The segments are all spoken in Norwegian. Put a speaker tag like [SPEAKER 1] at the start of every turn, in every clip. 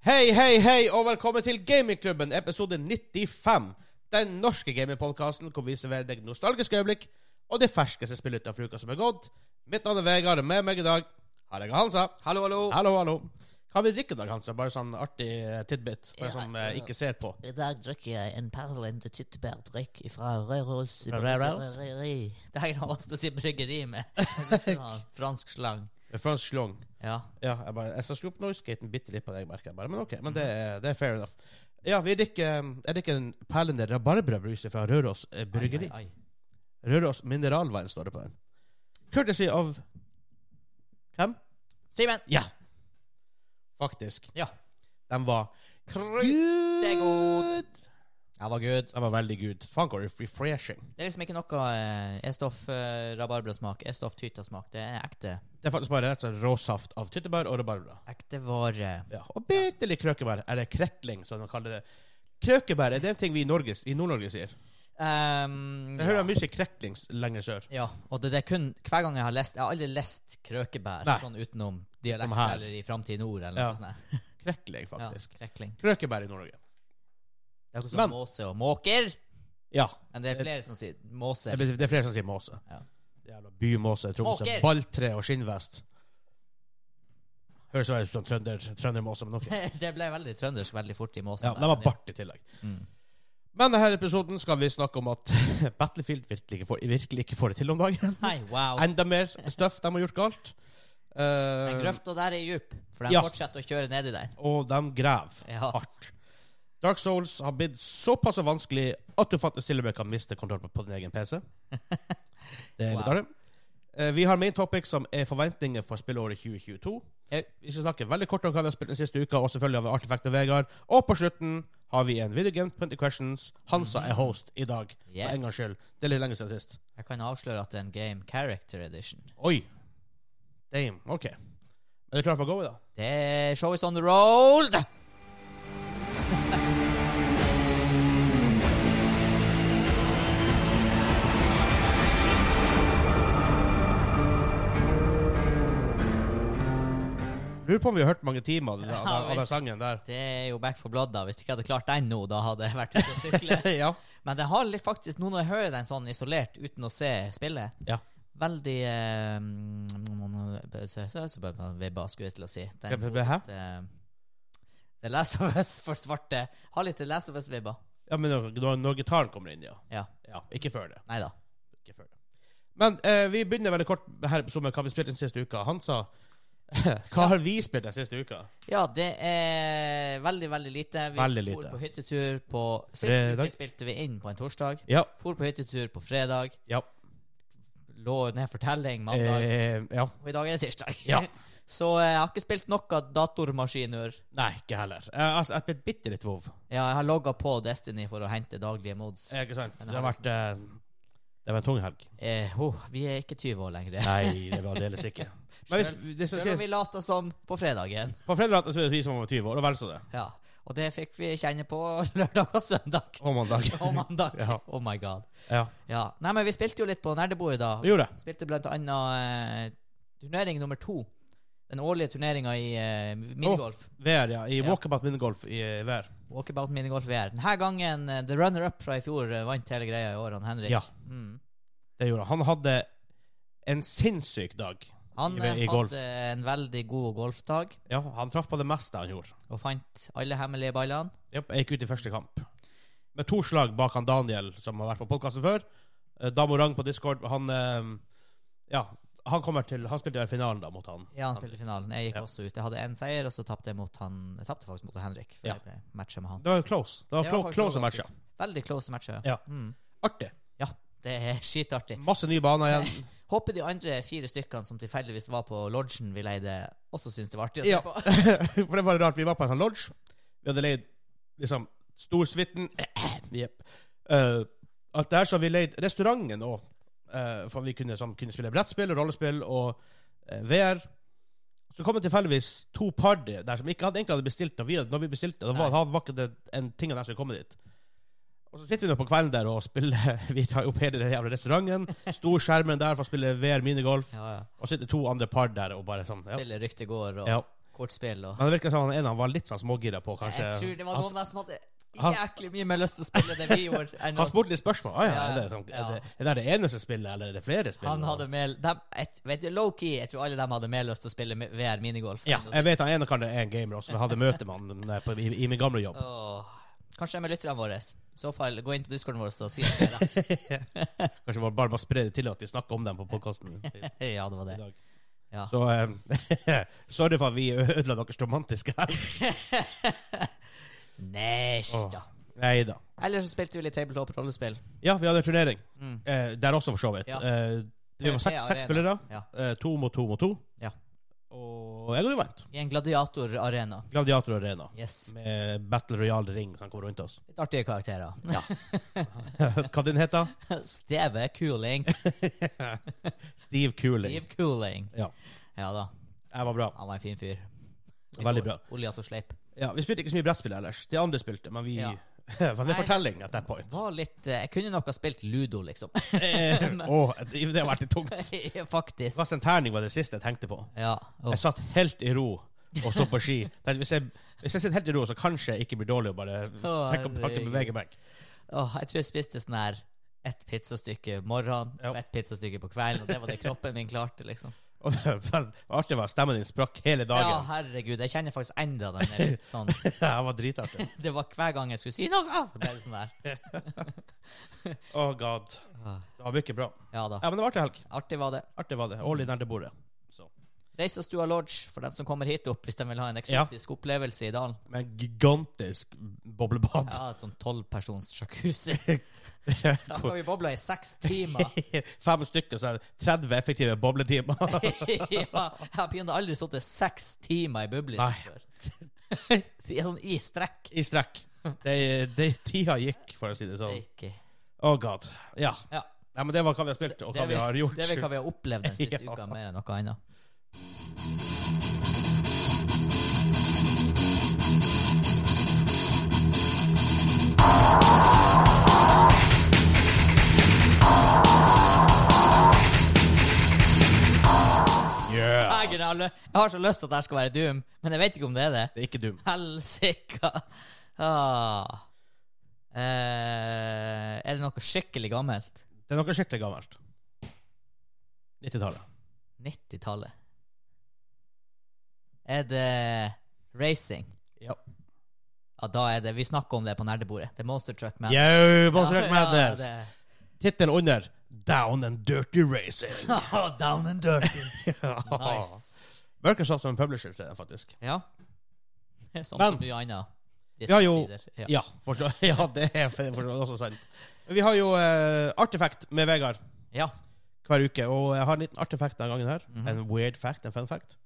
[SPEAKER 1] Hei, hei, hei, og velkommen til Gamingklubben, episode 95. Den norske gamingpodkasten hvor vi serverer deg nostalgiske øyeblikk og det ferskeste spillet av uka som er gått. Mitt navn er Vegard, og med meg i dag har jeg Hansa.
[SPEAKER 2] Hallo, hallo.
[SPEAKER 1] Hallo, hallo. Hva vil du drikke i dag, Hansa? Bare sånn artig eh, tidbit for
[SPEAKER 3] Ja,
[SPEAKER 1] jeg som eh,
[SPEAKER 3] ja.
[SPEAKER 1] ikke ser på.
[SPEAKER 3] I dag drikker jeg en perlende tyttebærdrikk fra Røros
[SPEAKER 1] Fra Røros?
[SPEAKER 3] Bryggeri. Det er noe å si bryggeri med. Ja, Fransk slang.
[SPEAKER 1] Med fransk slong.
[SPEAKER 3] Ja.
[SPEAKER 1] Ja, jeg bare Jeg skal skru opp noisegaten bitte litt på deg, merker jeg bare. Men ok, men det, er- det er fair enough. Ja, vi drikker eh, Jeg drikker en perlende rabarbrabrus fra Røros eh, bryggeri.
[SPEAKER 3] Ai, ai, ai.
[SPEAKER 1] Røros Mineralvann står det på den. Courtesy av Hvem?
[SPEAKER 3] Simen!
[SPEAKER 1] Ja! Faktisk.
[SPEAKER 3] Ja.
[SPEAKER 1] Den var
[SPEAKER 3] Kruttegod. Jeg var good.
[SPEAKER 1] Den var veldig good. Faen, hvor refreshing.
[SPEAKER 3] Det er liksom ikke noe eh, E-stoff eh, rabarbrasmak, E-stoff tytasmak. Det er ekte.
[SPEAKER 1] Det er faktisk bare rett og slett råsaft av tyttebær og rabarbra.
[SPEAKER 3] Ekte vare.
[SPEAKER 1] Ja. Og bitte litt krøkebær. Eller krekling, som de kaller det. Krøkebær er det en ting vi i Norge, i Nord-Norge sier.
[SPEAKER 3] Um,
[SPEAKER 1] Jeg hører mye krøkling lenger sør.
[SPEAKER 3] Ja, og det, det er kun hver gang jeg har lest Jeg har aldri lest Krøkebær
[SPEAKER 1] Nei.
[SPEAKER 3] sånn
[SPEAKER 1] Utenom
[SPEAKER 3] utenom dialekt
[SPEAKER 1] her.
[SPEAKER 3] eller i Framtid Nord eller
[SPEAKER 1] Ja,
[SPEAKER 3] noe sånt. der.
[SPEAKER 1] Krekling,
[SPEAKER 3] Ja,
[SPEAKER 1] faktisk.
[SPEAKER 3] krekling.
[SPEAKER 1] Krøkebær i Nord-Norge.
[SPEAKER 3] Det er akkurat
[SPEAKER 1] Men-
[SPEAKER 3] som måse og måker.
[SPEAKER 1] Ja.
[SPEAKER 3] Men det er flere som sier måse.
[SPEAKER 1] Det blir- det er flere som sier måse.
[SPEAKER 3] Ja.
[SPEAKER 1] Jævla bymåse, Tromsø.
[SPEAKER 3] Åker.
[SPEAKER 1] Balltre og skinnvest. Høres veldig ut som trønder, trøndermåse, men ok.
[SPEAKER 3] det ble veldig trøndersk veldig fort i måsen.
[SPEAKER 1] Ja,
[SPEAKER 3] der,
[SPEAKER 1] de har
[SPEAKER 3] men
[SPEAKER 1] bart i tillegg.
[SPEAKER 3] Mm.
[SPEAKER 1] Men denne episoden skal vi snakke om at Battlefield virkelig ikke får, virkelig ikke får det til om dagen.
[SPEAKER 3] Hei, wow.
[SPEAKER 1] Enda mer stuff de har gjort galt. Eh,
[SPEAKER 3] Den grøfta der er djup, for de
[SPEAKER 1] Ja.
[SPEAKER 3] fortsetter å kjøre nedi der.
[SPEAKER 1] og de graver
[SPEAKER 3] Ja.
[SPEAKER 1] hardt. Dark Souls har blitt såpass vanskelig at du faktisk til og med kan miste kontroll på din egen PC. Det er litt
[SPEAKER 3] Wow.
[SPEAKER 1] artig. Eh, Vi har main topic som er forventninger for spillåret 2022.
[SPEAKER 3] Jau.
[SPEAKER 1] Vi skal snakke veldig kort om hva vi har spilt den siste uka, og selvfølgelig har vi Artifact med Vegard. Og på slutten har vi en video game 20 questions. Hansa er host i dag, for
[SPEAKER 3] Mm. Yes.
[SPEAKER 1] en gangs skyld. Det er litt lenge siden sist.
[SPEAKER 3] Jeg kan avsløre at det er en Game Character Edition.
[SPEAKER 1] Oi. Damn. OK. Er du klar for å gå, da?
[SPEAKER 3] Det er Show is on the road!
[SPEAKER 1] Lurer på om vi har hørt mange timer av den, av den, av
[SPEAKER 3] visst.
[SPEAKER 1] den sangen der.
[SPEAKER 3] Det er jo Back for Blood, da. Hvis jeg ikke hadde klart den nå, da hadde jeg vært ute og sykle.
[SPEAKER 1] ja.
[SPEAKER 3] Men det har litt faktisk, nå når jeg hører den sånn isolert uten å se spillet
[SPEAKER 1] Ja.
[SPEAKER 3] Veldig eh, mm, så- så- så bare Vibba, skulle jeg til å si. Den
[SPEAKER 1] Hva- hva- hæ?
[SPEAKER 3] godeste- eh, The Last of Us for svarte. Har litt The Last of Us-vibba.
[SPEAKER 1] ja, men når, når, når gitaren kommer inn, ja.
[SPEAKER 3] Ja.
[SPEAKER 1] ja. Ikke før det.
[SPEAKER 3] Nei da.
[SPEAKER 1] Ikke før det. Men eh, vi begynner veldig kort her på med hva vi spilte den siste uka. Han sa Hva har vi spilt den siste uka?
[SPEAKER 3] Ja, det er veldig, veldig lite. Vi
[SPEAKER 1] Veldig
[SPEAKER 3] for
[SPEAKER 1] lite.
[SPEAKER 3] på hyttetur på Sist
[SPEAKER 1] Fredag.
[SPEAKER 3] uke spilte vi inn på en torsdag.
[SPEAKER 1] Ja.
[SPEAKER 3] For på hyttetur på fredag.
[SPEAKER 1] Ja.
[SPEAKER 3] Lå ned fortelling mandag.
[SPEAKER 1] Eh, ja.
[SPEAKER 3] Og i dag er det tirsdag.
[SPEAKER 1] Ja.
[SPEAKER 3] Så eh, jeg har ikke spilt noe datormaskiner.
[SPEAKER 1] Nei, ikke heller. Eh, altså, jeg spilte bitte litt WoW.
[SPEAKER 3] Ja, jeg har logga på Destiny for å hente daglige mods.
[SPEAKER 1] Eh, Ikke sant?
[SPEAKER 3] Men
[SPEAKER 1] Det
[SPEAKER 3] jeg
[SPEAKER 1] har
[SPEAKER 3] har
[SPEAKER 1] vært eh, Det var en tung helg.
[SPEAKER 3] Eh, oh, vi er ikke 20 år lenger.
[SPEAKER 1] Nei, det var aldeles ikke. Men hvis, det skal
[SPEAKER 3] Selv om
[SPEAKER 1] sies
[SPEAKER 3] vi later som på fredagen.
[SPEAKER 1] På fredag så er det vi som var 20 år, og vel så det.
[SPEAKER 3] Ja. Og det fikk vi kjenne på lørdag og søndag.
[SPEAKER 1] Og mandag.
[SPEAKER 3] Og mandag.
[SPEAKER 1] Ja.
[SPEAKER 3] Oh my god.
[SPEAKER 1] Ja.
[SPEAKER 3] Ja. Nei, men vi spilte jo litt på nerdebordet da.
[SPEAKER 1] Vi gjorde det.
[SPEAKER 3] Spilte blant annet eh, turnering nummer to. Den årlige turneringa i eh, minigolf.
[SPEAKER 1] VR, ja. I
[SPEAKER 3] Ja.
[SPEAKER 1] walkabout minigolf i eh, VR.
[SPEAKER 3] Walkabout minigolf VR. Denne gangen eh, the runner-up fra i fjor eh, vant hele greia i år, han Henrik.
[SPEAKER 1] Ja,
[SPEAKER 3] Mm.
[SPEAKER 1] det gjorde han. Han hadde en sinnssyk dag.
[SPEAKER 3] Han
[SPEAKER 1] I-
[SPEAKER 3] eh,
[SPEAKER 1] i
[SPEAKER 3] hadde
[SPEAKER 1] golf.
[SPEAKER 3] en veldig god golfdag.
[SPEAKER 1] Ja, Han traff på det meste han gjorde.
[SPEAKER 3] og fant alle hemmelige ballene.
[SPEAKER 1] Japp, jeg gikk ut i første kamp. Med to slag bak han Daniel, som har vært på podkasten før. Eh, Damo Rang på Discord. Han eh, Ja, han kommer til Han spilte i finalen da mot han.
[SPEAKER 3] Ja, han spilte finalen. Jeg gikk
[SPEAKER 1] Ja.
[SPEAKER 3] også ut. Jeg hadde én seier, og så tapte jeg mot han Jeg tapte faktisk mot Henrik. For
[SPEAKER 1] Ja.
[SPEAKER 3] jeg ble matcha med han.
[SPEAKER 1] Det var close. Det var,
[SPEAKER 3] Det var
[SPEAKER 1] clo-
[SPEAKER 3] faktisk
[SPEAKER 1] close
[SPEAKER 3] ganske
[SPEAKER 1] matcher.
[SPEAKER 3] Veldig close matcher.
[SPEAKER 1] Ja.
[SPEAKER 3] Mm.
[SPEAKER 1] Artig.
[SPEAKER 3] Det er skitartig.
[SPEAKER 1] Masse nye baner igjen.
[SPEAKER 3] Håper de andre fire stykkene som tilfeldigvis var på lodgen vi leide, også syns det var artig å se
[SPEAKER 1] Ja.
[SPEAKER 3] på.
[SPEAKER 1] For det var rart. Vi var på en sånn lodge. Vi hadde leid liksom storsuiten. Jepp. Eh, alt det her. Så vi leid restauranten òg. for vi kunne, sånn, kunne spille brettspill, rollespill og eh, VR. Så kom det tilfeldigvis to party der som ikke hadde, egentlig hadde bestilt når vi, hadde- når vi bestilte. Da var,
[SPEAKER 3] Nei.
[SPEAKER 1] var ikke det en ting av dem som kom dit. Og så sitter vi nå på kvelden der og spiller Vi tar opp hele den jævla restauranten. Storskjermen der for å spille VR minigolf.
[SPEAKER 3] Ja, ja.
[SPEAKER 1] Og sitter to andre par der og bare sånn. Ja.
[SPEAKER 3] Spillet Ryktet går, og
[SPEAKER 1] Ja.
[SPEAKER 3] kortspill og
[SPEAKER 1] Men det virker som han ene han var litt sånn smågira på, kanskje.
[SPEAKER 3] Jeg tror det var
[SPEAKER 1] Han-
[SPEAKER 3] noen der som hadde
[SPEAKER 1] han-
[SPEAKER 3] jæklig mye mer lyst til å spille det vi gjorde. enn
[SPEAKER 1] Han
[SPEAKER 3] oss.
[SPEAKER 1] spurte litt spørsmål. Ah, ja,
[SPEAKER 3] Ja,
[SPEAKER 1] er, det, sånn- er, det, er det det eneste spillet, eller er det flere spill?
[SPEAKER 3] Han hadde mer dem, et, vet du, Low key, jeg tror alle dem hadde mer lyst til å spille med- VR minigolf.
[SPEAKER 1] Ja, jeg vet han ene kan det er en gamer også. Jeg hadde møte med han eh, på, i, i min gamle jobb.
[SPEAKER 3] Åh. Kanskje en av lytterne våre. I så fall, gå inn på discorden vår og si at det er rett.
[SPEAKER 1] Kanskje bare, bare spre det til at de snakker om dem på podkasten i i
[SPEAKER 3] ja, det var det.
[SPEAKER 1] dag.
[SPEAKER 3] Ja.
[SPEAKER 1] Så eh, sorry for at vi ødela deres romantiske helg.
[SPEAKER 3] Næsj,
[SPEAKER 1] Åh.
[SPEAKER 3] da.
[SPEAKER 1] Nei da.
[SPEAKER 3] Ellers så spilte vi litt tabletop-rollespill.
[SPEAKER 1] Ja, vi hadde en turnering.
[SPEAKER 3] Mm.
[SPEAKER 1] Eh, der også, for så vidt.
[SPEAKER 3] Ja.
[SPEAKER 1] Eh, vi var seks,
[SPEAKER 3] PRP
[SPEAKER 1] seks
[SPEAKER 3] Arena.
[SPEAKER 1] spillere.
[SPEAKER 3] Ja.
[SPEAKER 1] Eh, to mot to mot to.
[SPEAKER 3] Ja.
[SPEAKER 1] Og jeg og du vant.
[SPEAKER 3] I en gladiatorarena.
[SPEAKER 1] Gladiator Arena.
[SPEAKER 3] Yes.
[SPEAKER 1] Med Battle Royale Ring som kommer rundt oss.
[SPEAKER 3] Litt artige karakterer.
[SPEAKER 1] Hva den heter
[SPEAKER 3] Steve Cooling.
[SPEAKER 1] Steve Cooling.
[SPEAKER 3] Steve Cooling.
[SPEAKER 1] Ja.
[SPEAKER 3] Ja da.
[SPEAKER 1] Jeg var bra.
[SPEAKER 3] Han var en fin fyr.
[SPEAKER 1] Veldig bra.
[SPEAKER 3] Oliato Sleip.
[SPEAKER 1] Ja, vi spilte ikke så mye brettspill ellers. De andre spilte, men vi
[SPEAKER 3] Ja.
[SPEAKER 1] Var det
[SPEAKER 3] Nei.
[SPEAKER 1] fortelling at that point?
[SPEAKER 3] Var litt eh, Jeg kunne nok ha spilt ludo, liksom.
[SPEAKER 1] Eh, åh, det har vært litt tungt.
[SPEAKER 3] Faktisk.
[SPEAKER 1] Vassen terning var det siste jeg tenkte på.
[SPEAKER 3] Ja. Åh.
[SPEAKER 1] Jeg satt helt i ro og så på ski. Tenkte, Hvis jeg, hvis jeg sitter helt i ro, så kanskje jeg ikke blir dårlig og bare trekker opp taket og beveger meg.
[SPEAKER 3] Åh, jeg tror jeg spiste sånn her ett pizzastykke morgenen
[SPEAKER 1] Ja.
[SPEAKER 3] og ett pizzastykke på kvelden, og det var det kroppen min klarte, liksom.
[SPEAKER 1] Og det var artig var at stemmen din sprakk hele
[SPEAKER 3] Ja,
[SPEAKER 1] dagen.
[SPEAKER 3] herregud. Jeg kjenner faktisk enda den er litt sånn
[SPEAKER 1] Det var dritartig.
[SPEAKER 3] Det var hver gang jeg skulle si noe, så ble det sånn der.
[SPEAKER 1] Oh god.
[SPEAKER 3] Åh.
[SPEAKER 1] Det var mye bra.
[SPEAKER 3] Ja da.
[SPEAKER 1] Ja, men det var artig helg.
[SPEAKER 3] Artig var det.
[SPEAKER 1] Artig var det. Årlig nær det bordet.
[SPEAKER 3] Reisestua Lodge, for dem som kommer hit opp, hvis de vil ha en eksotisk opplevelse i dalen.
[SPEAKER 1] Med en gigantisk boblebad.
[SPEAKER 3] Ja, et sånn tolvpersons jacuzzi. Da
[SPEAKER 1] Hvor-
[SPEAKER 3] har vi bobla i seks timer.
[SPEAKER 1] Fem stykker, så er det 30 effektive bobletimer.
[SPEAKER 3] ja, jeg har pinadø aldri sittet seks timer i bubler
[SPEAKER 1] Nei.
[SPEAKER 3] før. I sånn i strekk.
[SPEAKER 1] I strekk. Det, det tida gikk, for å si det
[SPEAKER 3] Det
[SPEAKER 1] sånn.
[SPEAKER 3] er ikke
[SPEAKER 1] Oh god. Ja.
[SPEAKER 3] Ja.
[SPEAKER 1] Nei, men det var hva vi har spilt, og hva vi har gjort.
[SPEAKER 3] Det er vel hva vi har opplevd den siste
[SPEAKER 1] Ja.
[SPEAKER 3] uka, mer enn noe annet.
[SPEAKER 1] Yeah.
[SPEAKER 3] Jeg, kunne ha lø- jeg har så lyst til at dette skal være Doom, men jeg vet ikke om det er det.
[SPEAKER 1] Det er ikke dum.
[SPEAKER 3] Helsika! Ah. Eh, er det noe skikkelig gammelt?
[SPEAKER 1] Det er noe skikkelig gammelt. 90-tallet.
[SPEAKER 3] 90-tallet. Er det racing?
[SPEAKER 1] Ja.
[SPEAKER 3] Ja, da er det Vi snakker om det på nerdebordet. Det er Monster Truck Man.
[SPEAKER 1] Yo, Monster Truck
[SPEAKER 3] Ja,
[SPEAKER 1] Madness!
[SPEAKER 3] Ja,
[SPEAKER 1] Tittel under Down and Dirty Racing.
[SPEAKER 3] det. Down and dirty.
[SPEAKER 1] Ja.
[SPEAKER 3] nice.
[SPEAKER 1] Microsoft som en publisher til den, faktisk.
[SPEAKER 3] Ja. Det er Sånn
[SPEAKER 1] Men-
[SPEAKER 3] som mye annet. i
[SPEAKER 1] Ja, jo.
[SPEAKER 3] disse tider.
[SPEAKER 1] Ja,
[SPEAKER 3] Ja.
[SPEAKER 1] forstå- ja det er for, for, også sant. Men Vi har jo uh, Artifact med Vegard
[SPEAKER 3] ja.
[SPEAKER 1] hver uke, og jeg har en liten artifact denne gangen her.
[SPEAKER 3] Mhm.
[SPEAKER 1] En weird fact, en fun fact.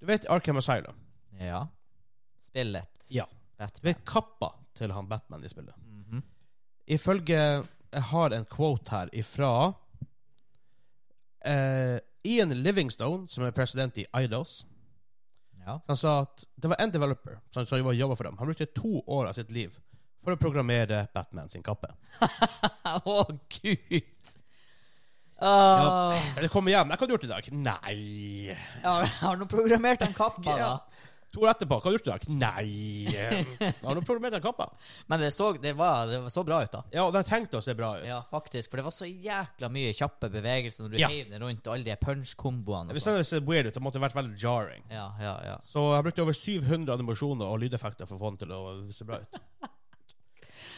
[SPEAKER 1] Du vet Arkham Asylum?
[SPEAKER 3] ja. Spillet.
[SPEAKER 1] Ja. Du
[SPEAKER 3] Batman.
[SPEAKER 1] vet kappa til han Batman i spillet?
[SPEAKER 3] Mhm.
[SPEAKER 1] Ifølge Jeg har en quote her ifra eh, Ian Livingstone, som er president i Idos.
[SPEAKER 3] Ja.
[SPEAKER 1] Han sa at det var en developer som, som jobba for dem. Han brukte to år av sitt liv for å programmere Batman sin kappe.
[SPEAKER 3] Å, gud! Åh.
[SPEAKER 1] Det kommer hjem. Jeg, hva har du gjort i dag? Nei.
[SPEAKER 3] Ja, har du programmert den kappa, da?
[SPEAKER 1] Ja. To år etterpå. Hva har du gjort i dag? Nei. Har du programmert den kappa?
[SPEAKER 3] Men det så, det, var, det var så bra ut, da.
[SPEAKER 1] Ja, og den tenkte å se bra ut.
[SPEAKER 3] Ja, faktisk. For det var så jækla mye kjappe bevegelser når du
[SPEAKER 1] Ja.
[SPEAKER 3] heiv den rundt, og alle de punch-komboene. og
[SPEAKER 1] Hvis
[SPEAKER 3] sånn.
[SPEAKER 1] den hadde sett weird ut, det måtte vært veldig jarring.
[SPEAKER 3] Ja, ja, ja.
[SPEAKER 1] Så jeg brukte over 700 animasjoner og lydeffekter for å få den til å se bra ut.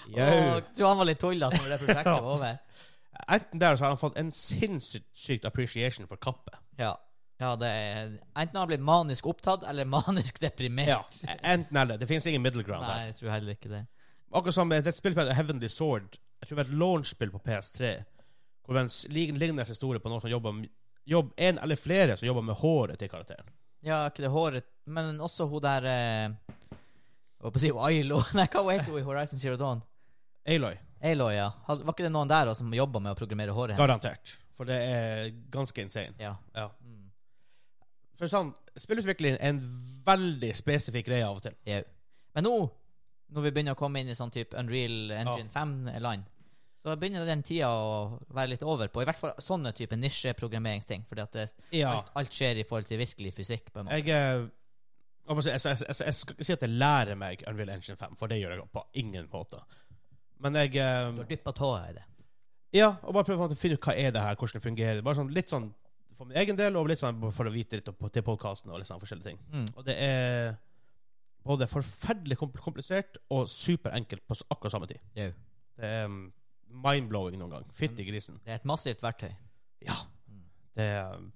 [SPEAKER 1] Jau.
[SPEAKER 3] Og, tror han var litt tullete når det prosjektet var over.
[SPEAKER 1] Enten der så har han fått en sinnssykt sykt appreciation for kappe.
[SPEAKER 3] Ja. ja det er, enten har han blitt manisk opptatt, eller manisk deprimert.
[SPEAKER 1] Ja, enten eller. Det finnes ingen middle ground
[SPEAKER 3] Nei,
[SPEAKER 1] her.
[SPEAKER 3] jeg tror heller ikke det.
[SPEAKER 1] Akkurat som et et spill som heter Heavenly Sword. Jeg tror det var et launchspill på PS3. Hvor det var en s- lig- lignende historie på noen som jobber med jobb, En eller flere som jobber med håret til karakteren.
[SPEAKER 3] Ja, ikke det håret Men også hun der eh, Jeg holdt på å si Ailo. Nei, hva heter hun i Horizon Zero Dawn?
[SPEAKER 1] Aloy.
[SPEAKER 3] Ailo, ja. Had- Var ikke det noen der også, som jobba med å programmere håret hennes?
[SPEAKER 1] Garantert. For det er ganske insane.
[SPEAKER 3] Ja.
[SPEAKER 1] Ja.
[SPEAKER 3] Mm.
[SPEAKER 1] For sånn, Spillutvikling er en veldig spesifikk greie av og til.
[SPEAKER 3] Jau. Men nå, når vi begynner å komme inn i sånn type Unreal Engine 5-land, så begynner den tida å være litt over på. I hvert fall sånne type nisjeprogrammeringsting. Fordi at det,
[SPEAKER 1] Ja.
[SPEAKER 3] alt, alt skjer i forhold til virkelig fysikk. på en måte.
[SPEAKER 1] Jeg eh, Jeg, må si- jeg, jeg, jeg, jeg skal ikke si at jeg lærer meg Unreal Engine 5, for det gjør jeg på ingen måte. Men jeg eh,
[SPEAKER 3] Du har dyppa tåa i det.
[SPEAKER 1] Ja, og bare prøve å finne ut hva er det her, hvordan det fungerer. Bare sånn, litt sånn for min egen del, og litt sånn for å vite litt opp- til podkasten og litt sånn forskjellige ting.
[SPEAKER 3] Mm.
[SPEAKER 1] Og det er både forferdelig kompl- komplisert og superenkelt på s- akkurat samme tid.
[SPEAKER 3] Jau.
[SPEAKER 1] Det er um, mind-blowing noen gang. Fytti grisen.
[SPEAKER 3] Det er et massivt verktøy.
[SPEAKER 1] Ja.
[SPEAKER 3] Mm.
[SPEAKER 1] Det er um,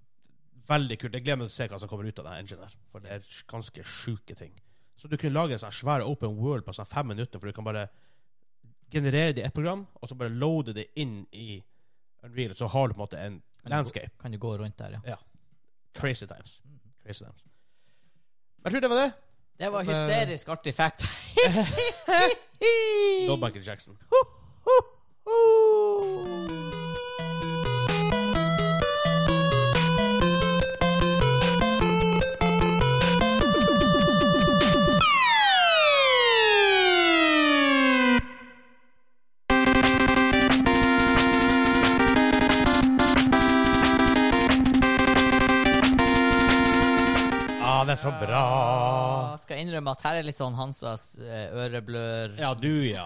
[SPEAKER 1] veldig kult. Jeg gleder meg til å se hva som kommer ut av denne enginen her, for det er sj- ganske sjuke ting. Så du kunne lage en sånn svær open world på sånn fem minutter, for du kan bare generere det i ett program, og så bare loade det inn i Unreal, så har du på en måte en
[SPEAKER 3] Kan du gå-
[SPEAKER 1] landscape.
[SPEAKER 3] Kan du gå rundt der, ja.
[SPEAKER 1] Crazy times. Crazy times. Jeg tror det var det.
[SPEAKER 3] Det var
[SPEAKER 1] Men-
[SPEAKER 3] hysterisk artig fact.
[SPEAKER 1] Nå Michael Jackson. Ah, det er så bra.
[SPEAKER 3] Ja, skal innrømme at her er litt sånn Hansas eh, øreblør
[SPEAKER 1] Ja, du, ja.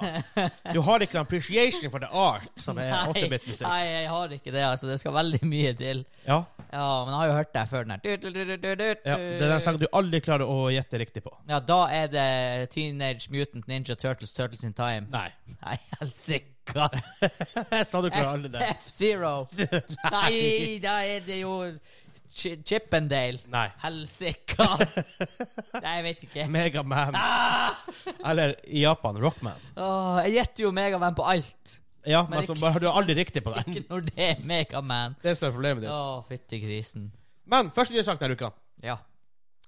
[SPEAKER 1] Du har ikke en appreciation for the art, som er
[SPEAKER 3] Nei,
[SPEAKER 1] 8-bit-musikk.
[SPEAKER 3] nei, jeg har ikke det. altså Det skal veldig mye til.
[SPEAKER 1] Ja,
[SPEAKER 3] Ja, Men jeg har jo hørt deg før den her. Du, du, du, du, du,
[SPEAKER 1] ja. Det er den sangen du aldri klarer å gjette riktig på.
[SPEAKER 3] Ja, da er det Teenage Mutant Ninja Turtles, Turtles in Time.
[SPEAKER 1] Nei.
[SPEAKER 3] Nei, helsike, ass.
[SPEAKER 1] Jeg sa du klarer aldri det.
[SPEAKER 3] F-Zero. Nei, da er det jo Chi- Chippendale.
[SPEAKER 1] Nei.
[SPEAKER 3] Helsika. Nei, jeg vet ikke.
[SPEAKER 1] Megaman.
[SPEAKER 3] Ah!
[SPEAKER 1] Eller i Japan, Rockman.
[SPEAKER 3] Åh, jeg gjetter jo Megaman på alt.
[SPEAKER 1] Ja,
[SPEAKER 3] Men
[SPEAKER 1] men så bare har du aldri riktig på den.
[SPEAKER 3] Ikke når det er Megaman.
[SPEAKER 1] Det er som er problemet
[SPEAKER 3] Å,
[SPEAKER 1] ditt.
[SPEAKER 3] fytti grisen.
[SPEAKER 1] Men første nye sak denne uka.
[SPEAKER 3] Ja.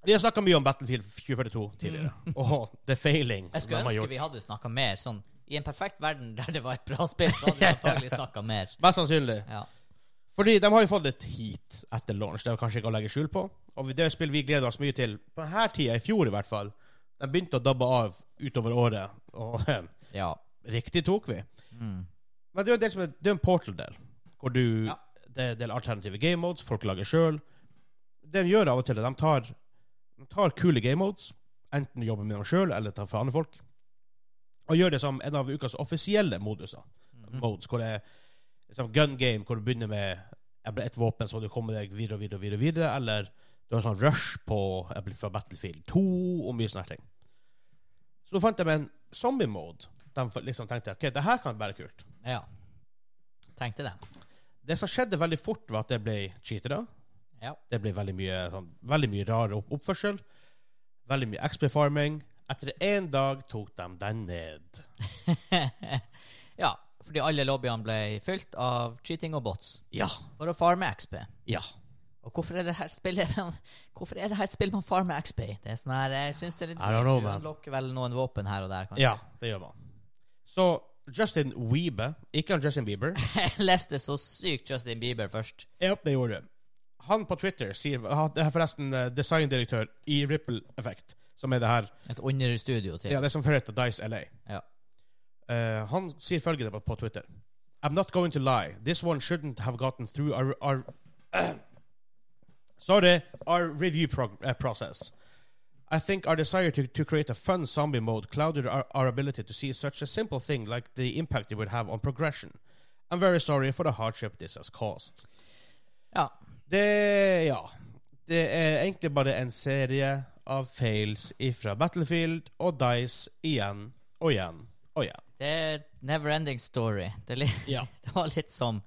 [SPEAKER 1] Vi har snakka mye om Battlefield 2042 tidligere. Og the failing
[SPEAKER 3] Mm.
[SPEAKER 1] som de
[SPEAKER 3] Jeg skulle
[SPEAKER 1] har
[SPEAKER 3] ønske
[SPEAKER 1] gjort.
[SPEAKER 3] vi hadde snakka mer. Sånn, I en perfekt verden der det var et bra spill, så hadde vi antagelig snakka mer.
[SPEAKER 1] Mest sannsynlig.
[SPEAKER 3] Ja.
[SPEAKER 1] Fordi de har jo fått litt heat etter launch. Det er kanskje ikke å legge skjul på. Og det er et spill vi gleder oss mye til. På denne tida, i fjor i hvert fall, de begynte å dabbe av utover året. Og
[SPEAKER 3] ja.
[SPEAKER 1] riktig tok vi.
[SPEAKER 3] Mm.
[SPEAKER 1] Men det er jo en del som er, det er en portal-del, hvor du
[SPEAKER 3] Ja.
[SPEAKER 1] Det er en del alternative game modes, folk lager sjøl. Det de gjør av og til, er at de tar De tar kule game modes, enten jobber med dem sjøl eller tar fra andre folk, og gjør det som en av ukas offisielle moduser
[SPEAKER 3] Mhm.
[SPEAKER 1] modes, hvor det er liksom gun game, hvor du begynner med jeg ble et våpen, så må du komme deg videre og videre, og videre, videre eller du har sånn rush på jeg ble fra Battlefield 2 og mye sånne her ting. Så da fant jeg meg en zombie mode. De f- liksom tenkte ok, det her kan være kult.
[SPEAKER 3] ja. Tenkte det.
[SPEAKER 1] Det som skjedde veldig fort, var at det ble cheatere.
[SPEAKER 3] Ja.
[SPEAKER 1] Det ble veldig mye, sånn, veldig mye rar opp oppførsel. Veldig mye XP-farming. Etter én dag tok de den ned.
[SPEAKER 3] ja. Fordi alle lobbyene ble fylt av cheating og bots
[SPEAKER 1] Ja.
[SPEAKER 3] for å farme XP.
[SPEAKER 1] Ja.
[SPEAKER 3] Og hvorfor er det her spillet Hvorfor er det her et spill man farmer XP i? Det er sånn her Jeg syns det er litt
[SPEAKER 1] I don't know, man.
[SPEAKER 3] Du unlocker vel noen våpen her og der, kanskje?
[SPEAKER 1] Ja, det gjør man. Så Justin Wiebe Ikke han Justin Bieber.
[SPEAKER 3] Jeg leste så sykt Justin Bieber først.
[SPEAKER 1] Ja, det gjorde du. Han på Twitter sier han- Det er forresten eh, designdirektør i Ripple Effect, som er det her
[SPEAKER 3] Et understudio til.
[SPEAKER 1] Ja, det som fører til Dice LA.
[SPEAKER 3] Ja.
[SPEAKER 1] Eh, han sier følgende på, på Twitter I'm not going to lie. This one shouldn't have gotten through our, our Sorry, our review prog eh, process. I think our desire to, to create a fun zombie mode clouded our, our ability to see such a simple thing like the impact it would have on progression. I'm very sorry for the hardship this has caused.
[SPEAKER 3] ja.
[SPEAKER 1] Det Ja. Det er egentlig bare en serie av fails ifra Battlefield og Dice igjen og igjen og igjen.
[SPEAKER 3] Det er never ending story. Det, er litt,
[SPEAKER 1] Ja.
[SPEAKER 3] det var litt som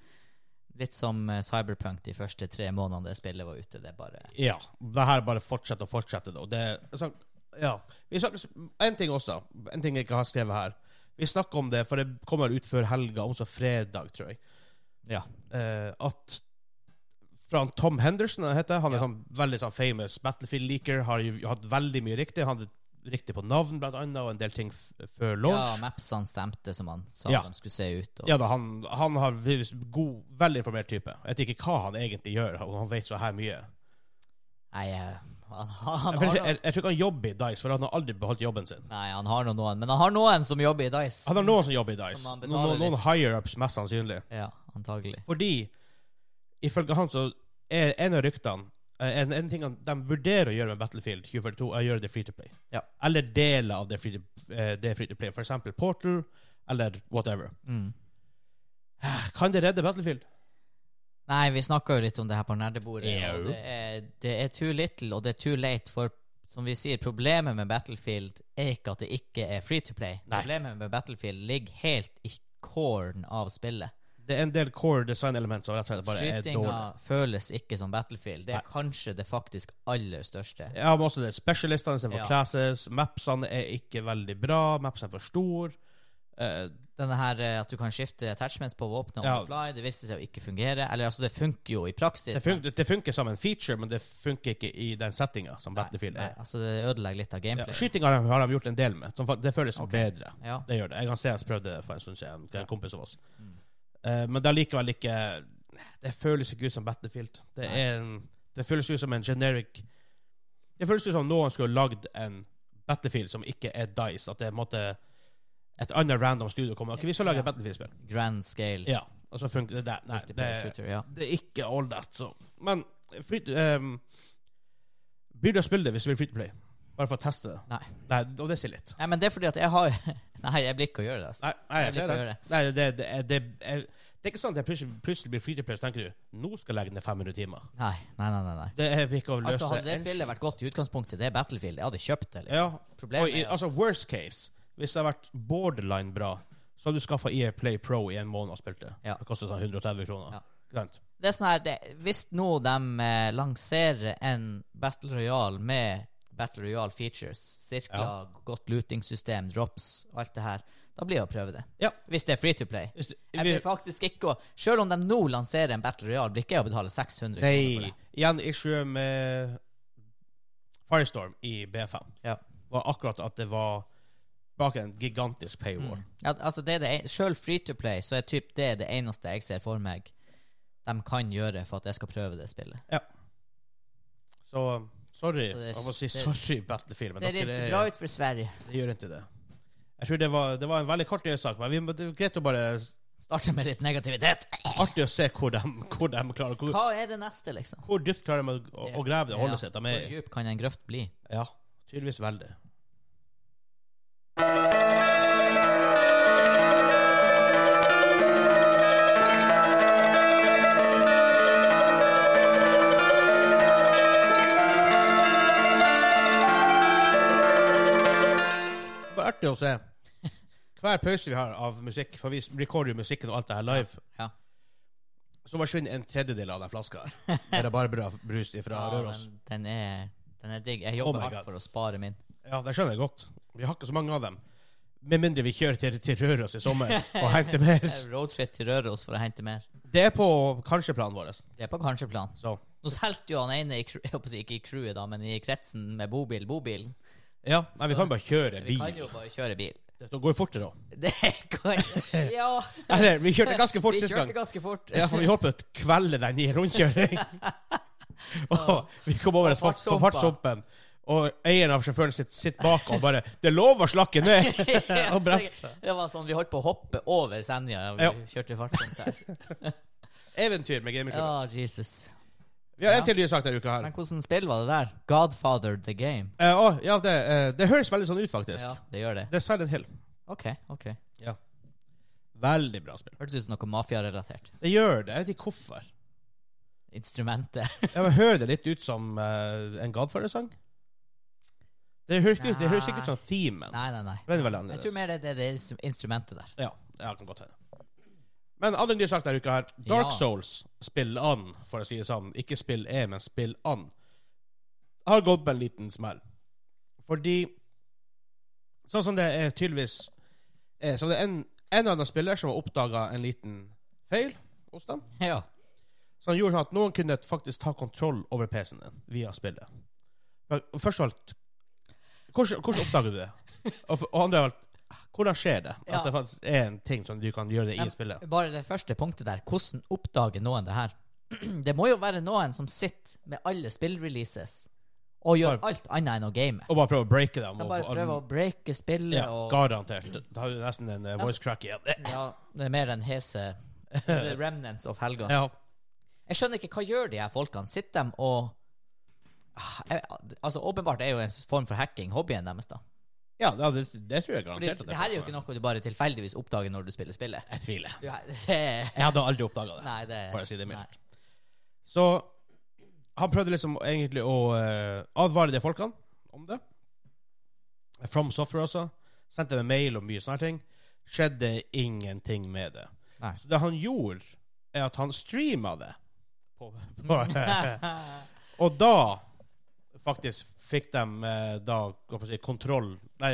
[SPEAKER 3] Litt som eh, Cyberpunk de første tre månedene det spillet var ute. Det er bare
[SPEAKER 1] Ja. Det her bare fortsetter og fortsetter. Og det er sånn- ja. Vi snakker, en ting også, en ting jeg ikke har skrevet her. Vi snakker om det, for det kommer ut før helga, også fredag, tror jeg.
[SPEAKER 3] Ja.
[SPEAKER 1] eh, at fra han Tom Henderson, han heter han er
[SPEAKER 3] Ja.
[SPEAKER 1] sånn veldig sånn famous Battlefield-leaker. Har jo hatt veldig mye riktig. Han hadde riktig på navn, blant annet, og en del ting f før
[SPEAKER 3] ja
[SPEAKER 1] launch. Ja,
[SPEAKER 3] Mapsene stemte som han sa
[SPEAKER 1] Ja.
[SPEAKER 3] de skulle se ut. Og,
[SPEAKER 1] da, han, han har vis- god, veldig informert type. Jeg vet ikke hva han egentlig gjør, og han vet så her mye.
[SPEAKER 3] Nei, eh, han, har- han
[SPEAKER 1] Jeg,
[SPEAKER 3] har
[SPEAKER 1] jeg,
[SPEAKER 3] noen,
[SPEAKER 1] jeg, jeg tror ikke han jobber i Dice, for han har aldri beholdt jobben sin.
[SPEAKER 3] Nei, han har nå noen, men han har noen som jobber i Dice.
[SPEAKER 1] Han har noen som jobber i Dice.
[SPEAKER 3] Som han
[SPEAKER 1] Noen,
[SPEAKER 3] betaler
[SPEAKER 1] noen, noen higher-ups, mest sannsynlig.
[SPEAKER 3] Ja, antagelig.
[SPEAKER 1] Fordi ifølge han så er en av ryktene Eh, En, en ting han- de vurderer å gjøre med Battlefield 2042, er å gjøre det free to play.
[SPEAKER 3] Ja.
[SPEAKER 1] Eller deler av det free to, eh, det free to play. For eksempel Portal eller whatever.
[SPEAKER 3] Mm.
[SPEAKER 1] Eh, Kan det redde Battlefield?
[SPEAKER 3] Nei, vi snakka jo litt om det her på nerdebordet.
[SPEAKER 1] Jau.
[SPEAKER 3] Og det, er, det er too little, og det er too late. For som vi sier, problemet med Battlefield er ikke at det ikke er free to play.
[SPEAKER 1] Nei.
[SPEAKER 3] Problemet med Battlefield ligger helt i coren av spillet.
[SPEAKER 1] Det er en del core design elements som rett og slett bare er
[SPEAKER 3] Skytinga
[SPEAKER 1] dårlige.
[SPEAKER 3] føles ikke som Battlefield. Det er
[SPEAKER 1] Nei.
[SPEAKER 3] kanskje det faktisk aller største.
[SPEAKER 1] Ja, men også det Specialistene istedenfor
[SPEAKER 3] Ja.
[SPEAKER 1] classes. Mapsene er ikke veldig bra. Mapsene er for store. Eh,
[SPEAKER 3] Denne her eh, at du kan skifte attachments på våpenet on
[SPEAKER 1] Ja.
[SPEAKER 3] the fly, det viste seg å ikke fungere. Eller altså, det funker jo i praksis.
[SPEAKER 1] det, fun det funker som en feature, men det funker ikke i den settinga som
[SPEAKER 3] Nei,
[SPEAKER 1] Battlefield
[SPEAKER 3] nei,
[SPEAKER 1] er.
[SPEAKER 3] altså, det ødelegger litt av
[SPEAKER 1] Ja,
[SPEAKER 3] gameplay.
[SPEAKER 1] Skyting har de, har de gjort en del med. Som, fa- det føles
[SPEAKER 3] Ok.
[SPEAKER 1] bedre.
[SPEAKER 3] Ja.
[SPEAKER 1] Det gjør det. Jeg kan se jeg prøvde det for en stund siden. Det er
[SPEAKER 3] Ja.
[SPEAKER 1] en kompis av oss.
[SPEAKER 3] Mm.
[SPEAKER 1] Eh, men det er likevel ikke Det føles ikke ut som Battlefield. Det,
[SPEAKER 3] Nei.
[SPEAKER 1] er en, det føles ut som en generic Det føles ut som noen skulle lagd en Battlefield som ikke er Dice. At det er på en måte et annet random studio kommer. Ok, vi skal lage et
[SPEAKER 3] Ja.
[SPEAKER 1] Battlefield-spill.
[SPEAKER 3] Grand scale.
[SPEAKER 1] Ja. Og så funker det der. Nei, det,
[SPEAKER 3] multiplayer shooter, ja.
[SPEAKER 1] det er ikke all that. Så. Men free, um, blir du å spille det hvis du vil free to play? Bare for å teste det?
[SPEAKER 3] Nei.
[SPEAKER 1] Nei og det sier litt.
[SPEAKER 3] Nei, men det er fordi at jeg har Nei, jeg blir ikke å gjøre det. Altså.
[SPEAKER 1] Nei, nei jeg
[SPEAKER 3] blir
[SPEAKER 1] ser
[SPEAKER 3] ikke
[SPEAKER 1] det.
[SPEAKER 3] å gjøre det.
[SPEAKER 1] Nei, det, det, det, det, er- det er ikke sånn at jeg plutselig, plutselig blir free to play, så tenker du nå skal jeg legge ned 500 timer.
[SPEAKER 3] Nei, nei, nei. nei, nei.
[SPEAKER 1] Det er ikke å løse
[SPEAKER 3] Altså, hadde det
[SPEAKER 1] en
[SPEAKER 3] spillet
[SPEAKER 1] skit.
[SPEAKER 3] vært godt i utgangspunktet, det er Battlefield, jeg hadde kjøpt det. Liksom.
[SPEAKER 1] Ja. Og,
[SPEAKER 3] Problemet
[SPEAKER 1] i,
[SPEAKER 3] er at-
[SPEAKER 1] altså, worst case, hvis det har vært borderline bra, så hadde du skaffa EA Play Pro i en måned og spilt det.
[SPEAKER 3] Ja.
[SPEAKER 1] Det koster sånn 130 kroner.
[SPEAKER 3] Ja.
[SPEAKER 1] Ikke sant?
[SPEAKER 3] Det er sånn her, det, Hvis nå de eh, lanserer en Battle Royale med Battle Royale features, sirkler,
[SPEAKER 1] Ja.
[SPEAKER 3] godt looting-system, drops og alt det her, da blir det å prøve det.
[SPEAKER 1] Ja.
[SPEAKER 3] Hvis det er free to play.
[SPEAKER 1] Hvis du-
[SPEAKER 3] Jeg
[SPEAKER 1] vi-
[SPEAKER 3] blir faktisk ikke å Selv om de nå lanserer en Battle Royale, blir ikke jeg å betale 600 kroner for
[SPEAKER 1] Nei.
[SPEAKER 3] det.
[SPEAKER 1] Igjen issue med Firestorm i B5.
[SPEAKER 3] Ja.
[SPEAKER 1] Var akkurat at det var bak en gigantisk paywall.
[SPEAKER 3] Ja, altså det er det en- Selv free to play så er typ det det eneste jeg ser for meg de kan gjøre for at jeg skal prøve det spillet.
[SPEAKER 1] Så sorry.
[SPEAKER 3] Så det-
[SPEAKER 1] Jeg må si
[SPEAKER 3] det-
[SPEAKER 1] sorry, Battlefield. Men
[SPEAKER 3] Ser
[SPEAKER 1] dere
[SPEAKER 3] ikke
[SPEAKER 1] er-
[SPEAKER 3] bra ut for Sverige.
[SPEAKER 1] Det gjør ikke det. Jeg tror det var, det var en veldig kort nyhetssak, men vi må, det er greit å bare
[SPEAKER 3] Starter med litt negativitet.
[SPEAKER 1] Artig å se hvor de, hvor de klarer hvor,
[SPEAKER 3] Hva er det neste, liksom?
[SPEAKER 1] hvor dypt klarer de å, å grave det og holde seg. De
[SPEAKER 3] Hvor
[SPEAKER 1] er
[SPEAKER 3] dyp kan en grøft bli?
[SPEAKER 1] ja, tydeligvis veldig. Det var artig å se. Hver pause vi har av musikk, for vi recorder jo musikken og alt det her live,
[SPEAKER 3] Ja.
[SPEAKER 1] så forsvinner en tredjedel av den flaska her. Det er bare bra brus fra
[SPEAKER 3] Ja,
[SPEAKER 1] Røros.
[SPEAKER 3] men den er den er digg. Jeg
[SPEAKER 1] Oh
[SPEAKER 3] jobber
[SPEAKER 1] my
[SPEAKER 3] hardt
[SPEAKER 1] God.
[SPEAKER 3] for å spare min.
[SPEAKER 1] Ja, det skjønner jeg godt. Vi har ikke så mange av dem. Med mindre vi kjører til, til Røros i sommer og henter mer.
[SPEAKER 3] Jeg Roadtrip til Røros for å hente mer.
[SPEAKER 1] Det er på kanskje-planen vår. altså.
[SPEAKER 3] Det er på kanskje-plan.
[SPEAKER 1] Så
[SPEAKER 3] Nå solgte jo han ene i, crew- jeg håper å si ikke i crewet, da, men i kretsen med bobil, bobilen.
[SPEAKER 1] ja, nei, vi kan bare kjøre
[SPEAKER 3] Vi kan
[SPEAKER 1] bil.
[SPEAKER 3] jo bare kjøre bil.
[SPEAKER 1] Det går fortere òg.
[SPEAKER 3] Det kan Ja.
[SPEAKER 1] Eller, vi kjørte ganske fort
[SPEAKER 3] vi
[SPEAKER 1] sist gang.
[SPEAKER 3] kjørte ganske fort.
[SPEAKER 1] Ja, for vi holdt på å kvelde den i en rundkjøring. Og vi kom over en
[SPEAKER 3] Og fartshumpa.
[SPEAKER 1] fartshumpen, og eieren av sjåføren sitter, sitter bak og bare 'Det er lov å slakke ned!'
[SPEAKER 3] Ja,
[SPEAKER 1] og bremse.
[SPEAKER 3] sikkert. Det var sånn, vi holdt på å hoppe over Senja. og Vi
[SPEAKER 1] Ja.
[SPEAKER 3] kjørte fartsomt der.
[SPEAKER 1] Eventyr med gamingklubben.
[SPEAKER 3] Ja, Jesus.
[SPEAKER 1] Vi har
[SPEAKER 3] Ja.
[SPEAKER 1] en til ny sak denne uka her.
[SPEAKER 3] Men hvordan spill var det der? Godfather the game.
[SPEAKER 1] Eh, å, ja, det, eh, det høres veldig sånn ut, faktisk.
[SPEAKER 3] Ja, det gjør det.
[SPEAKER 1] Det er Silent Hill.
[SPEAKER 3] OK. ok.
[SPEAKER 1] Veldig bra spill.
[SPEAKER 3] Hørtes ut som noe mafiarelatert.
[SPEAKER 1] Det gjør det. Jeg vet ikke hvorfor.
[SPEAKER 3] Instrumentet.
[SPEAKER 1] Ja, men Hører det litt ut som eh, en Godfather-sang? Det høres ikke ut Det høres ikke ut som themen.
[SPEAKER 3] Nei, nei, nei.
[SPEAKER 1] Den er veldig
[SPEAKER 3] Jeg
[SPEAKER 1] annerledes.
[SPEAKER 3] tror mer det er det instru- instrumentet der.
[SPEAKER 1] Ja, ja, kan godt hende. Men alle nye saker denne uka her. Dark
[SPEAKER 3] Ja.
[SPEAKER 1] Souls, spill an, for å si det sånn. Ikke spill E, men spill an. Har gått på en liten smell. Fordi Sånn som det er tydeligvis er, Så det er en, en eller annen spiller som har oppdaga en liten feil hos dem.
[SPEAKER 3] Ja.
[SPEAKER 1] Så han gjorde sånn at noen kunne faktisk ta kontroll over PC-en din via spillet. Men Først og alt Hvordan, hvordan oppdager du det? Og, for, og andre av alt Hvordan skjer det? At
[SPEAKER 3] Ja.
[SPEAKER 1] det faktisk er en ting som du kan gjøre det i
[SPEAKER 3] Ja.
[SPEAKER 1] spillet?
[SPEAKER 3] Bare det første punktet der. Hvordan oppdager noen det her? Det må jo være noen som sitter med alle spillreleases og gjør
[SPEAKER 1] Bare-
[SPEAKER 3] alt annet enn å game.
[SPEAKER 1] Og bare prøve å breake dem?
[SPEAKER 3] De bare prøver å breake spillet
[SPEAKER 1] ja,
[SPEAKER 3] og
[SPEAKER 1] Garantert. Da har du nesten en eh, voice crack igjen.
[SPEAKER 3] Ja, det er mer enn hese The remnants of helga.
[SPEAKER 1] Ja.
[SPEAKER 3] Jeg skjønner ikke, hva gjør de her folkene? Sitter de og jeg, altså Åpenbart er jo en form for hacking hobbyen deres. da
[SPEAKER 1] Ja, ja, det, det tror jeg
[SPEAKER 3] Fordi,
[SPEAKER 1] garantert. at
[SPEAKER 3] Det her er jo
[SPEAKER 1] faktisk
[SPEAKER 3] ikke noe du bare tilfeldigvis oppdager når du spiller spillet.
[SPEAKER 1] Jeg tviler.
[SPEAKER 3] Du, det,
[SPEAKER 1] Jeg hadde aldri oppdaga det,
[SPEAKER 3] nei, det
[SPEAKER 1] for å si det mildt.
[SPEAKER 3] nei.
[SPEAKER 1] Så han prøvde liksom egentlig å eh, advare de folkene om det. From Software også. Sendte dem en mail og mye sånne ting. Skjedde ingenting med det.
[SPEAKER 3] Nei.
[SPEAKER 1] Så det han gjorde, er at han streama det. På, på, og da faktisk fikk de eh, da hva skal jeg si, kontroll Nei,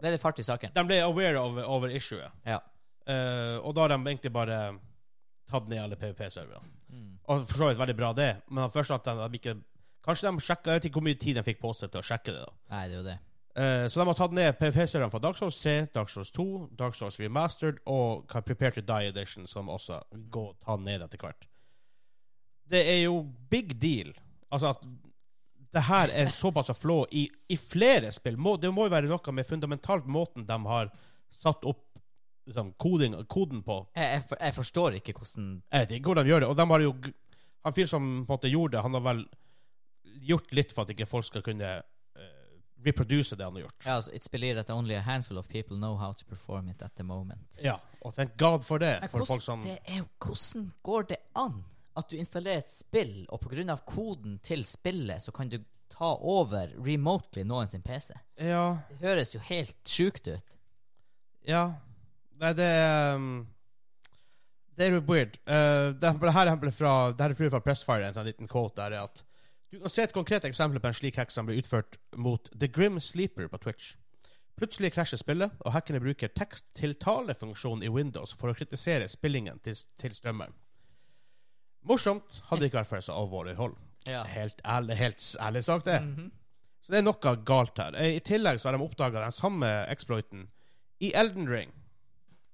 [SPEAKER 3] Det er litt fart i saken.
[SPEAKER 1] de ble aware of, over issuet.
[SPEAKER 3] Ja.
[SPEAKER 1] Eh, og da har de egentlig bare tatt ned alle PVP-serverne.
[SPEAKER 3] Mm.
[SPEAKER 1] Og for så vidt veldig bra, det. Men først at de, de ikke Kanskje de sjekka Jeg vet ikke hvor mye tid de fikk på seg til å sjekke det. da
[SPEAKER 3] Nei, det er jo det.
[SPEAKER 1] Eh, Så de har tatt ned PVP-serverne fra Dark Souls 3, Dark Souls 2, Dark Souls Remastered og Prepare to Die Edition, som også går ta ned etter hvert. Det er jo big deal. Altså at det her er såpass å flå i, i flere spill. Må, det må jo være noe med fundamentalt måten de har satt opp liksom, koding, koden på.
[SPEAKER 3] Jeg, jeg, for- jeg forstår ikke hvordan
[SPEAKER 1] Jeg vet ikke hvordan de gjør det. Og de har jo Han fyren som på en måte gjorde det, han har vel gjort litt for at ikke folk skal kunne eh, reproduce det han har gjort.
[SPEAKER 3] ja, altså, It's believed that only a handful of people know how to perform it at the moment.
[SPEAKER 1] Ja, og thank god for det.
[SPEAKER 3] Men
[SPEAKER 1] For
[SPEAKER 3] hvordan,
[SPEAKER 1] folk som
[SPEAKER 3] det er jo, hvordan går det an at du installerer et spill, og pga. koden til spillet så kan du ta over remotely noen sin PC?
[SPEAKER 1] Ja,
[SPEAKER 3] Det høres jo helt sjukt ut.
[SPEAKER 1] ja. Nei, det um, Det er jo weird. Eh, det, her- det her er fra, det her er fra- fra Pressfire, en sånn liten quote der, er at du kan se et konkret eksempel på en slik hack som ble utført mot The Grim Sleeper på Twitch. Plutselig krasjer spillet, og hackene bruker tekst-til-tale-funksjonen i Windows for å kritisere spillingen til, til strømmeren. Morsomt hadde ikke vært for et så alvorlig hold.
[SPEAKER 3] Ja. Mhm.
[SPEAKER 1] Helt ærlig, helt ærlig sagt, det. Så det er noe galt her. Eh, I tillegg så har de oppdaga den samme exploiten i Elden Ring.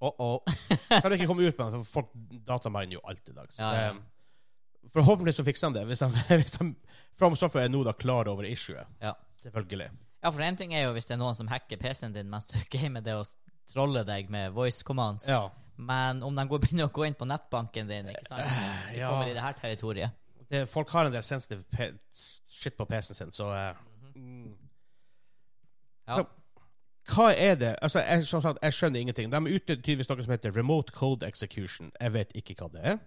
[SPEAKER 3] Oh -oh.
[SPEAKER 1] Kan du ikke komme ut med den, for folk dataminer jo alt i dag. Så
[SPEAKER 3] Ja, ja.
[SPEAKER 1] det- Forhåpentlig så fikser de det, hvis de, hvis de From Software er nå da klar over issuet.
[SPEAKER 3] Ja.
[SPEAKER 1] Selvfølgelig.
[SPEAKER 3] ja, for én ting er jo hvis det er noen som hacker PC-en din mens du gamer det og s- troller deg med voice commands,
[SPEAKER 1] Ja.
[SPEAKER 3] men om de går, begynner å gå inn på nettbanken din, ikke sant? De
[SPEAKER 1] Eh, ja.
[SPEAKER 3] kommer i det her territoriet.
[SPEAKER 1] Det, folk har en del sensitive pe shit på PC-en sin, så eh, mm.
[SPEAKER 3] Ja.
[SPEAKER 1] Så, Hva er det? Altså, jeg, som sagt, jeg skjønner ingenting. De utnytter tydeligvis noe som heter remote code execution. Jeg vet ikke hva det er.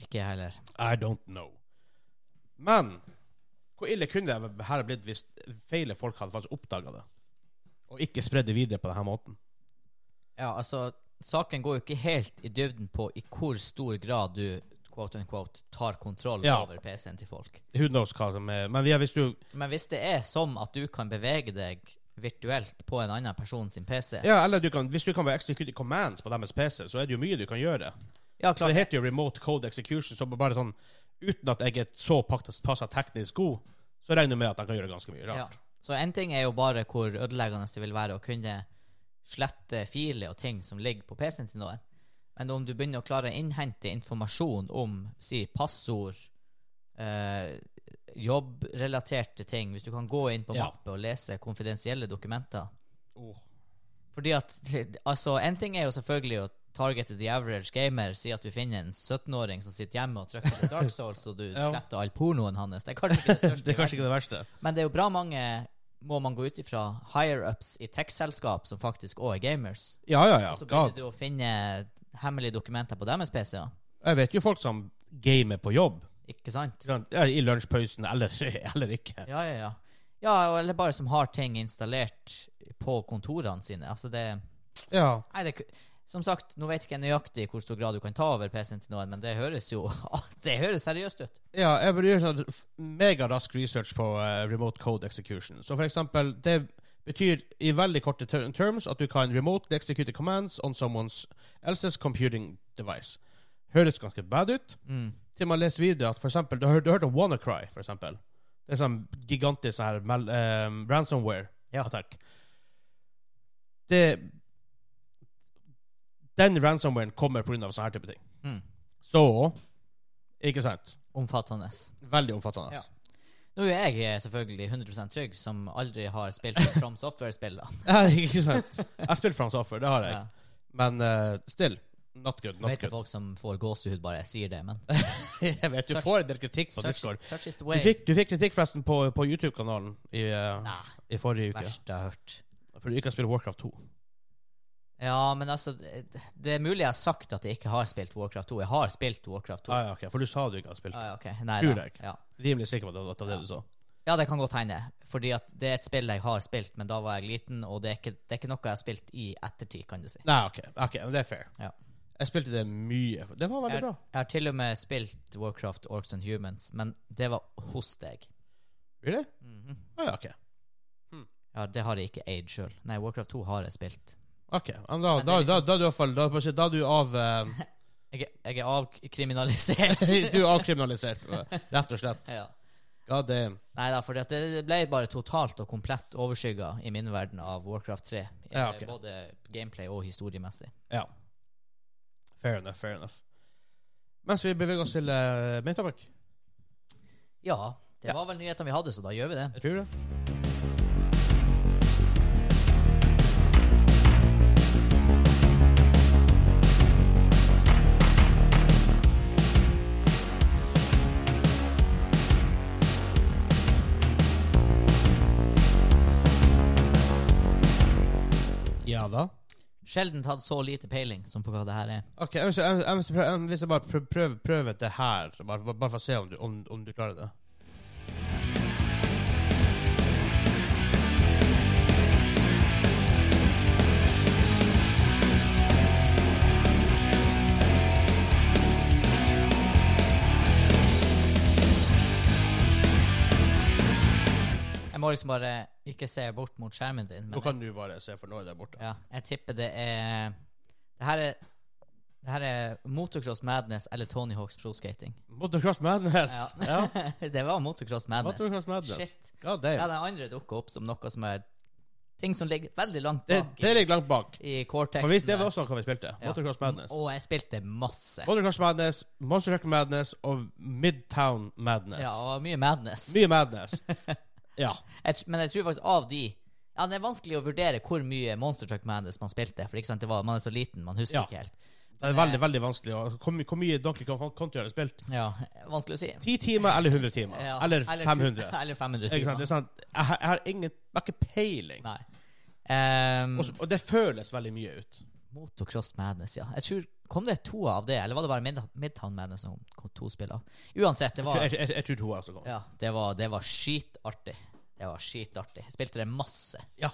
[SPEAKER 3] Ikke jeg heller.
[SPEAKER 1] I don't know. Men hvor ille kunne det her blitt hvis feile folk hadde faktisk oppdaga det? Og ikke spredd det videre på denne måten?
[SPEAKER 3] Ja, altså, saken går jo ikke helt i dybden på i hvor stor grad du quote unquote, tar kontroll
[SPEAKER 1] Ja.
[SPEAKER 3] over PC-en til folk.
[SPEAKER 1] Who knows hva som er Men vi har visst jo
[SPEAKER 3] Men hvis det er som at du kan bevege deg virtuelt på en annen person sin PC
[SPEAKER 1] Ja, eller du kan, hvis du kan være execute commands på deres PC, så er det jo mye du kan gjøre.
[SPEAKER 3] Ja,
[SPEAKER 1] Så
[SPEAKER 3] klart.
[SPEAKER 1] det heter jo remote code execution, så bare sånn Uten at jeg er så passa teknisk god, så regner jeg med at de kan gjøre ganske mye
[SPEAKER 3] Ja.
[SPEAKER 1] rart.
[SPEAKER 3] Så en ting er jo bare hvor ødeleggende det vil være å kunne slette filer og ting som ligger på PC-en til noen. Men om du begynner å klare å innhente informasjon om si passord, eh, jobbrelaterte ting, hvis du kan gå inn på
[SPEAKER 1] Ja.
[SPEAKER 3] mappe og lese konfidensielle dokumenter
[SPEAKER 1] Åh.
[SPEAKER 3] Fordi at Altså, en ting er jo selvfølgelig å targete the average gamer, si at du finner en 17-åring som sitter hjemme og trykker på Dark Souls, og du
[SPEAKER 1] Ja.
[SPEAKER 3] sletter all pornoen hans. Det er kanskje ikke det største.
[SPEAKER 1] Det
[SPEAKER 3] i
[SPEAKER 1] er kanskje ikke det verste.
[SPEAKER 3] men det er jo bra mange, må man gå ut ifra, higher-ups i tech-selskap som faktisk òg er gamers.
[SPEAKER 1] Ja, ja, ja.
[SPEAKER 3] Så begynner
[SPEAKER 1] God.
[SPEAKER 3] du å finne hemmelige dokumenter på deres PC-er.
[SPEAKER 1] Jeg vet jo folk som gamer på jobb.
[SPEAKER 3] Ikke sant?
[SPEAKER 1] Ja, I lunsjpausen eller, eller ikke.
[SPEAKER 3] Ja, ja, ja. Ja, og- eller bare som har ting installert på kontorene sine. Altså det
[SPEAKER 1] Ja.
[SPEAKER 3] Nei, det er ku- Som sagt, nå vet ikke jeg nøyaktig i hvor stor grad du kan ta over PC-en til noen, men det høres jo Det høres seriøst ut.
[SPEAKER 1] Ja, jeg burde gjøre sånn f- megarask research på eh, remote code execution. Så for eksempel, det betyr i veldig korte ter terms at du kan remotely execute commands on someone's else's computing device. Høres ganske bad ut.
[SPEAKER 3] Mm.
[SPEAKER 1] Til man leser videre at for eksempel, du har, du har hørt om WannaCry, for eksempel. Det er sånn gigantisk sånn her mel- eh,
[SPEAKER 3] Ja.
[SPEAKER 1] ransomware-attack. Det Den ransomwaren kommer pga. sånne her type ting.
[SPEAKER 3] Mm.
[SPEAKER 1] Så Ikke sant?
[SPEAKER 3] Omfattende.
[SPEAKER 1] Veldig omfattende.
[SPEAKER 3] Ja. Nå er jeg eh, selvfølgelig 100 trygg, som aldri har spilt et From Software-spill, da.
[SPEAKER 1] Ja, ikke sant. Jeg spilte From Software, det har jeg.
[SPEAKER 3] Ja.
[SPEAKER 1] Men uh, still. Not good.
[SPEAKER 3] Jeg
[SPEAKER 1] Not
[SPEAKER 3] vet det
[SPEAKER 1] good.
[SPEAKER 3] folk som får gåsehud bare jeg sier det, men
[SPEAKER 1] Jeg vet, Du
[SPEAKER 3] Search-
[SPEAKER 1] får en del kritikk på
[SPEAKER 3] such,
[SPEAKER 1] Discord.
[SPEAKER 3] such is the
[SPEAKER 1] Du
[SPEAKER 3] way.
[SPEAKER 1] fikk, du fikk kritikk forresten på, på YouTube-kanalen i, eh,
[SPEAKER 3] Nei,
[SPEAKER 1] i forrige uke.
[SPEAKER 3] verst jeg har hørt.
[SPEAKER 1] For du ikke har spilt Warcraft 2.
[SPEAKER 3] Ja, men altså Det det er mulig jeg har sagt at jeg ikke har spilt Warcraft 2. Jeg har spilt Warcraft 2.
[SPEAKER 1] Ah, ja, ok, For du sa du ikke har spilt.
[SPEAKER 3] Ah, ja, ok. Nei,
[SPEAKER 1] Tror
[SPEAKER 3] da.
[SPEAKER 1] jeg.
[SPEAKER 3] Ja.
[SPEAKER 1] Rimelig sikker på at det var- at det var det du sa.
[SPEAKER 3] ja, det kan godt hende. Fordi at det er et spill jeg har spilt, men da var jeg liten, og det er ikke, det er ikke noe jeg har spilt i ettertid, kan du si.
[SPEAKER 1] Nei, ok, ok, men det er fair.
[SPEAKER 3] Ja.
[SPEAKER 1] Jeg spilte det mye. Det var veldig
[SPEAKER 3] Jeg,
[SPEAKER 1] bra.
[SPEAKER 3] jeg har til og med spilt Warcraft Orcs and Humans, men det var hos deg.
[SPEAKER 1] Really?
[SPEAKER 3] Mhm.
[SPEAKER 1] Ah, ja, ok.
[SPEAKER 3] Ja, det har jeg ikke eid sjøl. Nei, Warcraft 2 har jeg spilt.
[SPEAKER 1] Ok, men da,
[SPEAKER 3] Men det
[SPEAKER 1] da,
[SPEAKER 3] er
[SPEAKER 1] da,
[SPEAKER 3] liksom-
[SPEAKER 1] da, er du i hvert fall- da, er du på- da er du av eh,
[SPEAKER 3] Jeg, er- jeg er avkriminalisert.
[SPEAKER 1] Du er avkriminalisert, rett og slett.
[SPEAKER 3] ja.
[SPEAKER 1] God damn.
[SPEAKER 3] Nei da, for det, det ble bare totalt og komplett overskygga i min verden av Warcraft 3. eh,
[SPEAKER 1] Ja, ok.
[SPEAKER 3] Både gameplay og historiemessig.
[SPEAKER 1] Ja. Fair enough, fair enough. Mens vi beveger oss til uh, min topic.
[SPEAKER 3] Ja, det
[SPEAKER 1] Ja.
[SPEAKER 3] var vel nyhetene vi hadde, så da gjør vi det.
[SPEAKER 1] Jeg tror det. Ja da.
[SPEAKER 3] Sjelden tatt så lite peiling som på hva det her er.
[SPEAKER 1] Ok, jeg vil, jeg, jeg vil, prøve, jeg vil bare prøve, prøve, prøve det her, bare, bare bare for å se om du, om, om du klarer det.
[SPEAKER 3] Jeg må liksom bare ikke se bort mot skjermen din.
[SPEAKER 1] Nå
[SPEAKER 3] Men
[SPEAKER 1] kan du bare se, for nå er det borte.
[SPEAKER 3] ja, jeg tipper det er Det her er det her er Motocross Madness eller Tony Hawks Pro Skating.
[SPEAKER 1] Motocross Madness! Ja.
[SPEAKER 3] det var Motocross Madness.
[SPEAKER 1] Motocross Madness.
[SPEAKER 3] Shit.
[SPEAKER 1] God damn.
[SPEAKER 3] Ja, den andre dukker opp som noe som er Ting som ligger veldig langt
[SPEAKER 1] Det,
[SPEAKER 3] bak
[SPEAKER 1] det ligger langt bak.
[SPEAKER 3] i, i cortexen.
[SPEAKER 1] Men hvis det
[SPEAKER 3] der.
[SPEAKER 1] var også noe vi spilte.
[SPEAKER 3] Ja.
[SPEAKER 1] Motocross Madness.
[SPEAKER 3] Og jeg spilte masse.
[SPEAKER 1] Motocross Madness, Monster Truck Madness og Midtown Madness.
[SPEAKER 3] Ja, og mye madness.
[SPEAKER 1] Mye Madness. ja.
[SPEAKER 3] Jeg, tr- men jeg tror faktisk av de Ja, Det er vanskelig å vurdere hvor mye Monster Truck Madness man spilte. For ikke sant, det var, Man er så liten, man husker
[SPEAKER 1] Ja.
[SPEAKER 3] ikke helt.
[SPEAKER 1] Det er
[SPEAKER 3] Men, eh,
[SPEAKER 1] veldig veldig vanskelig. å- Hvor my- hvor mye Donkey Kong Country har du spilt?
[SPEAKER 3] Ja, Vanskelig å si.
[SPEAKER 1] 10 timer eller 100 timer?
[SPEAKER 3] Ja,
[SPEAKER 1] Eller
[SPEAKER 3] tu-
[SPEAKER 1] 500?
[SPEAKER 3] Eller 500
[SPEAKER 1] Ikke sant? Det
[SPEAKER 3] timer.
[SPEAKER 1] er sant? Jeg, har- jeg har ingen Jeg har ikke peiling.
[SPEAKER 3] Nei. Ehm,
[SPEAKER 1] Og, så- og det føles veldig mye ut.
[SPEAKER 3] Motocross Madness, ja. Jeg tror, Kom det to av det, eller var det bare Mid Midtown Madness som kom to spill av? Uansett, det var
[SPEAKER 1] Jeg, jeg, jeg tror to er som kommer.
[SPEAKER 3] Ja, det var, det var skitartig. Det var skitartig. Jeg spilte det masse.
[SPEAKER 1] Ja.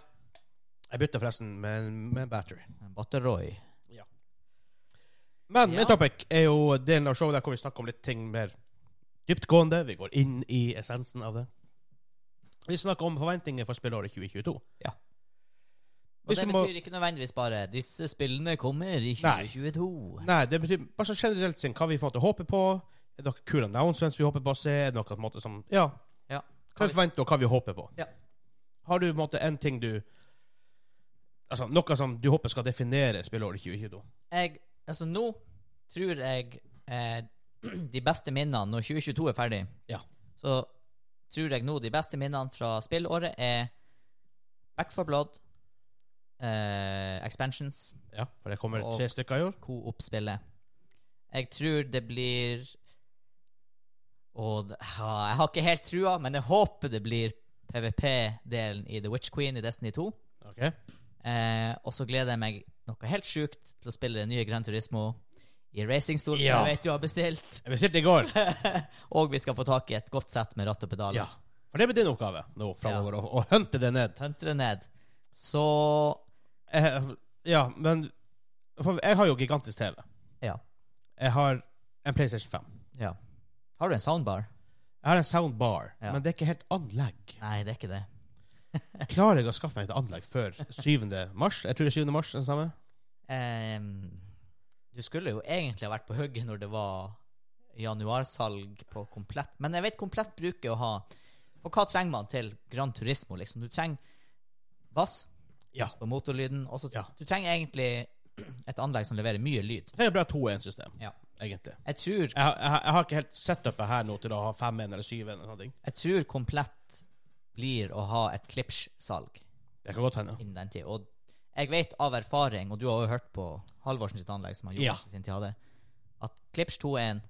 [SPEAKER 1] Jeg bytta forresten med, en- med en battery.
[SPEAKER 3] Batteroy.
[SPEAKER 1] Men
[SPEAKER 3] Ja.
[SPEAKER 1] min topic er jo delen av showet der hvor vi snakker om litt ting mer dyptgående. Vi går inn i essensen av det. Vi snakker om forventninger for spillåret 2022.
[SPEAKER 3] Ja. Og
[SPEAKER 1] Hvis
[SPEAKER 3] det
[SPEAKER 1] vi må,
[SPEAKER 3] betyr ikke nødvendigvis bare 'disse spillene kommer i
[SPEAKER 1] Nei.
[SPEAKER 3] 2022'.
[SPEAKER 1] nei, det betyr bare sånn generelt sett hva vi får til å håpe på. Er det noen kule announcements vi håper på å se? Er det noe på en måte som Ja.
[SPEAKER 3] Ja.
[SPEAKER 1] Hva vi forventer, og hva vi håper på.
[SPEAKER 3] Ja.
[SPEAKER 1] Har du på en måte en ting du Altså noe som du håper skal definere spillåret 2022?
[SPEAKER 3] Jeg, altså nå tror jeg eh, de beste minnene når 2022 er ferdig,
[SPEAKER 1] Ja.
[SPEAKER 3] så tror jeg nå de beste minnene fra spillåret er Back 4 Blood, eh, Expansions,
[SPEAKER 1] Ja, for det kommer
[SPEAKER 3] Og-
[SPEAKER 1] tre stykker i år.
[SPEAKER 3] Coop-spillet. Jeg tror det blir Og det- ja, jeg har ikke helt trua, men jeg håper det blir PVP-delen i The Witch Queen i Destiny 2.
[SPEAKER 1] Ok.
[SPEAKER 3] Eh, og så gleder jeg meg noe helt sjukt til å spille det nye Gran Turismo i racingstol, som
[SPEAKER 1] Ja.
[SPEAKER 3] jeg vet du har bestilt.
[SPEAKER 1] Jeg bestilte i går.
[SPEAKER 3] Og vi skal få tak i et godt sett med ratt og pedaler.
[SPEAKER 1] Ja. For det blir din oppgave nå framover, å, å hunte det ned.
[SPEAKER 3] Tøntre ned. Så
[SPEAKER 1] Eh, ja, men For jeg har jo gigantisk TV.
[SPEAKER 3] Ja.
[SPEAKER 1] Jeg har en PlayStation 5.
[SPEAKER 3] ja. Har du en soundbar?
[SPEAKER 1] Jeg har en soundbar,
[SPEAKER 3] Ja.
[SPEAKER 1] men det er ikke helt anlegg.
[SPEAKER 3] Nei, det er ikke det.
[SPEAKER 1] Klarer jeg å skaffe meg et anlegg før 7. mars? Jeg tror det er 7. mars, den samme.
[SPEAKER 3] Ehm, du skulle jo egentlig ha vært på hugget når det var januarsalg på komplett. Men jeg vet komplett bruker å ha For hva trenger man til Gran Turismo, liksom? Du trenger bass
[SPEAKER 1] Ja.
[SPEAKER 3] på motorlyden. Og så
[SPEAKER 1] Ja.
[SPEAKER 3] Du trenger egentlig et anlegg som leverer mye lyd.
[SPEAKER 1] Jeg trenger bare et 2-1-system,
[SPEAKER 3] Ja.
[SPEAKER 1] egentlig.
[SPEAKER 3] Jeg tror,
[SPEAKER 1] Jeg, har- jeg, har- jeg har ikke helt setupet her nå til å ha 5-1 eller 7-1 eller noe.
[SPEAKER 3] jeg tror komplett blir å ha et klipssalg
[SPEAKER 1] Det kan godt hende.
[SPEAKER 3] innen den tid. Og Jeg vet av erfaring, og du har jo hørt på Halvorsen sitt anlegg, som han gjorde
[SPEAKER 1] Ja.
[SPEAKER 3] sin tid hadde, at Klipsch 2.1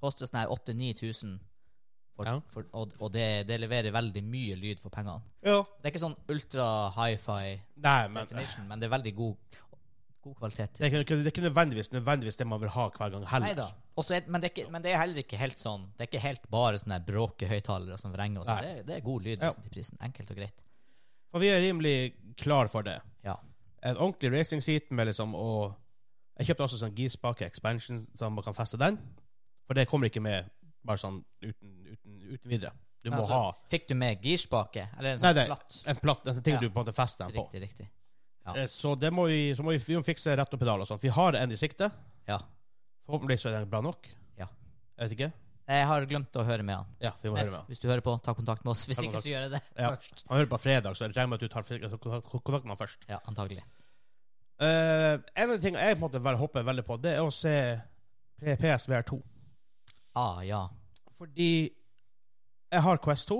[SPEAKER 3] koster sånn her 8000-9000,
[SPEAKER 1] Ja.
[SPEAKER 3] og, og det, det leverer veldig mye lyd for pengene.
[SPEAKER 1] Ja.
[SPEAKER 3] Det er ikke sånn ultra hi-fi
[SPEAKER 1] Nei, men det
[SPEAKER 3] definition, men det er veldig god, god kvalitet.
[SPEAKER 1] er, ikke, det er ikke nødvendigvis, nødvendigvis det man vil ha hver gang heller.
[SPEAKER 3] Neida. Og så er, men, det er ikke, men det er heller ikke helt sånn Det er ikke helt bare sånne her bråkehøyttalere som vrenger. Og sånn. det,
[SPEAKER 1] Nei.
[SPEAKER 3] er- det er god lyd
[SPEAKER 1] Ja.
[SPEAKER 3] liksom, til prisen. Enkelt og greit.
[SPEAKER 1] For vi er rimelig klar for det.
[SPEAKER 3] Ja.
[SPEAKER 1] En ordentlig racing seat med liksom og Jeg kjøpte også sånn girspake expansion, så man kan feste den. For det kommer ikke med bare sånn uten, uten, uten videre. Du må
[SPEAKER 3] Men altså, Fikk du med girspake? Eller en
[SPEAKER 1] Nei,
[SPEAKER 3] sånn
[SPEAKER 1] det-
[SPEAKER 3] platt?
[SPEAKER 1] ha en platt, en ting
[SPEAKER 3] Ja.
[SPEAKER 1] du på en måte fester den på.
[SPEAKER 3] Riktig, riktig. ja.
[SPEAKER 1] Eh, Så det må vi, så må vi, vi må fikse rett og pedal og sånt. Vi har en i sikte.
[SPEAKER 3] Ja.
[SPEAKER 1] Forhåpentligvis er den bra nok.
[SPEAKER 3] Ja.
[SPEAKER 1] Jeg vet ikke.
[SPEAKER 3] Eh, Jeg har glemt å høre med han.
[SPEAKER 1] Ja, vi må
[SPEAKER 3] Steff,
[SPEAKER 1] høre med.
[SPEAKER 3] hvis du hører på, ta kontakt med oss. Hvis
[SPEAKER 1] Ta
[SPEAKER 3] ikke,
[SPEAKER 1] kontakt.
[SPEAKER 3] så gjør jeg det
[SPEAKER 1] Ja.
[SPEAKER 3] først.
[SPEAKER 1] Han hører på fredag, så jeg regner med at du tar kontakt kontakt med han først.
[SPEAKER 3] Ja, antagelig.
[SPEAKER 1] Eh, en av de tingene jeg på en måte vel- hopper veldig på, det er å se P- PSVR 2.
[SPEAKER 3] Ah, ja.
[SPEAKER 1] Fordi jeg har Quest 2,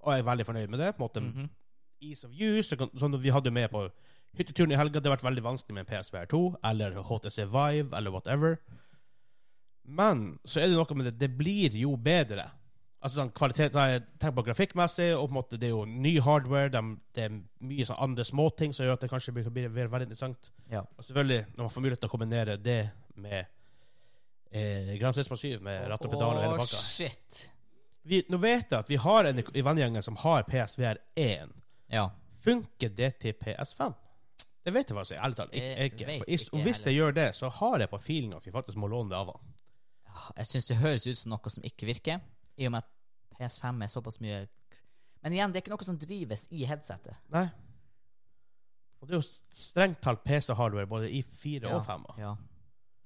[SPEAKER 1] og jeg er veldig fornøyd med det. På en måte
[SPEAKER 3] Mhm.
[SPEAKER 1] Ease of use, så kan- sånn vi hadde jo med på hytteturen i helga. Det har vært veldig vanskelig med en PSVR 2 eller HTC Vive eller whatever. Men så er det noe med det Det blir jo bedre. Altså sånn kvalitet nei, Tenk på grafikkmessig, og på en måte det er jo ny hardware. dem- det er mye sånn andre småting som gjør at det kanskje blir, blir, blir veldig interessant.
[SPEAKER 3] Ja.
[SPEAKER 1] Og selvfølgelig, når man får mulighet til å kombinere det med eh, Grand Turismo 7 med ratt og pedal og hele
[SPEAKER 3] Åh,
[SPEAKER 1] pakka
[SPEAKER 3] shit.
[SPEAKER 1] vi, nå vet jeg at vi har en i i vennegjengen som har PSVR1.
[SPEAKER 3] Ja.
[SPEAKER 1] Funker det til PS5? Det vet jeg faktisk ærlig talt ikke.
[SPEAKER 3] Jeg
[SPEAKER 1] ikke.
[SPEAKER 3] vet
[SPEAKER 1] For is,
[SPEAKER 3] ikke
[SPEAKER 1] og hvis det gjør det, så har jeg på feelinga at vi faktisk må låne det av han.
[SPEAKER 3] Jeg syns det høres ut som noe som ikke virker, i og med at PS5 er såpass mye Men igjen, det er ikke noe som drives i headsetet.
[SPEAKER 1] Nei. Og det er jo strengt talt PC-hardware både i fire
[SPEAKER 3] Ja,
[SPEAKER 1] og fem.
[SPEAKER 3] Ja.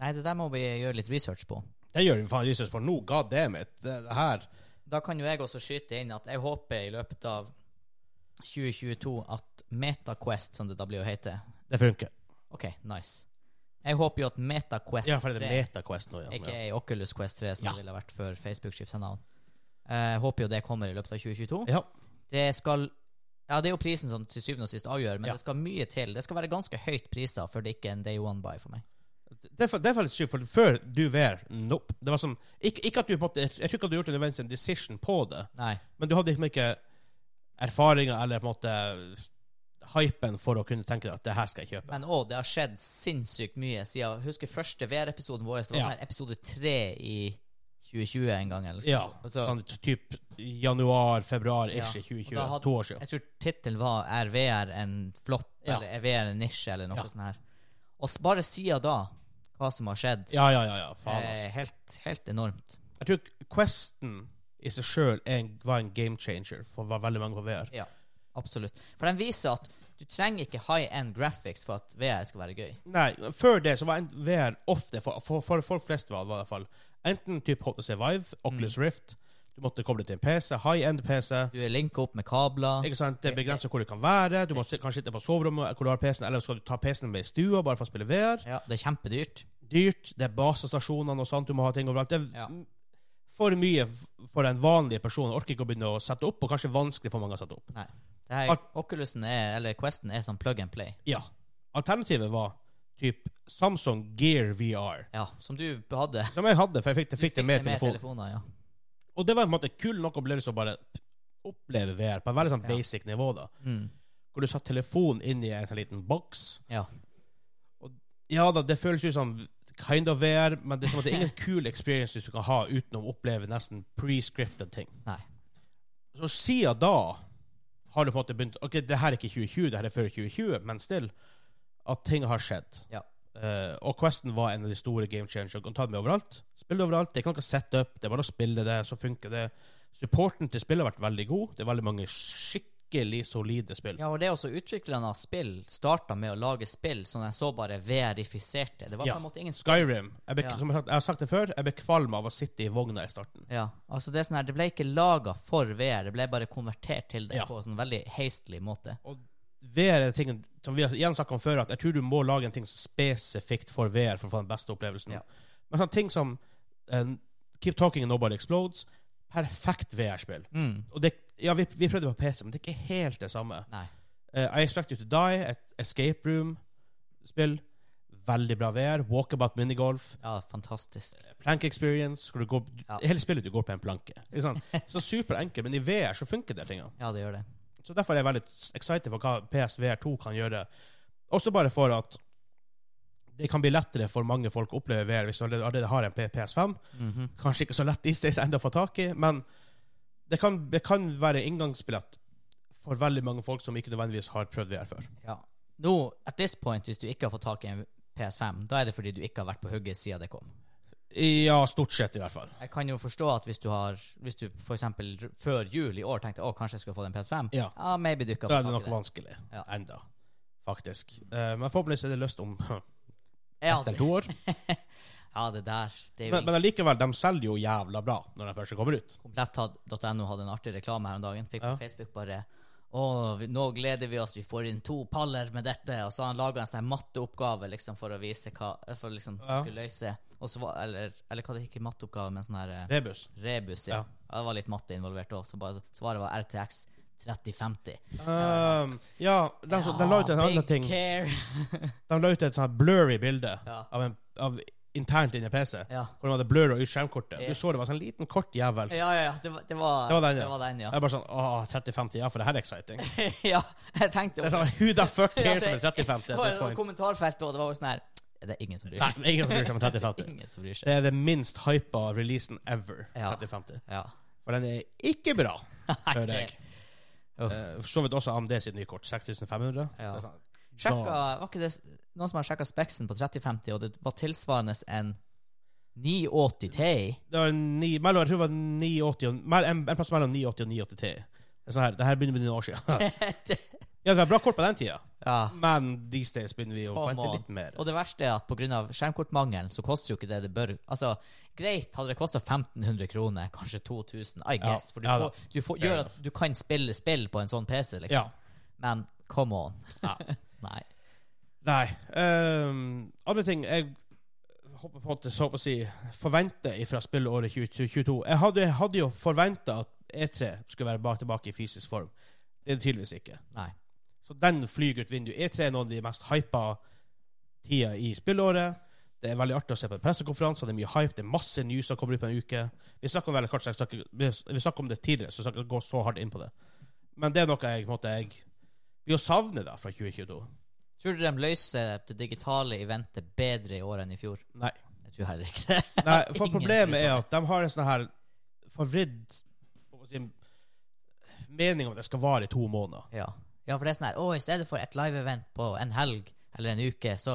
[SPEAKER 3] Nei, det der må vi gjøre litt research på.
[SPEAKER 1] Det gjør vi faen Jesus på nå, god damn it. Det, det her
[SPEAKER 3] Da kan jo jeg også skyte inn at jeg håper i løpet av 2022 at MetaQuest, som det da blir å hete
[SPEAKER 1] Det funker.
[SPEAKER 3] OK, nice. Jeg håper jo at MetaQuest
[SPEAKER 1] Ja, for det
[SPEAKER 3] 3,
[SPEAKER 1] er MetaQuest nå, ja.
[SPEAKER 3] ikke ei Oculus Quest 3, som
[SPEAKER 1] Ja.
[SPEAKER 3] det ville vært før Facebook skifta navn. Jeg håper jo det kommer i løpet av 2022.
[SPEAKER 1] ja.
[SPEAKER 3] Det skal Ja, det er jo prisen som til syvende og sist avgjør, men
[SPEAKER 1] Ja.
[SPEAKER 3] det skal mye til. Det skal være ganske høyt priser før det ikke er en day one buy for meg.
[SPEAKER 1] Det er fa- det er faktisk sykt, for før du var Nope. Det var som, ikke, ikke at du på en måte Jeg tror ikke at du gjorde nødvendigvis en decision på det,
[SPEAKER 3] Nei.
[SPEAKER 1] men du hadde liksom ikke erfaringer eller på en måte hypen for å kunne tenke deg at det her skal jeg kjøpe.
[SPEAKER 3] Men å, det har skjedd sinnssykt mye siden Husker første VR-episoden vår? Det var
[SPEAKER 1] Ja.
[SPEAKER 3] sånn her episode tre i 2020 en gang. Eller?
[SPEAKER 1] Ja,
[SPEAKER 3] Altså,
[SPEAKER 1] sånn typ januar-februar-ish i
[SPEAKER 3] Ja,
[SPEAKER 1] 2020.
[SPEAKER 3] og da hadde-
[SPEAKER 1] to år siden.
[SPEAKER 3] Jeg tror tittelen var 'Er VR en flopp?'
[SPEAKER 1] Ja.
[SPEAKER 3] eller 'Er VR en nisje?' eller noe
[SPEAKER 1] Ja.
[SPEAKER 3] sånt her. Og s- bare siden da, hva som har skjedd,
[SPEAKER 1] Ja, ja, ja. ja faen, altså.
[SPEAKER 3] er Eh, helt, helt enormt.
[SPEAKER 1] Jeg tror Questen i seg sjøl var en game changer for hva veldig mange på VR.
[SPEAKER 3] Ja, absolutt. For den viser at du trenger ikke high end graphics for at VR skal være gøy.
[SPEAKER 1] Nei, før det så var en- VR ofte, for, for, for folk flest var det i hvert fall, enten typ HTC Vive,
[SPEAKER 3] Mm.
[SPEAKER 1] Oculus Rift, du måtte koble til en PC, high-end PC,
[SPEAKER 3] Du er linka opp med kabler.
[SPEAKER 1] ikke sant? det begrenser hvor du kan være, du må si- kanskje sitte på soverommet hvor du har PC-en, eller skal du ta PC-en med i stua bare for å spille VR.
[SPEAKER 3] Ja, det er kjempedyrt.
[SPEAKER 1] Dyrt, det er basestasjonene og sånt, du må ha ting overalt. Det er
[SPEAKER 3] Ja.
[SPEAKER 1] for mye f- for den vanlige personen, orker ikke å begynne å sette opp, og kanskje vanskelig for mange å sette opp.
[SPEAKER 3] Nei. Det her,
[SPEAKER 1] At-
[SPEAKER 3] Oculusen er, eller Questen er som plug and play.
[SPEAKER 1] Ja. Alternativet var typ Samsung Gear VR,
[SPEAKER 3] Ja, som du hadde.
[SPEAKER 1] som jeg hadde, for jeg fikk det, fikk det med telefonen.
[SPEAKER 3] telefoner. Ja.
[SPEAKER 1] Og det var på en måte kul nok opplevelse å bare oppleve VR på en veldig sånn
[SPEAKER 3] Ja.
[SPEAKER 1] basic nivå, da.
[SPEAKER 3] Mm.
[SPEAKER 1] Hvor du satt telefonen inn i en sånn liten boks.
[SPEAKER 3] ja.
[SPEAKER 1] Ja da, det føles ut som kind of VR, men det er, som at det er ingen cool experiences du kan ha uten å oppleve nesten pre-scripted ting.
[SPEAKER 3] Nei.
[SPEAKER 1] Så siden da har du på en måte begynt Ok, det her er ikke 2020, det her er før 2020, men still. At ting har skjedd.
[SPEAKER 3] Ja.
[SPEAKER 1] Eh, og Questen var en av de store game changers. Du kan ta det med overalt. Spille det overalt. Det er ikke noe setup. Det er bare å spille det, så funker det. Supporten til spillet har vært veldig god. Det er veldig mange skikkelig solide spill.
[SPEAKER 3] ja, og det er også utviklerne av spill starta med å lage spill som jeg så bare verifiserte. Det var
[SPEAKER 1] Ja.
[SPEAKER 3] på en måte ingen
[SPEAKER 1] Skyrim. Jeg ble,
[SPEAKER 3] Ja.
[SPEAKER 1] som jeg, har sagt, jeg har sagt det før, jeg ble kvalm av å sitte i vogna i starten.
[SPEAKER 3] Ja, altså Det er sånn her, det ble ikke laga for VR, det ble bare konvertert til det
[SPEAKER 1] Ja.
[SPEAKER 3] på en sånn veldig hastelig måte.
[SPEAKER 1] VR er tingen som vi har igjen snakket om før, at jeg tror du må lage en ting spesifikt for VR for å få den beste opplevelsen.
[SPEAKER 3] Ja.
[SPEAKER 1] Men sånne ting som eh, Keep Talking and Nobody Explodes, perfekt VR-spill.
[SPEAKER 3] Mm.
[SPEAKER 1] Og det, ja, vi, vi prøvde på PC, men det er ikke helt det samme.
[SPEAKER 3] Nei.
[SPEAKER 1] Eh, I Expect You To Die, et Escape Room spill. Veldig bra VR. Walkabout minigolf.
[SPEAKER 3] Ja, fantastisk.
[SPEAKER 1] Plank experience. Hvor du går,
[SPEAKER 3] Ja.
[SPEAKER 1] Hele spillet du går på en planke. Ikke sant? Så superenkelt, men i VR så funker det tingene.
[SPEAKER 3] Ja, det gjør det.
[SPEAKER 1] Så derfor er jeg veldig excited for hva PSVR2 kan gjøre. Også bare for at det kan bli lettere for mange folk å oppleve VR hvis du allerede- allerede har en P- PS5.
[SPEAKER 3] Mhm.
[SPEAKER 1] Kanskje ikke så lett these days enda å få tak i, men det kan, det kan være inngangsbillett for veldig mange folk som ikke nødvendigvis har prøvd VR før.
[SPEAKER 3] Ja. Nå, at this point, hvis du ikke har fått tak i en PS5, da er det fordi du ikke har vært på hugget siden det kom.
[SPEAKER 1] Ja, stort sett i hvert fall.
[SPEAKER 3] Jeg kan jo forstå at hvis du har Hvis du for eksempel r- før jul i år tenkte å, kanskje jeg skulle få den PS5,
[SPEAKER 1] Ja.
[SPEAKER 3] ja, maybe du ikke
[SPEAKER 1] Da
[SPEAKER 3] har
[SPEAKER 1] er det
[SPEAKER 3] fått
[SPEAKER 1] nok
[SPEAKER 3] tak i det.
[SPEAKER 1] vanskelig
[SPEAKER 3] Ja.
[SPEAKER 1] enda, faktisk. Eh, Men forhåpentligvis er det løst om
[SPEAKER 3] Ja,
[SPEAKER 1] etter
[SPEAKER 3] det,
[SPEAKER 1] to år.
[SPEAKER 3] ja, det der det er jo
[SPEAKER 1] Men, men allikevel, de selger jo jævla bra når de først kommer ut.
[SPEAKER 3] Kompletthadd.no hadde en artig reklame her om dagen. Fikk på
[SPEAKER 1] Ja.
[SPEAKER 3] Facebook bare å, vi, nå gleder vi oss, vi får inn to paller med dette. Og så har han laga en sånn her matteoppgave liksom, for å vise hva For å liksom
[SPEAKER 1] Ja.
[SPEAKER 3] skulle løse og så var, eller, eller hva det ikke matteoppgave, men sånn her eh,
[SPEAKER 1] Rebus.
[SPEAKER 3] rebus. Ja.
[SPEAKER 1] Ja.
[SPEAKER 3] Ja, det var litt matte involvert òg, så bare, svaret var RTX 3050.
[SPEAKER 1] Ehm, ja, de, som- de la ut en
[SPEAKER 3] Ja,
[SPEAKER 1] annen
[SPEAKER 3] big
[SPEAKER 1] ting.
[SPEAKER 3] Care.
[SPEAKER 1] De la ut et sånt her blurry bilde
[SPEAKER 3] Ja.
[SPEAKER 1] av, en, av internt inni PC.
[SPEAKER 3] Ja.
[SPEAKER 1] Hvor de hadde blurra ut skjermkortet. Du
[SPEAKER 3] Yes.
[SPEAKER 1] så det var sånn liten, kort jævel.
[SPEAKER 3] ja, ja, ja. Det var, det var,
[SPEAKER 1] Det var den, ja.
[SPEAKER 3] Det var den, ja.
[SPEAKER 1] Jeg er bare sånn Åh, 3050, ja, for det her er exciting. Det
[SPEAKER 3] ja, jeg tenkte
[SPEAKER 1] er sånn, Who the fuck cares om en 3050
[SPEAKER 3] Det
[SPEAKER 1] at this
[SPEAKER 3] var
[SPEAKER 1] point?
[SPEAKER 3] kommentarfeltet, og det var jo sånn her Det er ingen som bryr
[SPEAKER 1] Nei,
[SPEAKER 3] seg.
[SPEAKER 1] det er ingen som bryr seg om en 3050.
[SPEAKER 3] Ingen som bryr seg.
[SPEAKER 1] Det er den minst hypa releasen ever.
[SPEAKER 3] Ja.
[SPEAKER 1] 3050.
[SPEAKER 3] Ja.
[SPEAKER 1] For den er ikke bra, hører jeg.
[SPEAKER 3] Uff.
[SPEAKER 1] Eh, For så vidt også AMD sitt nye kort. 6500.
[SPEAKER 3] Ja.
[SPEAKER 1] Det er sånn,
[SPEAKER 3] Sjekka,
[SPEAKER 1] God.
[SPEAKER 3] var ikke det s- noen som har sjekka Spexen på 3050, og det var tilsvarende en 980 Ti?
[SPEAKER 1] Det var ni, mellom, jeg tror det var 980 og, mer- en, en plass mellom 980 og 983. Det er Sånn her, det her begynner å bli noen år siden. ja, det var bra kort på den tida,
[SPEAKER 3] Ja.
[SPEAKER 1] men these days begynner vi å
[SPEAKER 3] Come
[SPEAKER 1] forvente
[SPEAKER 3] on.
[SPEAKER 1] litt mer.
[SPEAKER 3] Og det verste er at pga. skjermkortmangelen så koster jo ikke det det bør Altså, greit, hadde det kosta 1500 kroner, kanskje 2000, I
[SPEAKER 1] Ja,
[SPEAKER 3] guess, for du,
[SPEAKER 1] ja da.
[SPEAKER 3] får, du får,
[SPEAKER 1] Fair
[SPEAKER 3] gjør at du kan spille spill på en sånn PC, liksom.
[SPEAKER 1] Ja.
[SPEAKER 3] Men come on.
[SPEAKER 1] Ja.
[SPEAKER 3] Nei.
[SPEAKER 1] Nei. ehm, andre ting jeg håper på at, så å si, forventer fra spillåret 2022 Jeg hadde, jeg hadde jo forventa at E3 skulle være bak tilbake i fysisk form. Det er det tydeligvis ikke.
[SPEAKER 3] Nei.
[SPEAKER 1] Så den flyr ut vinduet. E3 er noen av de mest hypa tida i spillåret. Det er veldig artig å se på pressekonferanser. Det er mye hype. Det er masse news som kommer ut på en uke. Vi snakker om, veldig kort, så jeg snakker, vi vi snakker om det tidligere, så jeg skal ikke gå så hardt inn på det. Men det er noe jeg på en måte jeg vil savne da fra 2022.
[SPEAKER 3] Tror du de løser det digitale eventet bedre i år enn i fjor?
[SPEAKER 1] Nei.
[SPEAKER 3] Jeg tror heller ikke det.
[SPEAKER 1] Nei, for
[SPEAKER 3] Ingen
[SPEAKER 1] Problemet
[SPEAKER 3] tror
[SPEAKER 1] er at de har en sånn her forvridd hva skal jeg si, mening om at det skal vare i to måneder.
[SPEAKER 3] Ja. ja, for det er sånn her Å, i stedet for et live-event på en helg eller en uke, så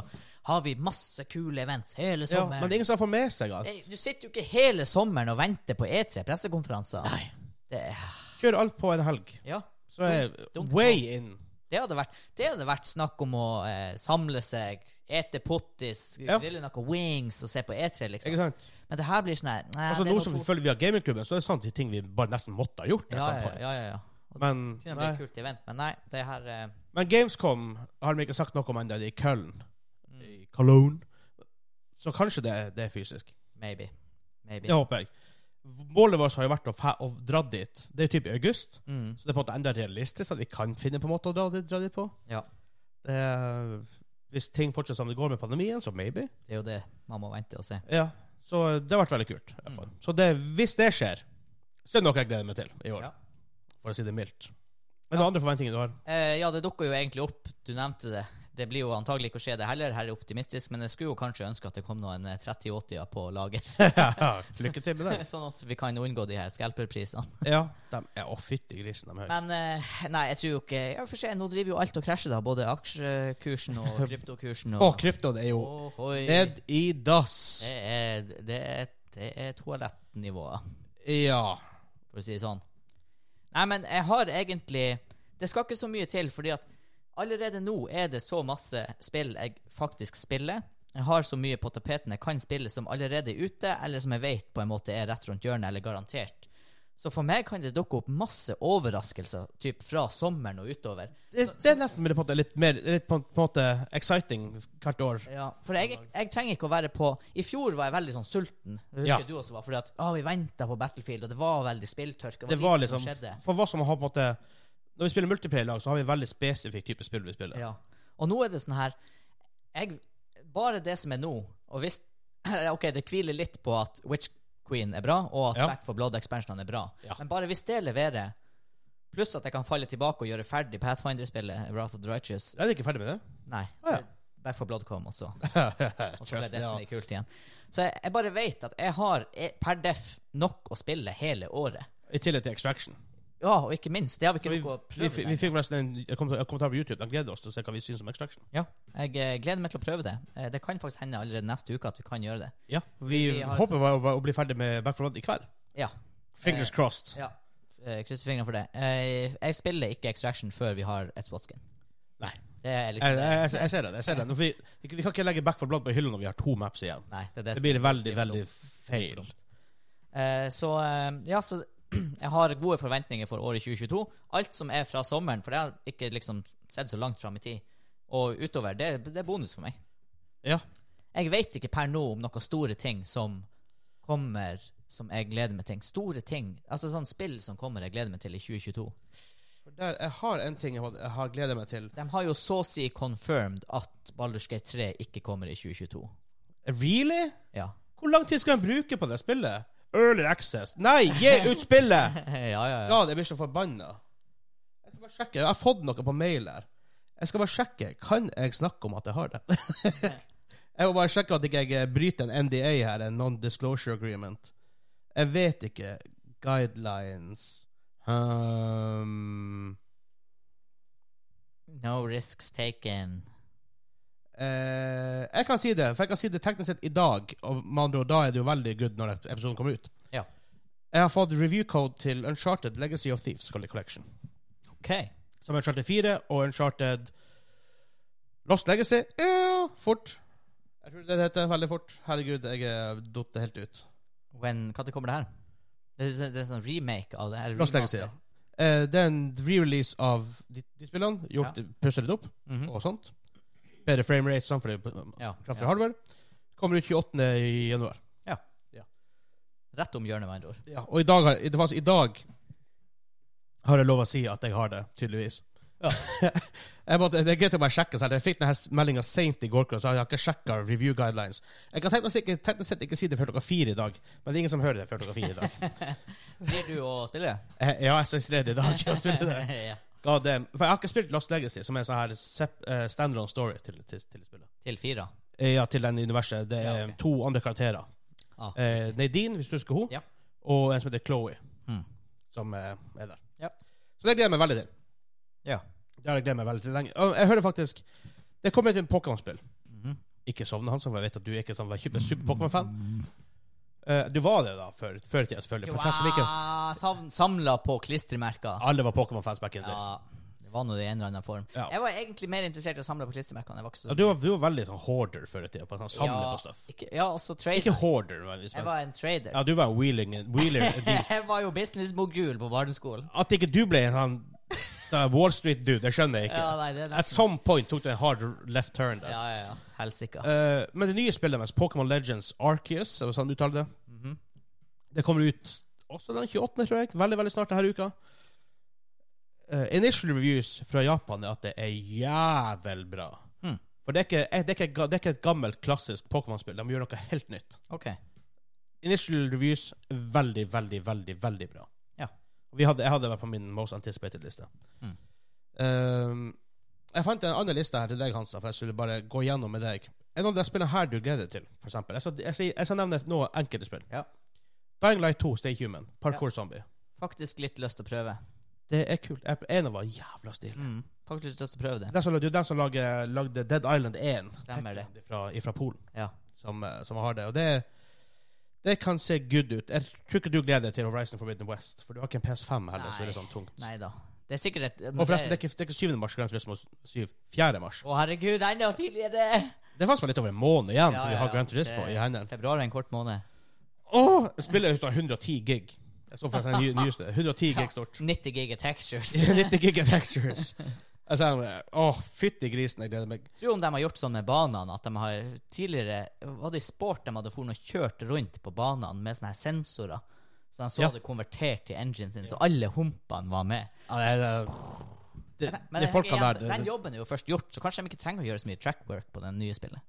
[SPEAKER 3] har vi masse kule events hele
[SPEAKER 1] Ja,
[SPEAKER 3] sommeren.
[SPEAKER 1] men det er ingen som får med seg at
[SPEAKER 3] Nei, Du sitter jo ikke hele sommeren og venter på E3 pressekonferanser. Nei. Det,
[SPEAKER 1] kjør alt på en helg.
[SPEAKER 3] ja.
[SPEAKER 1] Så er
[SPEAKER 3] Dunk-
[SPEAKER 1] way in.
[SPEAKER 3] Det hadde, vært, det hadde vært snakk om å eh, samle seg, ete pottis,
[SPEAKER 1] Ja.
[SPEAKER 3] grille noen wings og se på E3, liksom.
[SPEAKER 1] Ikke sant?
[SPEAKER 3] Men det her blir sånn her nei,
[SPEAKER 1] Altså,
[SPEAKER 3] det er
[SPEAKER 1] nå
[SPEAKER 3] noe
[SPEAKER 1] som
[SPEAKER 3] to-
[SPEAKER 1] vi følger via gamingklubben, så er det sant de ting vi bare nesten måtte ha gjort. at
[SPEAKER 3] ja,
[SPEAKER 1] some
[SPEAKER 3] ja,
[SPEAKER 1] point.
[SPEAKER 3] ja, ja, ja.
[SPEAKER 1] Men,
[SPEAKER 3] Det
[SPEAKER 1] nei.
[SPEAKER 3] kunne bli et kult event, men nei, det her eh,
[SPEAKER 1] men Gamescom har de ikke sagt noe om ennå. Det er i Köln.
[SPEAKER 3] Mm.
[SPEAKER 1] I Cologne. Så kanskje det, det er fysisk.
[SPEAKER 3] Maybe. Maybe.
[SPEAKER 1] Det håper jeg. Målet vårt har jo vært å, fa- å dra dit. Det er jo typ i august,
[SPEAKER 3] Mm.
[SPEAKER 1] så det er på en måte enda realistisk at vi kan finne på en måte å dra dit, dra dit på.
[SPEAKER 3] Ja.
[SPEAKER 1] Det er- hvis ting fortsetter som det går med pandemien, så maybe.
[SPEAKER 3] Det er jo det man må vente og se.
[SPEAKER 1] Ja. Mm. Så det har vært veldig kult. i hvert fall. Så det, hvis det skjer, så er det noe jeg gleder meg til i år.
[SPEAKER 3] Ja.
[SPEAKER 1] For å si det mildt. Men noen andre forventninger du har?
[SPEAKER 3] Eh, ja, det dukker jo egentlig opp. Du nevnte det. Det blir jo antagelig ikke å skje det heller, her er jeg optimistisk, men jeg skulle jo kanskje ønske at det kom noen eh, 3080-er på lager,
[SPEAKER 1] Lykke til med det.
[SPEAKER 3] sånn at vi kan unngå de her scalper-prisene.
[SPEAKER 1] Ja, de er Å, fytti grisen, de er høye.
[SPEAKER 3] Men eh, nei, jeg tror jo ikke Ja, for se, nå driver jo alt og krasjer, da. Både aksjekursen og kryptokursen
[SPEAKER 1] Å,
[SPEAKER 3] og
[SPEAKER 1] kryptoen er jo
[SPEAKER 3] Ohoi.
[SPEAKER 1] ned i dass.
[SPEAKER 3] Det er, det er, det er toalettnivået.
[SPEAKER 1] Ja.
[SPEAKER 3] for å si det sånn. Nei, men jeg har egentlig Det skal ikke så mye til, fordi at allerede nå er det så masse spill jeg faktisk spiller. Jeg har så mye på tapeten jeg kan spille som allerede er ute, eller som jeg vet på en måte er rett rundt hjørnet, eller garantert. Så for meg kan det dukke opp masse overraskelser typ fra sommeren og utover.
[SPEAKER 1] Det, det er nesten på en måte litt mer litt på, på en måte exciting hvert år.
[SPEAKER 3] Ja, for jeg, jeg trenger ikke å være på I fjor var jeg veldig sånn sulten. Jeg husker
[SPEAKER 1] Ja.
[SPEAKER 3] du også var, fordi at å, vi venta på Battlefield, og det var veldig spilltørke.
[SPEAKER 1] Det var
[SPEAKER 3] lite som
[SPEAKER 1] liksom
[SPEAKER 3] skjedde.
[SPEAKER 1] For hva som har på en måte Når vi spiller multiplayer-lag, så har vi en veldig spesifikk type spill vi spiller.
[SPEAKER 3] Ja. Og nå er det sånn her jeg, Bare det som er nå Og hvis Ok, det hviler litt på at Witch Queen er bra, og at
[SPEAKER 1] Ja.
[SPEAKER 3] Back for Blood-ekspansjonene er bra.
[SPEAKER 1] Ja.
[SPEAKER 3] Men bare hvis det leverer, pluss at jeg kan falle tilbake og gjøre ferdig Pathfinder-spillet, Wrath of the Righteous
[SPEAKER 1] Jeg er ikke ferdig med det.
[SPEAKER 3] Nei.
[SPEAKER 1] Ah, ja.
[SPEAKER 3] Back for Blood kom også. Og så ble
[SPEAKER 1] Trust me, ja.
[SPEAKER 3] Destiny kult igjen. Så jeg, jeg bare vet at jeg har eh, per def nok å spille hele året.
[SPEAKER 1] I tillegg til Extraction.
[SPEAKER 3] Ja, og ikke minst, det har vi ikke
[SPEAKER 1] Vi,
[SPEAKER 3] noe å
[SPEAKER 1] vi,
[SPEAKER 3] prøve.
[SPEAKER 1] vi
[SPEAKER 3] lenger.
[SPEAKER 1] fikk forresten en en kommentar en kommentar på YouTube. De gleder oss til å se hva vi syns om Extraction.
[SPEAKER 3] Ja, jeg eh, gleder meg til å prøve det. Eh, Det kan faktisk hende allerede neste uke at vi kan gjøre det.
[SPEAKER 1] Ja, Vi,
[SPEAKER 3] Vi har-
[SPEAKER 1] håper å, å bli ferdig med Back for Blood i kveld.
[SPEAKER 3] Ja.
[SPEAKER 1] Fingers
[SPEAKER 3] Eh,
[SPEAKER 1] crossed.
[SPEAKER 3] ja. Eh, Krysser fingrene for det. Eh, Jeg spiller ikke Extraction før vi har et SWAT-skin.
[SPEAKER 1] Nei.
[SPEAKER 3] Det er
[SPEAKER 1] Jeg,
[SPEAKER 3] liksom
[SPEAKER 1] jeg, jeg ser den. jeg ser den vi, vi vi kan ikke legge Back for Blood på hylla når vi har to maps igjen.
[SPEAKER 3] Nei, det er
[SPEAKER 1] Det
[SPEAKER 3] det som
[SPEAKER 1] blir veldig,
[SPEAKER 3] det er for
[SPEAKER 1] veldig feil.
[SPEAKER 3] Eh, Så eh, ja, så jeg har gode forventninger for året 2022. Alt som er fra sommeren, for jeg har ikke liksom sett så langt fram i tid, og utover, det, det er bonus for meg.
[SPEAKER 1] Ja.
[SPEAKER 3] Jeg vet ikke per nå om noen store ting som kommer som jeg gleder meg til. Store ting, altså sånn spill som kommer jeg gleder meg til i 2022.
[SPEAKER 1] For Der, jeg har en ting jeg, har- jeg har gleder meg til.
[SPEAKER 3] De har jo så å si confirmed at Baldur's Gate 3 ikke kommer i 2022.
[SPEAKER 1] Really?
[SPEAKER 3] Ja.
[SPEAKER 1] Hvor lang tid skal en bruke på det spillet? Early access. Nei, gi ut spillet!
[SPEAKER 3] ja, ja, ja.
[SPEAKER 1] Ja, det blir så forbanna. Jeg skal bare sjekke. Jeg har fått noe på mail her. Jeg skal bare sjekke. Kan jeg snakke om at jeg har det? jeg må bare sjekke at ikke jeg eh, bryter en NDA her, en non-disclosure agreement. Jeg vet ikke. Guidelines um,
[SPEAKER 3] No risks taken.
[SPEAKER 1] eh, Jeg kan si det, for jeg kan si det teknisk sett i dag. Og med andre ord, da er det jo veldig good når ep- episoden kommer ut.
[SPEAKER 3] Ja.
[SPEAKER 1] Jeg har fått review code til Uncharted Legacy of Thieves Collection.
[SPEAKER 3] OK.
[SPEAKER 1] Som Uncharted 4 og Uncharted Lost Legacy. Ja, fort. Jeg tror det det heter veldig fort. Herregud, jeg er datt helt ut.
[SPEAKER 3] When, hva til kommer det her? Det er, sånn- det er sånn remake av det. Eller
[SPEAKER 1] Lost Legacy,
[SPEAKER 3] remaster.
[SPEAKER 1] ja. Eh, det er en re-release av de, de spillene. Gjort, Pusser litt opp
[SPEAKER 3] Mhm.
[SPEAKER 1] og sånt. Bedre frame rate sånn, for det er
[SPEAKER 3] ja,
[SPEAKER 1] kraftigere
[SPEAKER 3] ja.
[SPEAKER 1] hardware. Kommer ut 28. i januar.
[SPEAKER 3] Rett om hjørnet, med andre ord.
[SPEAKER 1] Ja, og i dag, har, det var altså i dag har jeg lov å si at jeg har det, tydeligvis. jeg måtte, det er greit å bare sjekke selv. Jeg fikk denne meldinga seint i går kveld, så jeg har ikke sjekka review guidelines. Jeg kan teknisk ikke- teknisk sett ikke si det før klokka fire i dag, men det er ingen som hører det før klokka fire i dag.
[SPEAKER 3] Blir du å spille?
[SPEAKER 1] Eh, ja, jeg syns det er i dag. Jeg spiller det.
[SPEAKER 3] ja.
[SPEAKER 1] God damn. For jeg har ikke spilt Lost Legacy, som er en sånn her sep- eh, standalone story til, til, til spillet.
[SPEAKER 3] Til fire?
[SPEAKER 1] Eh, Ja, til den universet. Det er
[SPEAKER 3] Ja, ok.
[SPEAKER 1] to andre karakterer.
[SPEAKER 3] Ah.
[SPEAKER 1] Eh, Nadine, hvis du husker hun
[SPEAKER 3] Ja.
[SPEAKER 1] og en som heter Chloé,
[SPEAKER 3] Mm.
[SPEAKER 1] som eh, er der.
[SPEAKER 3] Ja.
[SPEAKER 1] Så det gleder jeg meg veldig til.
[SPEAKER 3] Ja.
[SPEAKER 1] Det har jeg gledet meg veldig til lenge. Og jeg hører faktisk Det kommer et Pokémon-spill.
[SPEAKER 3] Mhm.
[SPEAKER 1] Ikke sovne, Hansson, for jeg vet at du er ikke sånn var kjempe- super Pokémon-fan. Eh, du var det da, før, før i tida, selvfølgelig. For hvem som ikke
[SPEAKER 3] Wow, sam- Samla på klistremerker.
[SPEAKER 1] Alle var Pokémon-fans back in the days.
[SPEAKER 3] Ja, det var nå det i en eller annen form.
[SPEAKER 1] Ja.
[SPEAKER 3] Jeg var egentlig mer interessert i å samle på klistremerkene. Jeg var ikke
[SPEAKER 1] Ja,
[SPEAKER 3] så
[SPEAKER 1] du, var, du var veldig sånn hoarder før i tida, på sånn samle
[SPEAKER 3] ja,
[SPEAKER 1] på stuff.
[SPEAKER 3] Ikke, ja, også trader.
[SPEAKER 1] Ikke hoarder, men hvis
[SPEAKER 3] jeg
[SPEAKER 1] man
[SPEAKER 3] var en trader.
[SPEAKER 1] Ja, du var en wheeling, wheeler. Du,
[SPEAKER 3] jeg var jo businessmogul på barneskolen.
[SPEAKER 1] at ikke du ble en sånn sånn Wall Street-dude, det skjønner jeg ikke.
[SPEAKER 3] Ja, nei, det er
[SPEAKER 1] At
[SPEAKER 3] nesten
[SPEAKER 1] some point tok du en hard left turn der.
[SPEAKER 3] Ja, ja, ja. Helsika.
[SPEAKER 1] Eh, men det nye spillet deres, Pokémon Legends Arceus, er det sånn du uttaler det?
[SPEAKER 3] Mhm.
[SPEAKER 1] Det kommer ut også den 28., tror jeg. Veldig veldig snart denne uka. Eh, initial reviews fra Japan er at det er jævel bra.
[SPEAKER 3] Hmm.
[SPEAKER 1] For det er, ikke, eh, det, er ikke, ga- det er ikke et gammelt, klassisk Pokémon-spill. De gjør noe helt nytt.
[SPEAKER 3] OK.
[SPEAKER 1] Initial reviews veldig, veldig, veldig veldig bra.
[SPEAKER 3] Ja.
[SPEAKER 1] Vi hadde, jeg hadde vært på min most anticipated-liste.
[SPEAKER 3] Hmm.
[SPEAKER 1] Eh, jeg fant en annen liste her til deg, Hansa, for jeg skulle bare gå gjennom med deg. En av de spillene her du gleder deg til, for eksempel. Jeg skal, jeg skal, jeg skal nevne noen enkelte spill.
[SPEAKER 3] Ja.
[SPEAKER 1] Dying Light 2, Stay Human, Parkour Zombie.
[SPEAKER 3] Faktisk litt lyst til å prøve.
[SPEAKER 1] Det er kult. Jeg- En av dem var jævla stilig.
[SPEAKER 3] Mm. Faktisk lyst til å prøve det.
[SPEAKER 1] Det er som- det er jo den som lagde, lagde Dead Island 1,
[SPEAKER 3] Stemmer det.
[SPEAKER 1] Fra, fra Polen,
[SPEAKER 3] Ja.
[SPEAKER 1] som, eh, som har det. Og det, det kan se good ut. Jeg tror ikke du gleder deg til Horizon Forbidden West, for du har ikke en PS5 heller, så det er
[SPEAKER 3] Nei.
[SPEAKER 1] sånn tungt.
[SPEAKER 3] Nei da. Det er sikkert et
[SPEAKER 1] Og forresten, det er ikke, det er ikke 7. mars, Grand Turismo 7. 4. mars.
[SPEAKER 3] Å, herregud, enda tidligere!
[SPEAKER 1] Det er faktisk bare litt over en måned igjen,
[SPEAKER 3] Ja,
[SPEAKER 1] så vi
[SPEAKER 3] ja,
[SPEAKER 1] har
[SPEAKER 3] ja.
[SPEAKER 1] Grand Turismo
[SPEAKER 3] Det-
[SPEAKER 1] i hendene.
[SPEAKER 3] Februar er en kort måned.
[SPEAKER 1] Åh, spiller ut av 110 gig. Jeg så faktisk den nye- nyeste. 110 gig stort.
[SPEAKER 3] 90 gig of textures.
[SPEAKER 1] 90 gig of textures. Jeg sa, åh, fytti grisen, jeg gleder meg.
[SPEAKER 3] Tro om de har gjort sånn med banene, at de har tidligere Var det i sport de hadde foran og kjørt rundt på banene med sånne her sensorer? Så de så
[SPEAKER 1] Ja.
[SPEAKER 3] det konvertert til engine sin, så alle humpene var med.
[SPEAKER 1] Ja, det, er- det,
[SPEAKER 3] Men- men
[SPEAKER 1] de
[SPEAKER 3] jeg
[SPEAKER 1] folka
[SPEAKER 3] tenker igjen,
[SPEAKER 1] der det,
[SPEAKER 3] Den jobben er jo først gjort, så kanskje de ikke trenger å gjøre så mye trackwork på det nye spillet.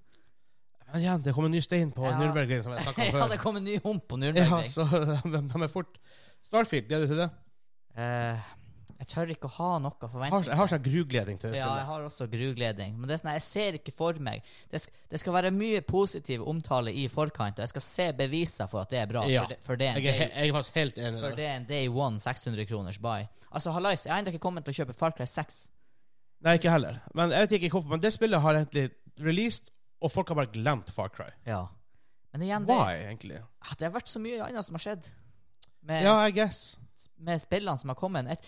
[SPEAKER 1] Men igjen, det kom en ny stein på
[SPEAKER 3] Ja.
[SPEAKER 1] Nürnbergen, som jeg snakka om
[SPEAKER 3] ja,
[SPEAKER 1] før.
[SPEAKER 3] det kom en ny hump på Nürnberg.
[SPEAKER 1] Ja, så de, de er fort Starfield, gleder du til det?
[SPEAKER 3] Eh, jeg tør ikke å ha noe
[SPEAKER 1] Jeg har,
[SPEAKER 3] forventning.
[SPEAKER 1] jeg har sånn grugledning til det
[SPEAKER 3] Ja, jeg
[SPEAKER 1] spillet.
[SPEAKER 3] har også grugledning. Men det er sånn, jeg ser ikke for meg det, sk det skal være mye positiv omtale i forkant, og jeg skal se beviser for at det er bra.
[SPEAKER 1] Ja.
[SPEAKER 3] For, det, for det er en
[SPEAKER 1] Jeg er,
[SPEAKER 3] del-
[SPEAKER 1] he- jeg er faktisk helt enig.
[SPEAKER 3] For
[SPEAKER 1] i det.
[SPEAKER 3] det er en day one 600 kroners buy. Altså, hallais, jeg har ennå ikke kommet til å kjøpe Far Cry 6.
[SPEAKER 1] Nei, ikke heller. Men jeg vet ikke hvorfor, men det spillet har egentlig released, og folk har bare glemt Far Cry.
[SPEAKER 3] Ja. Men igjen, det,
[SPEAKER 1] Why, egentlig?
[SPEAKER 3] ah, det har vært så mye annet som har skjedd. Med,
[SPEAKER 1] Ja, I guess.
[SPEAKER 3] med spillene som har kommet. Et,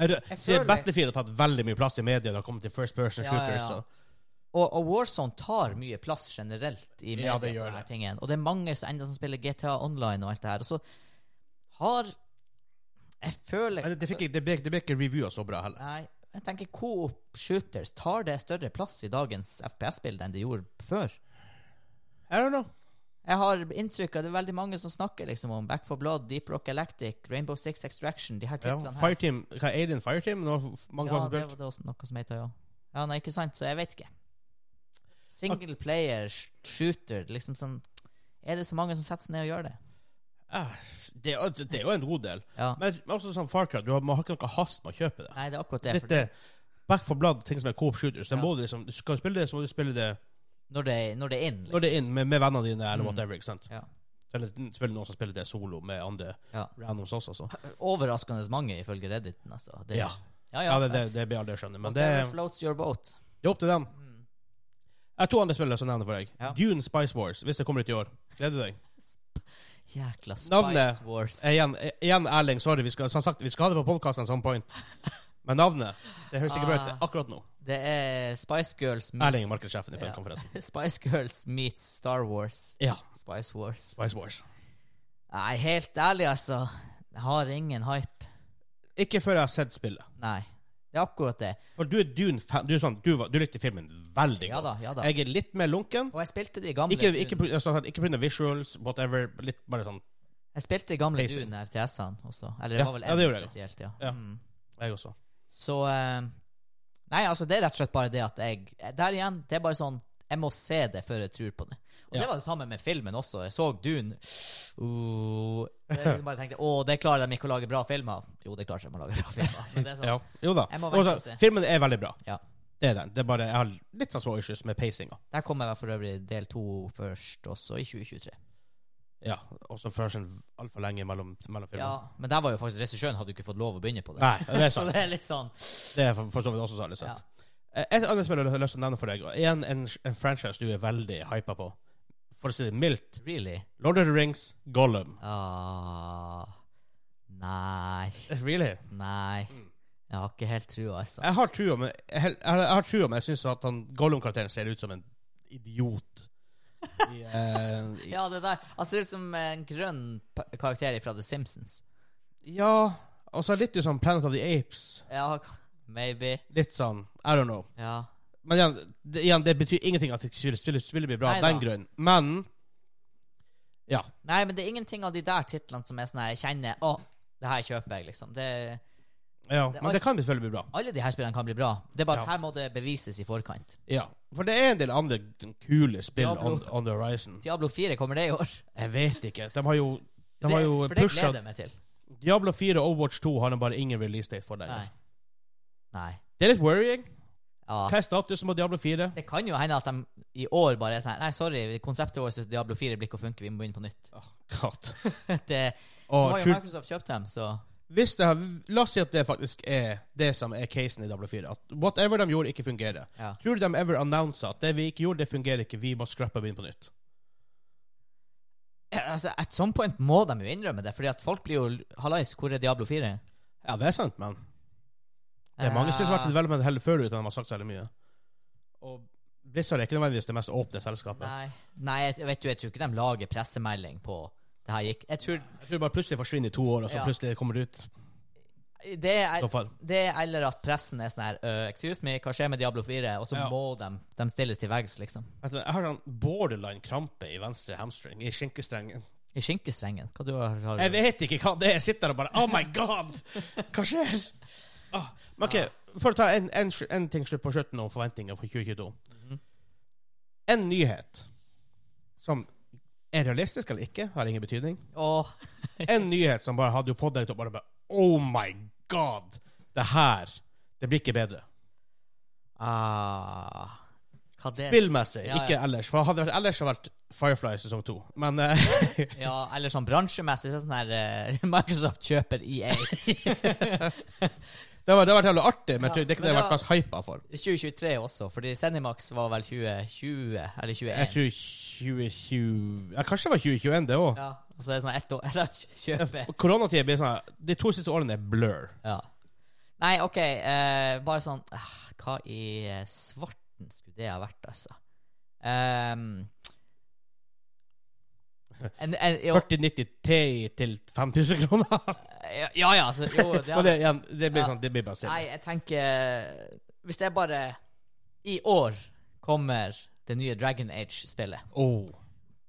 [SPEAKER 1] Er det-
[SPEAKER 3] jeg
[SPEAKER 1] Siden
[SPEAKER 3] føler-
[SPEAKER 1] Battlefield har tatt veldig mye plass i media når det kommer til first person
[SPEAKER 3] Ja,
[SPEAKER 1] shooters.
[SPEAKER 3] ja, ja.
[SPEAKER 1] så-
[SPEAKER 3] og, og Warzone tar mye plass generelt i media.
[SPEAKER 1] Ja, det
[SPEAKER 3] på
[SPEAKER 1] gjør
[SPEAKER 3] denne
[SPEAKER 1] det.
[SPEAKER 3] tingen. Og det er mange som ennå som spiller GTA Online og alt det her. Og så har Jeg føler
[SPEAKER 1] Men det, det, fikk, ikke- det, ble, det ble ikke reviewa så bra heller.
[SPEAKER 3] Nei, jeg tenker Coop Shooters tar det større plass i dagens FPS-bilde enn det gjorde før.
[SPEAKER 1] I don't know.
[SPEAKER 3] Jeg har inntrykk av det er veldig mange som snakker liksom om Back for Blood, Deep Rock Galactic, Rainbow Six Extraction, de her
[SPEAKER 1] Ja,
[SPEAKER 3] titlene sånn her.
[SPEAKER 1] Fireteam Hva er Alien Fireteam? Nå har f- mange
[SPEAKER 3] Ja,
[SPEAKER 1] folk
[SPEAKER 3] det
[SPEAKER 1] spilt.
[SPEAKER 3] var det også noe som heter, ja. Ja, nei, ikke sant, så jeg vet ikke. Single player, sh- shooter, liksom sånn Er det så mange som setter seg ned og gjør det?
[SPEAKER 1] Ah, Det, er- det er jo en god del.
[SPEAKER 3] Ja.
[SPEAKER 1] Men men også sånn Far Cry, du har, man har ikke noe hast med å kjøpe det.
[SPEAKER 3] Nei, det er akkurat det.
[SPEAKER 1] Litt
[SPEAKER 3] for
[SPEAKER 1] det Back for blood, ting som er coop shooters. Den
[SPEAKER 3] Ja.
[SPEAKER 1] må du liksom, du skal spille det, så må du spille det
[SPEAKER 3] Når det, når det er inn,
[SPEAKER 1] når
[SPEAKER 3] liksom.
[SPEAKER 1] det er inn med, med vennene dine, eller
[SPEAKER 3] Mm.
[SPEAKER 1] whatever. ikke sant?
[SPEAKER 3] Ja.
[SPEAKER 1] Så er det selvfølgelig noen som spiller det solo med andre
[SPEAKER 3] Ja.
[SPEAKER 1] randoms også. Så.
[SPEAKER 3] Overraskende mange, ifølge Redditen, altså. Det,
[SPEAKER 1] Ja.
[SPEAKER 3] ja,
[SPEAKER 1] Ja, det, det, det blir aldri å skjønne. Men det,
[SPEAKER 3] Whatever floats your boat.
[SPEAKER 1] det er opp til dem.
[SPEAKER 3] Mm.
[SPEAKER 1] Jeg har to andre spillere som nevner for deg.
[SPEAKER 3] Ja.
[SPEAKER 1] Dune Spice Wars, hvis det kommer ut i år. Gleder du deg?
[SPEAKER 3] Jækla Spice
[SPEAKER 1] Navnet
[SPEAKER 3] Wars.
[SPEAKER 1] Igjen, eh, igjen Erling, sorry. Vi skal, som sagt, vi skal ha det på podkasten some point. Men navnet Det høres ikke bra ut
[SPEAKER 3] Ah.
[SPEAKER 1] akkurat nå.
[SPEAKER 3] Det er Spice Girls
[SPEAKER 1] Erling er
[SPEAKER 3] meets
[SPEAKER 1] markedssjefen i
[SPEAKER 3] Ja.
[SPEAKER 1] Funcom, forresten.
[SPEAKER 3] Spice Girls meets Star Wars.
[SPEAKER 1] Ja.
[SPEAKER 3] Spice Wars.
[SPEAKER 1] Spice Wars.
[SPEAKER 3] Nei, helt ærlig, altså. Jeg har ingen hype.
[SPEAKER 1] Ikke før jeg har sett spillet.
[SPEAKER 3] Nei. Det er akkurat det.
[SPEAKER 1] For du er Dune-fan. Du, er sånn, du, var- du likte filmen veldig
[SPEAKER 3] Ja da,
[SPEAKER 1] godt.
[SPEAKER 3] ja da.
[SPEAKER 1] Jeg er litt mer lunken.
[SPEAKER 3] Og jeg spilte de gamle
[SPEAKER 1] Ikke, ikke, på- sånn, at- ikke pga. visuals, whatever. Litt bare sånn
[SPEAKER 3] Jeg spilte de gamle
[SPEAKER 1] Basic.
[SPEAKER 3] Dune RTS-ene også. Eller
[SPEAKER 1] Ja,
[SPEAKER 3] det var vel
[SPEAKER 1] ja, det
[SPEAKER 3] en
[SPEAKER 1] gjorde jeg.
[SPEAKER 3] spesielt, ja.
[SPEAKER 1] Ja.
[SPEAKER 3] Mm.
[SPEAKER 1] Jeg også.
[SPEAKER 3] Så eh, Nei, altså, det er rett og slett bare det at jeg Der igjen, det er bare sånn Jeg må se det før jeg tror på det. Og
[SPEAKER 1] Ja.
[SPEAKER 3] det var det samme med filmen også. Jeg så Dune. Uh, det er liksom bare tenkte Å, det klarer de ikke å lage bra film av. Jo, det klarer de å lage bra film av. Men det er sånn,
[SPEAKER 1] Ja. Jo da.
[SPEAKER 3] Jeg må
[SPEAKER 1] Også,
[SPEAKER 3] vente og se.
[SPEAKER 1] filmen er veldig bra.
[SPEAKER 3] Ja.
[SPEAKER 1] Det er den. Det er bare, jeg har litt sånn små issues med pacinga.
[SPEAKER 3] Der kommer jeg for øvrig del to først, også i 2023.
[SPEAKER 1] Ja. Også først en altfor lenge mellom, mellom
[SPEAKER 3] Ja,
[SPEAKER 1] filmene.
[SPEAKER 3] Men der var jo faktisk regissøren hadde jo ikke fått lov å begynne på det.
[SPEAKER 1] Nei, det er
[SPEAKER 3] Så
[SPEAKER 1] sant.
[SPEAKER 3] det er litt sånn
[SPEAKER 1] Det er for, for så vidt også særlig
[SPEAKER 3] ja.
[SPEAKER 1] sant. Eh, Et annet spill jeg har lyst til å nevne for deg, og igjen en, en franchise du er veldig hypa på. For å si det mildt.
[SPEAKER 3] Really?
[SPEAKER 1] Lord of the Rings, Gollum.
[SPEAKER 3] Ah, nei.
[SPEAKER 1] Really?
[SPEAKER 3] Nei. Jeg har ikke helt trua, altså.
[SPEAKER 1] Jeg har trua, men jeg, hel- jeg, har- jeg, har trua, men jeg syns at han Gollum-karakteren ser ut som en idiot. I, eh, i,
[SPEAKER 3] Ja, det der Han ser ut som en grønn pa- karakter fra The Simpsons.
[SPEAKER 1] ja Og så litt sånn Planet of the Apes.
[SPEAKER 3] Ja, maybe.
[SPEAKER 1] Litt sånn I don't know.
[SPEAKER 3] Ja.
[SPEAKER 1] Men igjen, det, igjen, det betyr ingenting at spillet, spillet, spillet blir bra av
[SPEAKER 3] Neida.
[SPEAKER 1] den grunn. Men Ja.
[SPEAKER 3] Nei, men det er ingenting av de der titlene som er sånn her, jeg kjenner Å, det her kjøper jeg, liksom. Det,
[SPEAKER 1] ja.
[SPEAKER 3] Det-
[SPEAKER 1] Men det kan selvfølgelig bli bra.
[SPEAKER 3] alle de her spillene kan bli bra. Det er bare
[SPEAKER 1] Ja.
[SPEAKER 3] at her må det bevises i forkant.
[SPEAKER 1] Ja. For det er en del andre kule spill
[SPEAKER 3] Diablo.
[SPEAKER 1] on, on the horizon.
[SPEAKER 3] Diablo 4 kommer det i år.
[SPEAKER 1] Jeg vet ikke. De har jo, de har
[SPEAKER 3] Det-
[SPEAKER 1] jo
[SPEAKER 3] for det
[SPEAKER 1] pusha
[SPEAKER 3] gleder jeg meg til.
[SPEAKER 1] Diablo 4 og Overwatch 2 har de bare ingen release date for
[SPEAKER 3] Nei.
[SPEAKER 1] lenger.
[SPEAKER 3] Nei.
[SPEAKER 1] Det er litt worrying.
[SPEAKER 3] Ja.
[SPEAKER 1] Hva er statusen på Diablo 4?
[SPEAKER 3] Det kan jo hende at de i år bare er sånn her Nei, sorry, konseptet vårt til Diablo 4 blir ikke å funke, vi må begynne på nytt.
[SPEAKER 1] Åh, God.
[SPEAKER 3] Det, nå
[SPEAKER 1] Og
[SPEAKER 3] har jo
[SPEAKER 1] tru-
[SPEAKER 3] Microsoft kjøpt dem, så
[SPEAKER 1] hvis det har, La oss si at det faktisk er det som er casen i Diablo 4. At whatever de gjorde, ikke fungerer.
[SPEAKER 3] ja.
[SPEAKER 1] Tror du de ever annonsa at det vi ikke gjorde, det fungerer ikke, vi må scrappe og begynne på nytt?
[SPEAKER 3] Ja, Altså, At some point må de jo innrømme det, Fordi at folk blir jo Hallais, hvor er Diablo 4?
[SPEAKER 1] Ja, det er sant, men det er mange spill
[SPEAKER 3] Eh.
[SPEAKER 1] som har vært i development heller før uten at de har sagt så veldig mye. Og Blizzard er ikke nødvendigvis det mest åpne selskapet.
[SPEAKER 3] Nei, nei jeg, jeg vet du, jeg tror ikke de lager pressemelding på det her gikk Jeg tror
[SPEAKER 1] Jeg tror bare plutselig forsvinner i to år, og så
[SPEAKER 3] Ja.
[SPEAKER 1] plutselig kommer det ut.
[SPEAKER 3] det er,
[SPEAKER 1] Så far-
[SPEAKER 3] det er eller at pressen er sånn her «Øh, Excuse me, hva skjer med Diablo 4? Og så
[SPEAKER 1] Ja.
[SPEAKER 3] må de, de stilles til veggs, liksom.
[SPEAKER 1] Vet du, jeg har sånn borderline krampe i venstre hamstring, i skinkestrengen.
[SPEAKER 3] I skinkestrengen. Hva du har, har
[SPEAKER 1] Jeg vet ikke hva det er. Jeg sitter der og bare Oh my god! Hva skjer? Ah, men OK, For å ta en, en, en ting slutt på slutten om forventninger for 2022.
[SPEAKER 3] Mhm.
[SPEAKER 1] En nyhet som er realistisk eller ikke, har ingen betydning.
[SPEAKER 3] Åh,
[SPEAKER 1] En nyhet som bare hadde jo fått deg til å bare bare, Oh my god! Det her Det blir ikke bedre.
[SPEAKER 3] ah, hva det
[SPEAKER 1] Spillmessig,
[SPEAKER 3] Ja, ja.
[SPEAKER 1] ikke ellers. For hadde det vært ellers, hadde det vært Firefly sesong to. Men eh,
[SPEAKER 3] Ja, eller sånn bransjemessig så er det sånn her eh, Microsoft kjøper E EA.
[SPEAKER 1] det hadde vært jævlig artig, men
[SPEAKER 3] Ja,
[SPEAKER 1] jeg tror det er ikke det
[SPEAKER 3] men
[SPEAKER 1] jeg har
[SPEAKER 3] det
[SPEAKER 1] vært mest hypa for.
[SPEAKER 3] 2023 også, fordi Zenimax var vel 2020 eller 21.
[SPEAKER 1] Jeg tror 2020 ja, Kanskje det var 2021, det òg.
[SPEAKER 3] Ja, og så er det sånn ett år eller kjøpe.
[SPEAKER 1] Koronatida blir sånn De to siste årene er blur.
[SPEAKER 3] Ja. Nei, OK, eh, bare sånn eh, Hva i eh, svarten skulle det ha vært, altså? Ehm, en, en, jo,
[SPEAKER 1] 4090 Ti til 5000 kroner.
[SPEAKER 3] ja, ja, altså Jo, det
[SPEAKER 1] Og
[SPEAKER 3] hadde
[SPEAKER 1] det, igjen, det blir
[SPEAKER 3] Ja.
[SPEAKER 1] sånn, det blir bare
[SPEAKER 3] Nei,
[SPEAKER 1] silly.
[SPEAKER 3] jeg tenker Hvis det er bare I år kommer det nye Dragon Age-spillet.
[SPEAKER 1] Oh.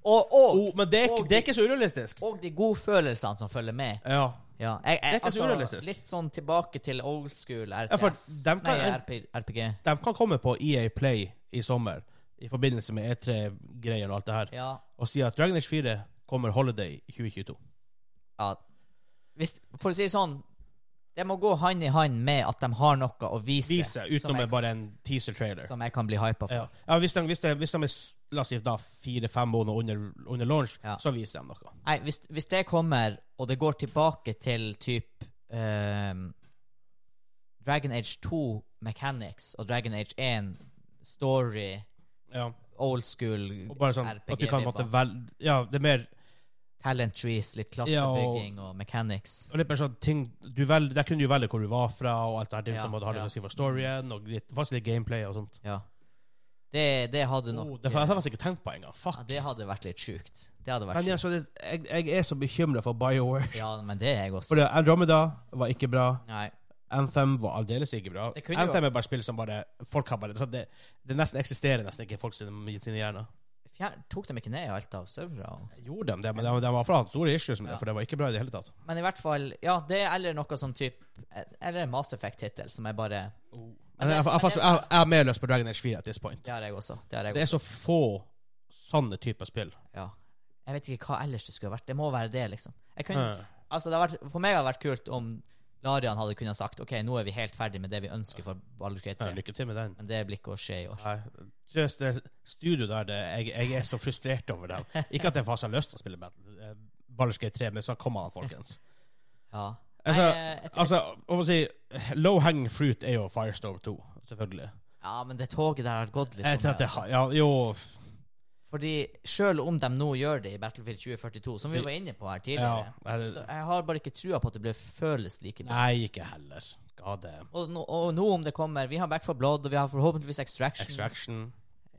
[SPEAKER 3] Og, og,
[SPEAKER 1] Oh, men det er, ikke-
[SPEAKER 3] og
[SPEAKER 1] det er ikke så urealistisk.
[SPEAKER 3] Og de gode følelsene som følger med.
[SPEAKER 1] Ja.
[SPEAKER 3] Ja, jeg, jeg,
[SPEAKER 1] Det er ikke så
[SPEAKER 3] altså,
[SPEAKER 1] urealistisk.
[SPEAKER 3] Litt sånn tilbake til old school RTS.
[SPEAKER 1] Ja, for dem kan-
[SPEAKER 3] Nei, RP, RPG.
[SPEAKER 1] De kan komme på EA Play i sommer i forbindelse med E3-greier og alt det her,
[SPEAKER 3] Ja,
[SPEAKER 1] og si at Dragon Age 4 kommer holiday 2022.
[SPEAKER 3] ja. Hvis, for å si det sånn Det må gå hand i hand med at de har noe å vise.
[SPEAKER 1] Vise,
[SPEAKER 3] som
[SPEAKER 1] utenom
[SPEAKER 3] jeg,
[SPEAKER 1] bare en teaser-trailer.
[SPEAKER 3] Som jeg kan bli hypa for.
[SPEAKER 1] Ja. ja, hvis de, hvis de, hvis de er s- la oss si, da fire-fem måneder under, under launch,
[SPEAKER 3] Ja.
[SPEAKER 1] så viser de noe.
[SPEAKER 3] Nei, hvis, hvis det kommer, og det går tilbake til typ ehm, Dragon Age 2 Mechanics og Dragon Age 1 Story,
[SPEAKER 1] Ja.
[SPEAKER 3] old school
[SPEAKER 1] Og bare sånn at du kan måtte velge Ja, det er mer
[SPEAKER 3] Talent trees, litt
[SPEAKER 1] Ja, og-
[SPEAKER 3] klassebygging og mechanics.
[SPEAKER 1] Og litt mer sånn ting du vel, Der kunne du velge hvor du var fra, og alt det her. Det
[SPEAKER 3] Ja,
[SPEAKER 1] som hadde
[SPEAKER 3] ja.
[SPEAKER 1] å si for storyen, og litt, faktisk litt gameplay og sånt.
[SPEAKER 3] Ja. Det, det hadde nok
[SPEAKER 1] Oh, det har jeg faktisk ikke tenkt på engang. Fuck.
[SPEAKER 3] ja, det hadde vært litt sjukt. Det hadde vært
[SPEAKER 1] men
[SPEAKER 3] sjukt.
[SPEAKER 1] altså, det, jeg, jeg er så bekymra for BioWare.
[SPEAKER 3] Ja, men det er jeg også.
[SPEAKER 1] For det- Andromeda var ikke bra.
[SPEAKER 3] Nei.
[SPEAKER 1] Anthem var aldeles ikke bra.
[SPEAKER 3] Det kunne jo-
[SPEAKER 1] Anthem er bare spill som bare Folk har bare så det, det nesten eksisterer nesten ikke i folk sine, sine hjerner.
[SPEAKER 3] Fjern, tok dem ikke ned i alt av servere? og-
[SPEAKER 1] Gjorde de det? Men de, de har hatt store issues med
[SPEAKER 3] Ja.
[SPEAKER 1] det, for det var ikke bra i det hele tatt.
[SPEAKER 3] Men i hvert fall Ja, det eller noe sånn type Eller Mass Effect-hittel, som er bare
[SPEAKER 1] Men jeg, jeg, jeg, jeg, jeg, har mer lyst på Dragon Age 4 at this point.
[SPEAKER 3] Det har jeg også. Det har jeg
[SPEAKER 1] Det er så få sånne typer spill.
[SPEAKER 3] Ja. Jeg vet ikke hva ellers det skulle ha vært. Det må være det, liksom. Jeg kunne,
[SPEAKER 1] Ja.
[SPEAKER 3] altså, det har vært, for meg hadde det vært kult om Larian hadde kunnet sagt OK, nå er vi helt ferdig med det vi ønsker for Baldur's Gate
[SPEAKER 1] Ja,
[SPEAKER 3] 3.
[SPEAKER 1] lykke til med den.
[SPEAKER 3] Men det blir ikke å skje i år.
[SPEAKER 1] Nei, seriøst, det studio der det, jeg, jeg er så frustrert over dem. Ikke at jeg faktisk har lyst til å spille Battle- eh, Baldur's Gate 3, men så kom an, folkens.
[SPEAKER 3] Ja.
[SPEAKER 1] Altså,
[SPEAKER 3] Nei, jeg- jeg-
[SPEAKER 1] Altså, hva må jeg si Low hanging fruit er jo Firestorm 2, selvfølgelig.
[SPEAKER 3] ja, men det toget der har gått litt.
[SPEAKER 1] Jeg
[SPEAKER 3] for
[SPEAKER 1] tror
[SPEAKER 3] meg,
[SPEAKER 1] at det
[SPEAKER 3] altså.
[SPEAKER 1] har Ja, jo
[SPEAKER 3] Fordi selv om de nå gjør det i Battlefield 2042, som vi var inne på her
[SPEAKER 1] ja,
[SPEAKER 3] tidligere, så
[SPEAKER 1] jeg,
[SPEAKER 3] jeg har bare ikke trua på at det blir føles like bra.
[SPEAKER 1] Nei, ikke heller. God damn.
[SPEAKER 3] Og nå, og nå om det kommer Vi har Back for Blood, og vi har forhåpentligvis Extraction.
[SPEAKER 1] Extraction.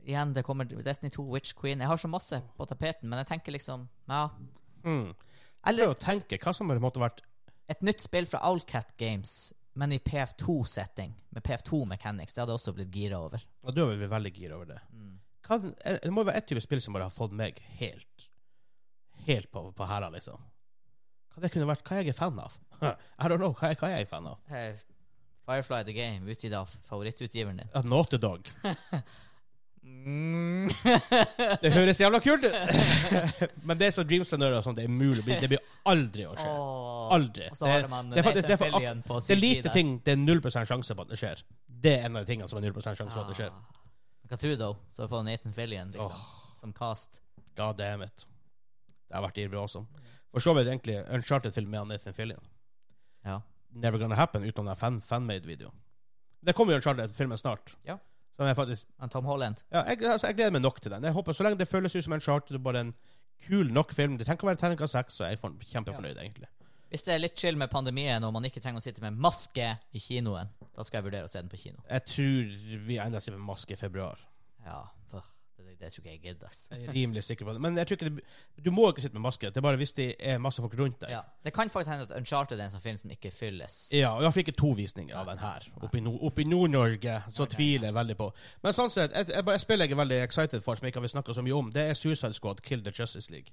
[SPEAKER 3] Igjen, det kommer Destiny 2, Witch Queen Jeg har så masse på tapeten, men jeg tenker liksom Ja.
[SPEAKER 1] Mm.
[SPEAKER 3] Eller
[SPEAKER 1] Prøv å tenke hva som måtte vært
[SPEAKER 3] et nytt spill fra Owlcat Games, men i PF2-setting, med PF2 Mechanics. Det hadde jeg også blitt gira over.
[SPEAKER 1] Ja, Da er vi veldig gira over det.
[SPEAKER 3] Mm.
[SPEAKER 1] Hva, eh, det må jo være ett type spill som bare har fått meg helt Helt på, på hæla, liksom. Hva det kunne vært? Hva jeg er fan av? I don't know. Hva, er- hva er jeg fan av?
[SPEAKER 3] Eh, Firefly The Game, utgitt av favorittutgiveren din.
[SPEAKER 1] At Naughty Dog.
[SPEAKER 3] Mm.
[SPEAKER 1] Det høres jævla kult ut! Men det er så Dreams and Nerds og sånn, det er umulig. Det blir- Det blir aldri å skje.
[SPEAKER 3] Åh.
[SPEAKER 1] Aldri.
[SPEAKER 3] Og så har
[SPEAKER 1] Det-
[SPEAKER 3] man
[SPEAKER 1] det er faktisk- det er for-
[SPEAKER 3] Nathan Fillion på
[SPEAKER 1] Det er
[SPEAKER 3] sin
[SPEAKER 1] lite
[SPEAKER 3] side.
[SPEAKER 1] ting det er 0 sjanse på at det skjer. Det er en av de tingene som er 0 sjanse på at det skjer.
[SPEAKER 3] Ah. Hva tror du, da? Så får Nathan Fillion liksom, som cast.
[SPEAKER 1] God damn it. Det har vært irrbra også. For så vidt egentlig Uncharted-film med han Nathan Fillion.
[SPEAKER 3] Ja.
[SPEAKER 1] Never Gonna Happen utenom den fan fanmade-videoen. Det kommer jo Uncharted-filmen snart.
[SPEAKER 3] Ja.
[SPEAKER 1] Som jeg faktisk
[SPEAKER 3] Men Tom Holland
[SPEAKER 1] Ja, jeg, altså, jeg gleder meg nok til den. Jeg håper Så lenge det føles ut som Uncharted og bare en kul nok film Det trenger ikke å være terningkast seks, så er jeg for, kjempefornøyd, egentlig.
[SPEAKER 3] Hvis det er litt chill med pandemien, og man ikke trenger å sitte med maske i kinoen, da skal jeg vurdere å se den på kino.
[SPEAKER 1] Jeg tror vi ender opp med maske i februar.
[SPEAKER 3] Ja, øh, det, det tror ikke jeg gidder. ass.
[SPEAKER 1] Jeg er rimelig sikker på det. Men jeg tror ikke det, du må ikke sitte med maske. Det er bare hvis det er masse folk rundt deg.
[SPEAKER 3] Ja. Det kan faktisk hende at Uncharted er en sånn film som ikke fylles.
[SPEAKER 1] Ja, og jeg fikk to visninger av den her. Oppe i, Nord- oppe i Nord-Norge så tviler jeg veldig på. Men sånn sett, jeg, jeg, bare- jeg spiller jeg er veldig excited for, som jeg ikke har snakka så mye om, det er Suicide Squad, Kill the Justice League.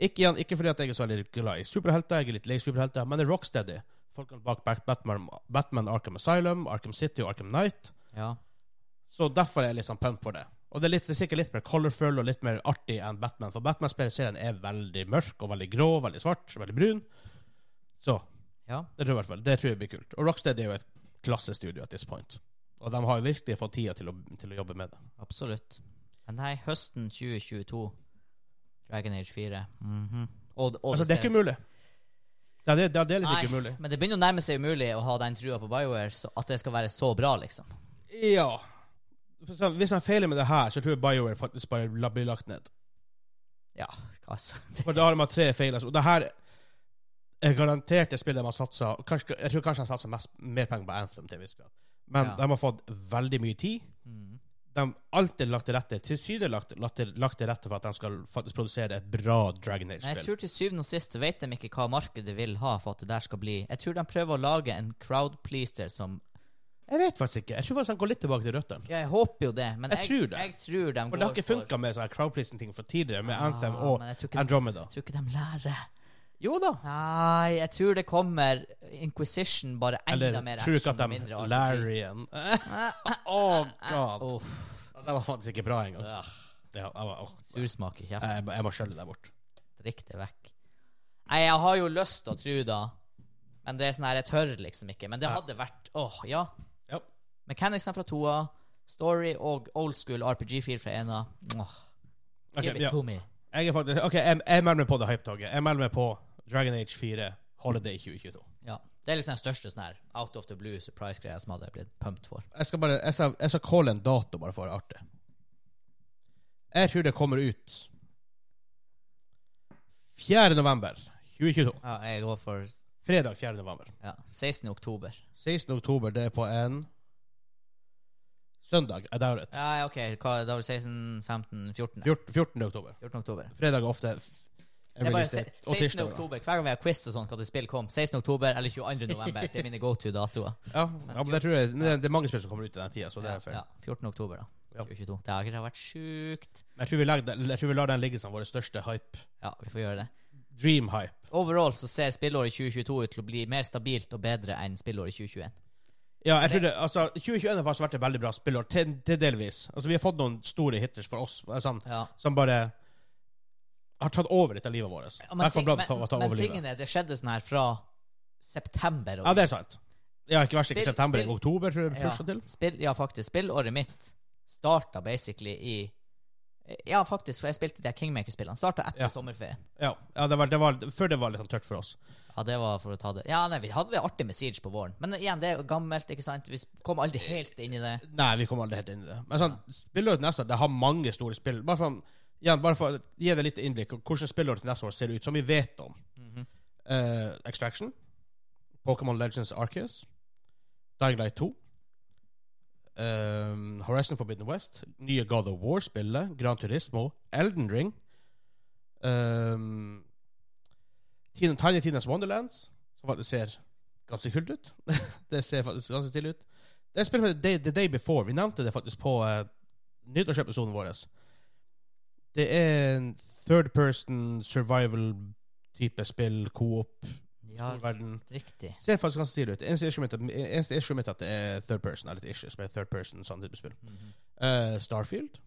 [SPEAKER 1] Ikke, igjen, ikke fordi at jeg er så veldig glad i superhelter, jeg er litt lei superhelter, men det er Rocksteady folkene bak Bat- Batman, Batman Arkham Asylum, Arkham City og Arkham Knight.
[SPEAKER 3] Ja.
[SPEAKER 1] Så derfor er jeg litt sånn pump for det. Og det er, litt, det er sikkert litt mer colorful og litt mer artig enn Batman, for Batman-serien er veldig mørk og veldig grå, veldig svart, veldig brun. Så
[SPEAKER 3] Ja.
[SPEAKER 1] det tror jeg i hvert fall. Det tror jeg blir kult. Og Rocksteady er jo et klassestudio at this point. Og de har jo virkelig fått tida til å, til å jobbe med det.
[SPEAKER 3] Absolutt. Men nei, høsten 2022. Dragon Age 4. Mhm. og, og
[SPEAKER 1] Altså, det er ikke umulig. Ja, det, det, det er liksom ikke
[SPEAKER 3] Nei,
[SPEAKER 1] umulig.
[SPEAKER 3] Men det begynner å nærme seg umulig å ha den trua på BioWare, så at det skal være så bra, liksom.
[SPEAKER 1] Ja. For eksempel, Hvis han feiler med det her, så tror jeg BioWare faktisk bare la- blir lagt ned.
[SPEAKER 3] Ja, altså.
[SPEAKER 1] For da har de hatt tre feil. Altså. Og det her er garantert det spillet de har satsa kanskje, Jeg tror kanskje de satser mest, mer penger på Anthem til en viss grad. Men
[SPEAKER 3] Ja.
[SPEAKER 1] de har fått veldig mye tid.
[SPEAKER 3] Mm.
[SPEAKER 1] De har alltid lagt til rette tilsynelatende lagt, til- lagt til rette for at de skal faktisk produsere et bra Dragon
[SPEAKER 3] Men jeg
[SPEAKER 1] Age-spill.
[SPEAKER 3] tror til syvende og sist vet de ikke hva markedet vil ha for at det der skal bli Jeg tror de prøver å lage en crowd pleaser som
[SPEAKER 1] Jeg vet faktisk ikke. Jeg tror faktisk de går litt tilbake til røttene.
[SPEAKER 3] Ja, jeg håper jo det, men
[SPEAKER 1] Jeg
[SPEAKER 3] jeg,
[SPEAKER 1] tror det.
[SPEAKER 3] jeg tror de
[SPEAKER 1] For det har
[SPEAKER 3] går
[SPEAKER 1] ikke funka med sånne crowdpleasing-ting fra tidligere, med
[SPEAKER 3] Ah,
[SPEAKER 1] Anthem og
[SPEAKER 3] men jeg tror ikke-
[SPEAKER 1] Andromeda.
[SPEAKER 3] Jeg tror ikke de lærer.
[SPEAKER 1] Jo da.
[SPEAKER 3] Nei, jeg tror det kommer Inquisition, bare enda
[SPEAKER 1] Eller
[SPEAKER 3] mer
[SPEAKER 1] tror du ikke
[SPEAKER 3] action
[SPEAKER 1] at
[SPEAKER 3] og
[SPEAKER 1] de
[SPEAKER 3] mindre
[SPEAKER 1] lærer igjen. oh, god.
[SPEAKER 3] Uff,
[SPEAKER 1] Det var faktisk ikke bra engang. Ja, jeg, var- åh.
[SPEAKER 3] sursmak i kjeften.
[SPEAKER 1] jeg, jeg må skjølle deg bort.
[SPEAKER 3] Drikk det vekk. Nei, jeg har jo lyst til å tro da, men det er sånn her, jeg tør liksom ikke. Men det
[SPEAKER 1] Ja.
[SPEAKER 3] hadde vært Åh, ja.
[SPEAKER 1] Ja.
[SPEAKER 3] Mechanicsen fra toa, Story og old school RPG4 fra ena. Mwah.
[SPEAKER 1] Ok,
[SPEAKER 3] Give it
[SPEAKER 1] ja.
[SPEAKER 3] to me.
[SPEAKER 1] Jeg er faktisk Ok, jeg, jeg melder meg på det hypetoget. Jeg melder meg på Dragon Age 4 Holiday 2022.
[SPEAKER 3] Ja. Det er liksom den største sånn her out of the blue surprise-greia som hadde blitt pumped for.
[SPEAKER 1] Jeg skal bare Jeg skal, jeg skal calle en dato, bare for å være artig. Jeg tror det kommer ut 4. november 2022.
[SPEAKER 3] Ja, jeg går for
[SPEAKER 1] Fredag 4. november.
[SPEAKER 3] ja, 16. oktober.
[SPEAKER 1] 16. oktober, det er på en søndag. I doubt it.
[SPEAKER 3] Ja, ja, OK. Hva, da var det 16, 15, 14?
[SPEAKER 1] 14. 14. oktober.
[SPEAKER 3] 14. oktober.
[SPEAKER 1] Fredag er ofte f-
[SPEAKER 3] Det er bare
[SPEAKER 1] release date,
[SPEAKER 3] se-
[SPEAKER 1] og
[SPEAKER 3] 16.
[SPEAKER 1] tirsdager.
[SPEAKER 3] oktober. Hver gang vi har quiz og sånn, hva det spill kom. 16. oktober eller 22. november. Det er mine go to-datoer.
[SPEAKER 1] Ja, ja men det tror jeg men det, det er mange spill som kommer ut i den tida, så det er fair.
[SPEAKER 3] Ja, 14. oktober, da.
[SPEAKER 1] Ja.
[SPEAKER 3] 2022. Det har ikke vært sjukt.
[SPEAKER 1] Men jeg tror, vi legger, den- jeg tror vi lar den ligge som vår største hype.
[SPEAKER 3] Ja, vi får gjøre det.
[SPEAKER 1] Dream hype.
[SPEAKER 3] Overall så ser spillåret 2022 ut til å bli mer stabilt og bedre enn spillåret 2021.
[SPEAKER 1] Ja, jeg tror det, altså 2021 har faktisk vært et veldig bra spillår, til, til delvis. Altså Vi har fått noen store hitters for oss eh, sånn,
[SPEAKER 3] Ja.
[SPEAKER 1] som bare har tatt over litt av livet vårt.
[SPEAKER 3] Ja,
[SPEAKER 1] I hvert fall
[SPEAKER 3] ting-
[SPEAKER 1] bra til å ta, å ta
[SPEAKER 3] men
[SPEAKER 1] over livet.
[SPEAKER 3] tingene, det skjedde sånn her fra september. og-
[SPEAKER 1] Ja, det er sant. Ja, ikke verst ikke
[SPEAKER 3] Spill-
[SPEAKER 1] september,
[SPEAKER 3] spill-
[SPEAKER 1] ikke oktober, tror jeg det
[SPEAKER 3] Ja,
[SPEAKER 1] pusha til.
[SPEAKER 3] Spill, ja, faktisk. Spillåret mitt starta basically i Ja, faktisk, for jeg spilte de her Kingmaker-spillene. Starta etter
[SPEAKER 1] Ja.
[SPEAKER 3] sommerferien.
[SPEAKER 1] Ja, ja det var, det var, Før det var litt sånn tørt for oss.
[SPEAKER 3] Ja, det var for å ta det Ja, nei, vi hadde det artig med Siege på våren. Men igjen, det er jo gammelt, ikke sant? Vi kom aldri helt inn i det.
[SPEAKER 1] Nei, vi kommer aldri helt inn i det. Men sånn, spillåret til neste år, det har mange store spill. Bare for, igjen, bare for å gi deg litt innblikk i hvordan spillåret til neste år ser ut, som vi vet om. Eh, Extraction, Pokémon Legends Arceus, Dying Light 2, eh, Horizon Forbidden West, nye God of War-spillet, Gran Turismo, Elden Ring, eh, Teen- Tiny Tina's Wonderlands, som faktisk ser ganske kult ut. det ser faktisk ganske stille ut. Det er spillet med The Day, The Day Before. Vi nevnte det faktisk på uh, nyttårsepisoden vår. Det er en third person survival-type spill, coop,
[SPEAKER 3] Ja,
[SPEAKER 1] verden.
[SPEAKER 3] riktig.
[SPEAKER 1] Ser faktisk ganske stilig ut. Eneste issue mitt er- eneste issue mitt er at det er third person. Eller et issue som er third person sånn type spill.
[SPEAKER 3] Mhm.
[SPEAKER 1] Eh, Starfield.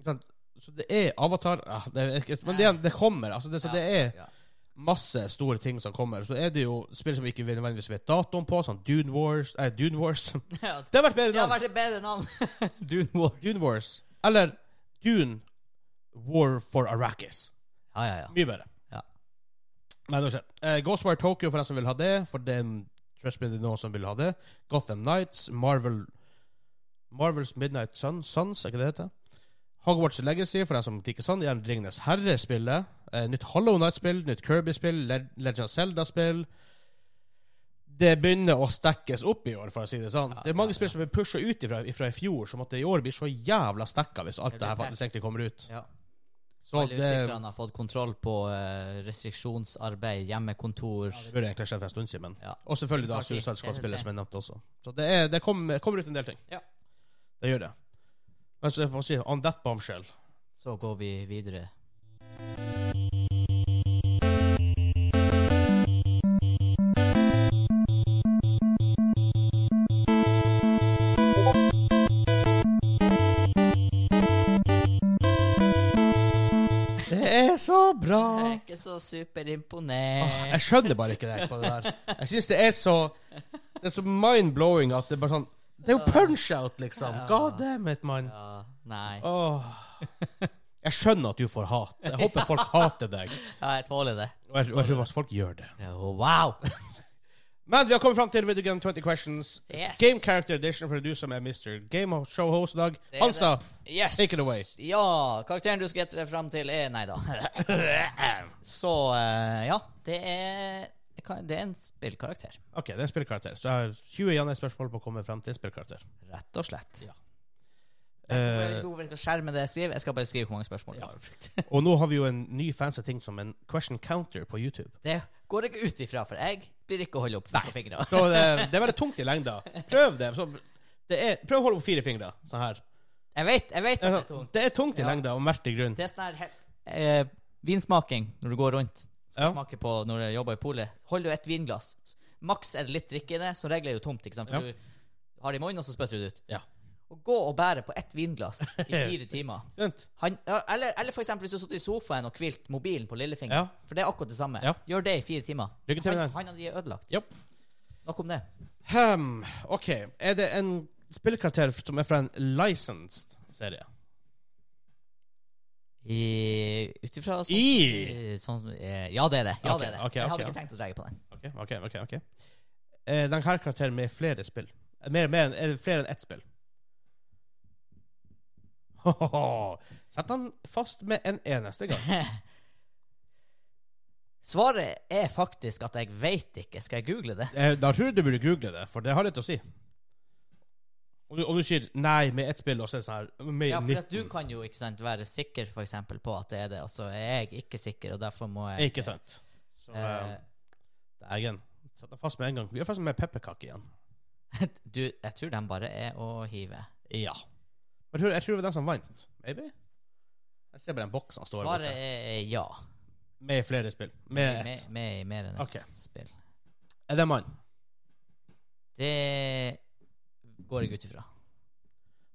[SPEAKER 1] Ikke sant? Så det er Avatar ah, det er, ikke- Men det, det kommer. Altså det, så det er
[SPEAKER 3] Ja, ja.
[SPEAKER 1] masse store ting som kommer. Så er det jo spill som vi ikke nødvendigvis vet datoen på, sånn Dune Wars Nei, Dune Wars.
[SPEAKER 3] Ja,
[SPEAKER 1] Det har vært bedre
[SPEAKER 3] Det
[SPEAKER 1] navn.
[SPEAKER 3] har vært et bedre navn. Dune Wars.
[SPEAKER 1] Dune Wars. Eller Dune War for Arrakis.
[SPEAKER 3] Ja, ja, ja.
[SPEAKER 1] Mye bedre.
[SPEAKER 3] Ja.
[SPEAKER 1] Men det uh, Ghostwire Tokyo, for den som vil ha det. For den Trust me, det er noen som vil ha det. Gotham Nights, Marvel Marvels Midnight Sun, Suns, er ikke det det heter? Hogwarts Legacy, for den som liker sånn. Gjerne Ringenes Herre-spillet. eh, nytt Hollow Night-spill, nytt Kirby-spill, Le Legend of Zelda-spill. Det begynner å stekkes opp i år, for å si det sånn.
[SPEAKER 3] Ja,
[SPEAKER 1] det er mange
[SPEAKER 3] ja,
[SPEAKER 1] spill som er pusha ut ifra, ifra i fjor, som måtte i år bli så jævla stekka hvis alt
[SPEAKER 3] Det
[SPEAKER 1] det her
[SPEAKER 3] blir
[SPEAKER 1] faktisk egentlig kommer ut.
[SPEAKER 3] ja.
[SPEAKER 1] Så
[SPEAKER 3] Alle
[SPEAKER 1] det,
[SPEAKER 3] utviklerne har fått kontroll på eh, restriksjonsarbeid, hjemmekontor
[SPEAKER 1] det burde egentlig skjedd for en stund siden, men
[SPEAKER 3] Ja.
[SPEAKER 1] Og selvfølgelig da
[SPEAKER 3] Takk, vi.
[SPEAKER 1] Suicide
[SPEAKER 3] Det er
[SPEAKER 1] Squad-spillet,
[SPEAKER 3] det.
[SPEAKER 1] som jeg nevnte også. Så det, er, det kom, kommer ut en del ting.
[SPEAKER 3] Ja.
[SPEAKER 1] Det gjør det. Men så får vi si On that bombshell
[SPEAKER 3] Så går vi videre.
[SPEAKER 1] er så bra!
[SPEAKER 3] Jeg er ikke så superimponert.
[SPEAKER 1] Jeg skjønner bare ikke det på det der. Jeg syns det er så Det er så mind-blowing at det er bare sånn Det er jo punch-out, liksom.
[SPEAKER 3] Ja.
[SPEAKER 1] God damn it, mann.
[SPEAKER 3] Ja, nei.
[SPEAKER 1] Åh. Jeg skjønner at du får hat. Jeg håper folk hater deg.
[SPEAKER 3] Ja, jeg tåler det.
[SPEAKER 1] Og jeg, og jeg tror faktisk folk gjør det.
[SPEAKER 3] Ja, Wow!
[SPEAKER 1] Men vi har kommet fram til Video Game 20 Questions.
[SPEAKER 3] Yes.
[SPEAKER 1] Game Character Edition for du som er Mr. Game of Show Host, Dag.
[SPEAKER 3] er
[SPEAKER 1] Hansa.
[SPEAKER 3] Yes!
[SPEAKER 1] Take it away.
[SPEAKER 3] Ja, karakteren du skal gjette deg fram til er Nei da. Så eh, ja, det er Det er en spillkarakter,
[SPEAKER 1] OK, det er en spillkarakter. Så jeg har 20 Janne-spørsmål på å komme frem til en spillkarakter.
[SPEAKER 3] rett og slett.
[SPEAKER 1] Ja.
[SPEAKER 3] Jeg vet
[SPEAKER 1] Eh,
[SPEAKER 3] ikke hvorfor jeg skal skjerme det jeg skriver. Jeg skal bare skrive hvor mange spørsmål jeg har.
[SPEAKER 1] og nå har vi jo en ny fancy ting som en question counter på YouTube.
[SPEAKER 3] Det går jeg ut ifra, for jeg blir ikke å holde opp på fingrene.
[SPEAKER 1] Så eh, det, det er veldig tungt i lengda. Prøv det. Så, det er, prøv å holde opp fire fingre. Sånn her.
[SPEAKER 3] Jeg vet, jeg vet at det er tungt.
[SPEAKER 1] Det er tungt i
[SPEAKER 3] Ja.
[SPEAKER 1] lengda, og merkelig grunn.
[SPEAKER 3] Det er sånn her he- eh, Vinsmaking når du går rundt. Skal
[SPEAKER 1] Ja.
[SPEAKER 3] smake på når du jobber i polet. Holder du et vinglass, maks er det litt drikke i det, som regel er det jo tomt. ikke sant? For
[SPEAKER 1] Ja.
[SPEAKER 3] du har det i munnen, og så spytter du det ut.
[SPEAKER 1] Ja.
[SPEAKER 3] Å gå og bære på ett vinglass i fire timer
[SPEAKER 1] Skjønt?
[SPEAKER 3] Han, ja, eller, eller for eksempel hvis du har sittet i sofaen og kvilt mobilen på lillefingeren.
[SPEAKER 1] Ja.
[SPEAKER 3] For det er akkurat det samme.
[SPEAKER 1] Ja.
[SPEAKER 3] Gjør det i fire timer.
[SPEAKER 1] Lykke til med
[SPEAKER 3] han,
[SPEAKER 1] den.
[SPEAKER 3] han hadde de ødelagt.
[SPEAKER 1] Japp.
[SPEAKER 3] Nok om det.
[SPEAKER 1] Hmm, OK. Er det en spillkarakter som er fra en licensed serie?
[SPEAKER 3] Ut ifra sånn,
[SPEAKER 1] I-
[SPEAKER 3] sånn som- eh, Ja, det er det. Ja,
[SPEAKER 1] Ok,
[SPEAKER 3] det er det.
[SPEAKER 1] ok,
[SPEAKER 3] jeg
[SPEAKER 1] ok,
[SPEAKER 3] hadde ikke
[SPEAKER 1] ja.
[SPEAKER 3] tenkt å dreie på den.
[SPEAKER 1] OK, OK. ok, ok Er denne karakteren med i flere spill? Er det Mer, mer, enn- er det flere enn ett spill? Hohoho. Sett han fast med en eneste gang.
[SPEAKER 3] Svaret er faktisk at jeg veit ikke. Skal jeg google det?
[SPEAKER 1] Eh, Da tror jeg du burde google det, for det har litt å si. Om du, om du sier 'nei' med ett spill, og så er det sånn her med
[SPEAKER 3] Ja, for
[SPEAKER 1] 19
[SPEAKER 3] at Du kan jo ikke sant, være sikker for eksempel, på at det er det, og så er jeg ikke sikker, og derfor må jeg
[SPEAKER 1] Ikke sant? Så
[SPEAKER 3] Eh,
[SPEAKER 1] eh, Dægen. Satt deg fast med en gang. Vi er fast med pepperkake igjen.
[SPEAKER 3] du, jeg tror den bare er å hive.
[SPEAKER 1] Ja. Jeg tror, jeg tror det var den som vant. Maybe? Jeg ser bare den boksen han står
[SPEAKER 3] Svaret
[SPEAKER 1] borte.
[SPEAKER 3] er ja.
[SPEAKER 1] Med i flere spill. Med
[SPEAKER 3] Med,
[SPEAKER 1] ett.
[SPEAKER 3] med i mer enn ett
[SPEAKER 1] Ok.
[SPEAKER 3] spill.
[SPEAKER 1] Er det en mann?
[SPEAKER 3] Det går jeg ut ifra.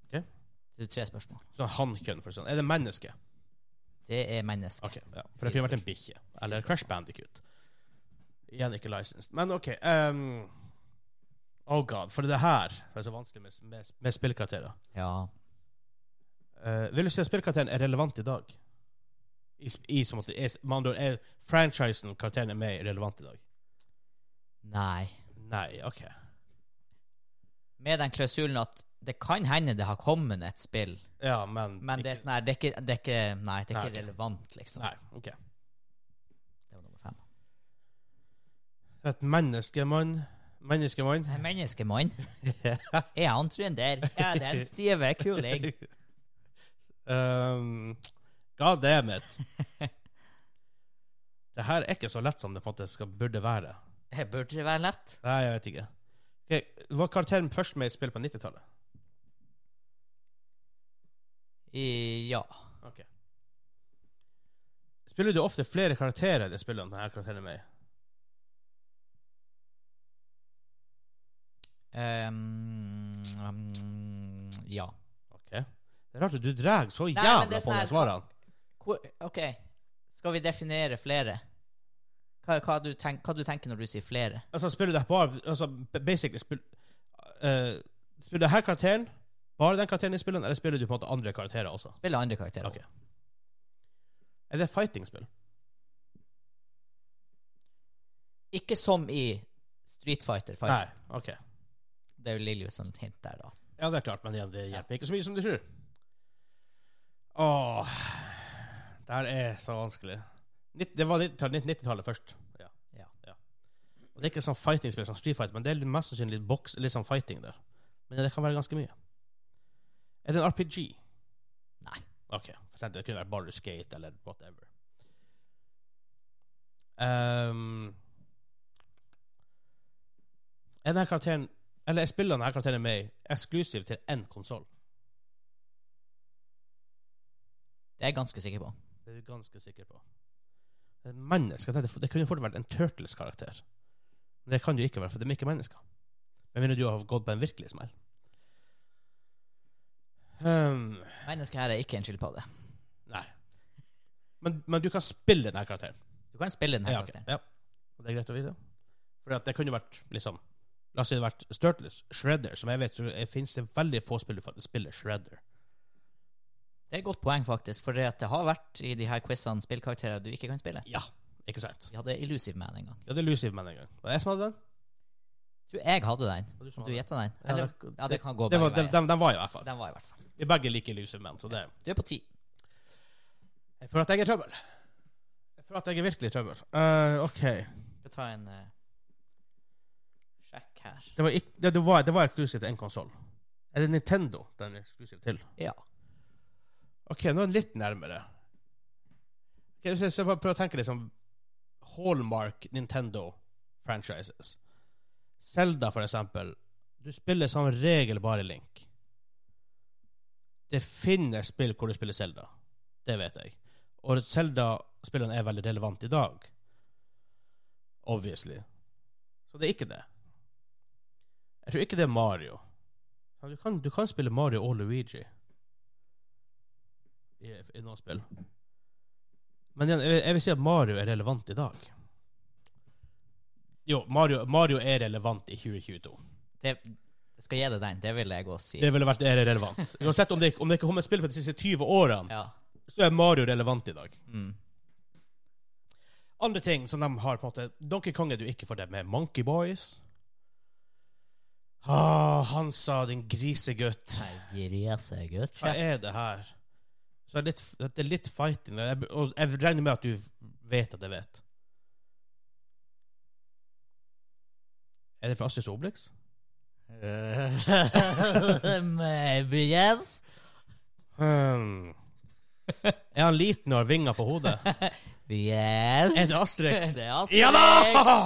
[SPEAKER 1] Ok.
[SPEAKER 3] Det er tre spørsmål.
[SPEAKER 1] Sånn hankjønn, for sånn. Er det menneske?
[SPEAKER 3] Det er mennesker.
[SPEAKER 1] Ok, ja. For det kunne vært en bikkje. Eller Crash Bandicoot. Igjen ikke licensed. Men OK. ehm, oh god, for det her er så vanskelig med, med, med spillkarakterer.
[SPEAKER 3] Ja.
[SPEAKER 1] Eh, vil du si at spillkarakteren er relevant i dag? I, sp- i, som at det er, med andre ord, er franchisen karakteren er med i relevant i dag?
[SPEAKER 3] Nei.
[SPEAKER 1] Nei, OK.
[SPEAKER 3] Med den klausulen at det kan hende det har kommet et spill,
[SPEAKER 1] Ja, men
[SPEAKER 3] men det er
[SPEAKER 1] ikke-
[SPEAKER 3] sånn her Det er ikke, det er ikke Nei, det er
[SPEAKER 1] Nei, ok.
[SPEAKER 3] ikke relevant, liksom.
[SPEAKER 1] Nei, OK.
[SPEAKER 3] Det var nummer fem.
[SPEAKER 1] Et menneskemann Menneskemann?
[SPEAKER 3] En menneskemann. Er han trønder? Er den stive kuling?
[SPEAKER 1] um, God damn it. det her er ikke så lett som det på en måte skal, burde være.
[SPEAKER 3] Det Eh, Burde det være lett?
[SPEAKER 1] Nei, jeg vet ikke. Ok, var karakteren først med i et spill på 90-tallet?
[SPEAKER 3] I, ja.
[SPEAKER 1] Ok. Spiller du ofte flere karakterer i det spillet enn denne karakteren er med i?
[SPEAKER 3] Um, um, ja.
[SPEAKER 1] Ok. Det er rart at du drar så
[SPEAKER 3] men
[SPEAKER 1] jævla
[SPEAKER 3] det er
[SPEAKER 1] på
[SPEAKER 3] sånn
[SPEAKER 1] de
[SPEAKER 3] her-
[SPEAKER 1] svarene.
[SPEAKER 3] Hvor, OK. Skal vi definere flere? Hva, hva, du tenk, hva du tenker når du sier flere?
[SPEAKER 1] Altså, spiller du det bare altså, b- Basically, spill, eh, spiller du her karakteren, bare den karakteren i spillet, eller spiller du på en måte andre karakterer også?
[SPEAKER 3] Spiller andre karakterer.
[SPEAKER 1] Ok. Er det fighting-spill?
[SPEAKER 3] Ikke som i Street Fighter. Fighter.
[SPEAKER 1] Nei. OK.
[SPEAKER 3] Det er jo Liljo som hint der, da.
[SPEAKER 1] Ja, det er klart, men igjen, det hjelper ikke så mye som du tror. Åh Det her er så vanskelig. Nitt- Det var 90-tallet 90-tallet først. Ja.
[SPEAKER 3] Ja.
[SPEAKER 1] Og det er ikke sånn fighting-spill som Street Fight, men det er litt- mest sannsynlig litt boks, litt sånn fighting der. Men det kan være ganske mye. Er det en RPG?
[SPEAKER 3] Nei.
[SPEAKER 1] OK. For eksempel, det kunne vært bare skate eller whatever. Ehm, er denne karakteren Eller er spillene denne karakteren er med i, eksklusiv til én konsoll?
[SPEAKER 3] Det er jeg ganske sikker på.
[SPEAKER 1] Det er jeg ganske sikker på. Et menneske, jeg tenkte, Det kunne fort vært en Turtles-karakter. Men det kan det jo ikke være, for de er ikke mennesker. Men mener du har gått på en virkelig smell? Hmm, Ehm,
[SPEAKER 3] Mennesket her er ikke en skilpadde.
[SPEAKER 1] nei. Men, men du kan spille denne karakteren.
[SPEAKER 3] Du kan spille denne
[SPEAKER 1] Ja, ok.
[SPEAKER 3] karakteren.
[SPEAKER 1] ja. Og Det er greit å vite. Fordi at det kunne vært liksom La oss si det hadde vært Sturtles, Shredder, som jeg vet så er- finnes det veldig få spill du faktisk spiller Shredder.
[SPEAKER 3] Det er et godt poeng, faktisk, for det at det har vært i de her quizene spillkarakterer du ikke kan spille.
[SPEAKER 1] Ja, ikke sant?
[SPEAKER 3] Vi hadde Illusive Man en gang.
[SPEAKER 1] Ja, det er Lucive Man en gang. Var det jeg som hadde den?
[SPEAKER 3] Jeg tror jeg hadde den.
[SPEAKER 1] Var det som
[SPEAKER 3] Du
[SPEAKER 1] hadde den?
[SPEAKER 3] gjetta den?
[SPEAKER 1] Ja,
[SPEAKER 3] Eller?
[SPEAKER 1] det-
[SPEAKER 3] Ja, det kan
[SPEAKER 1] Det
[SPEAKER 3] gå begge
[SPEAKER 1] var, de,
[SPEAKER 3] veier.
[SPEAKER 1] de, de var jo i hvert fall.
[SPEAKER 3] Den var i hvert fall.
[SPEAKER 1] Vi begge liker Lucive Man, så det
[SPEAKER 3] Du er på ti.
[SPEAKER 1] Jeg føler at jeg er i trøbbel. Jeg føler at jeg er virkelig i trøbbel. Eh, OK.
[SPEAKER 3] Skal ta en eh, sjekk her.
[SPEAKER 1] Det var, ikk- det, det var, det var eksklusivt til én konsoll. Er det Nintendo den er eksklusiv til?
[SPEAKER 3] Ja.
[SPEAKER 1] OK, nå er den litt nærmere. Ok, hvis jeg skal bare prøve å tenke liksom Hallmark Nintendo-franchises. Zelda, for eksempel. Du spiller som regel bare Link. Det finnes spill hvor du spiller Zelda. Det vet jeg. Og Zelda-spillene er veldig relevant i dag. Obviously. Så det er ikke det. Jeg tror ikke det er Mario. Ja, Du kan, du kan spille Mario og Luigi i, i noen spill. Men igjen, jeg, vil- jeg vil si at Mario er relevant i dag. Jo, Mario, Mario er relevant i 2022.
[SPEAKER 3] Det, jeg skal gi deg den. Det vil jeg også si.
[SPEAKER 1] Det ville vært det er relevant. Uansett om det, om det ikke kommer spill på de siste 20 årene,
[SPEAKER 3] Ja.
[SPEAKER 1] så er Mario relevant i dag.
[SPEAKER 3] Mm.
[SPEAKER 1] Andre ting som de har på en måte Donkey Kong er du ikke for det med Monkey Boys. Ah, Hansa, din grisegutt. Hva er det her? Så det er litt, det er litt fighting. Jeg, og jeg regner med at du vet at jeg vet. Er det fra Astrid Obelix?
[SPEAKER 3] Eh. Maybe yes.
[SPEAKER 1] Hmm. Er han liten og har vinger på hodet?
[SPEAKER 3] Yes.
[SPEAKER 1] Er det Asterix?
[SPEAKER 3] Det er Asterix.
[SPEAKER 1] Ja da!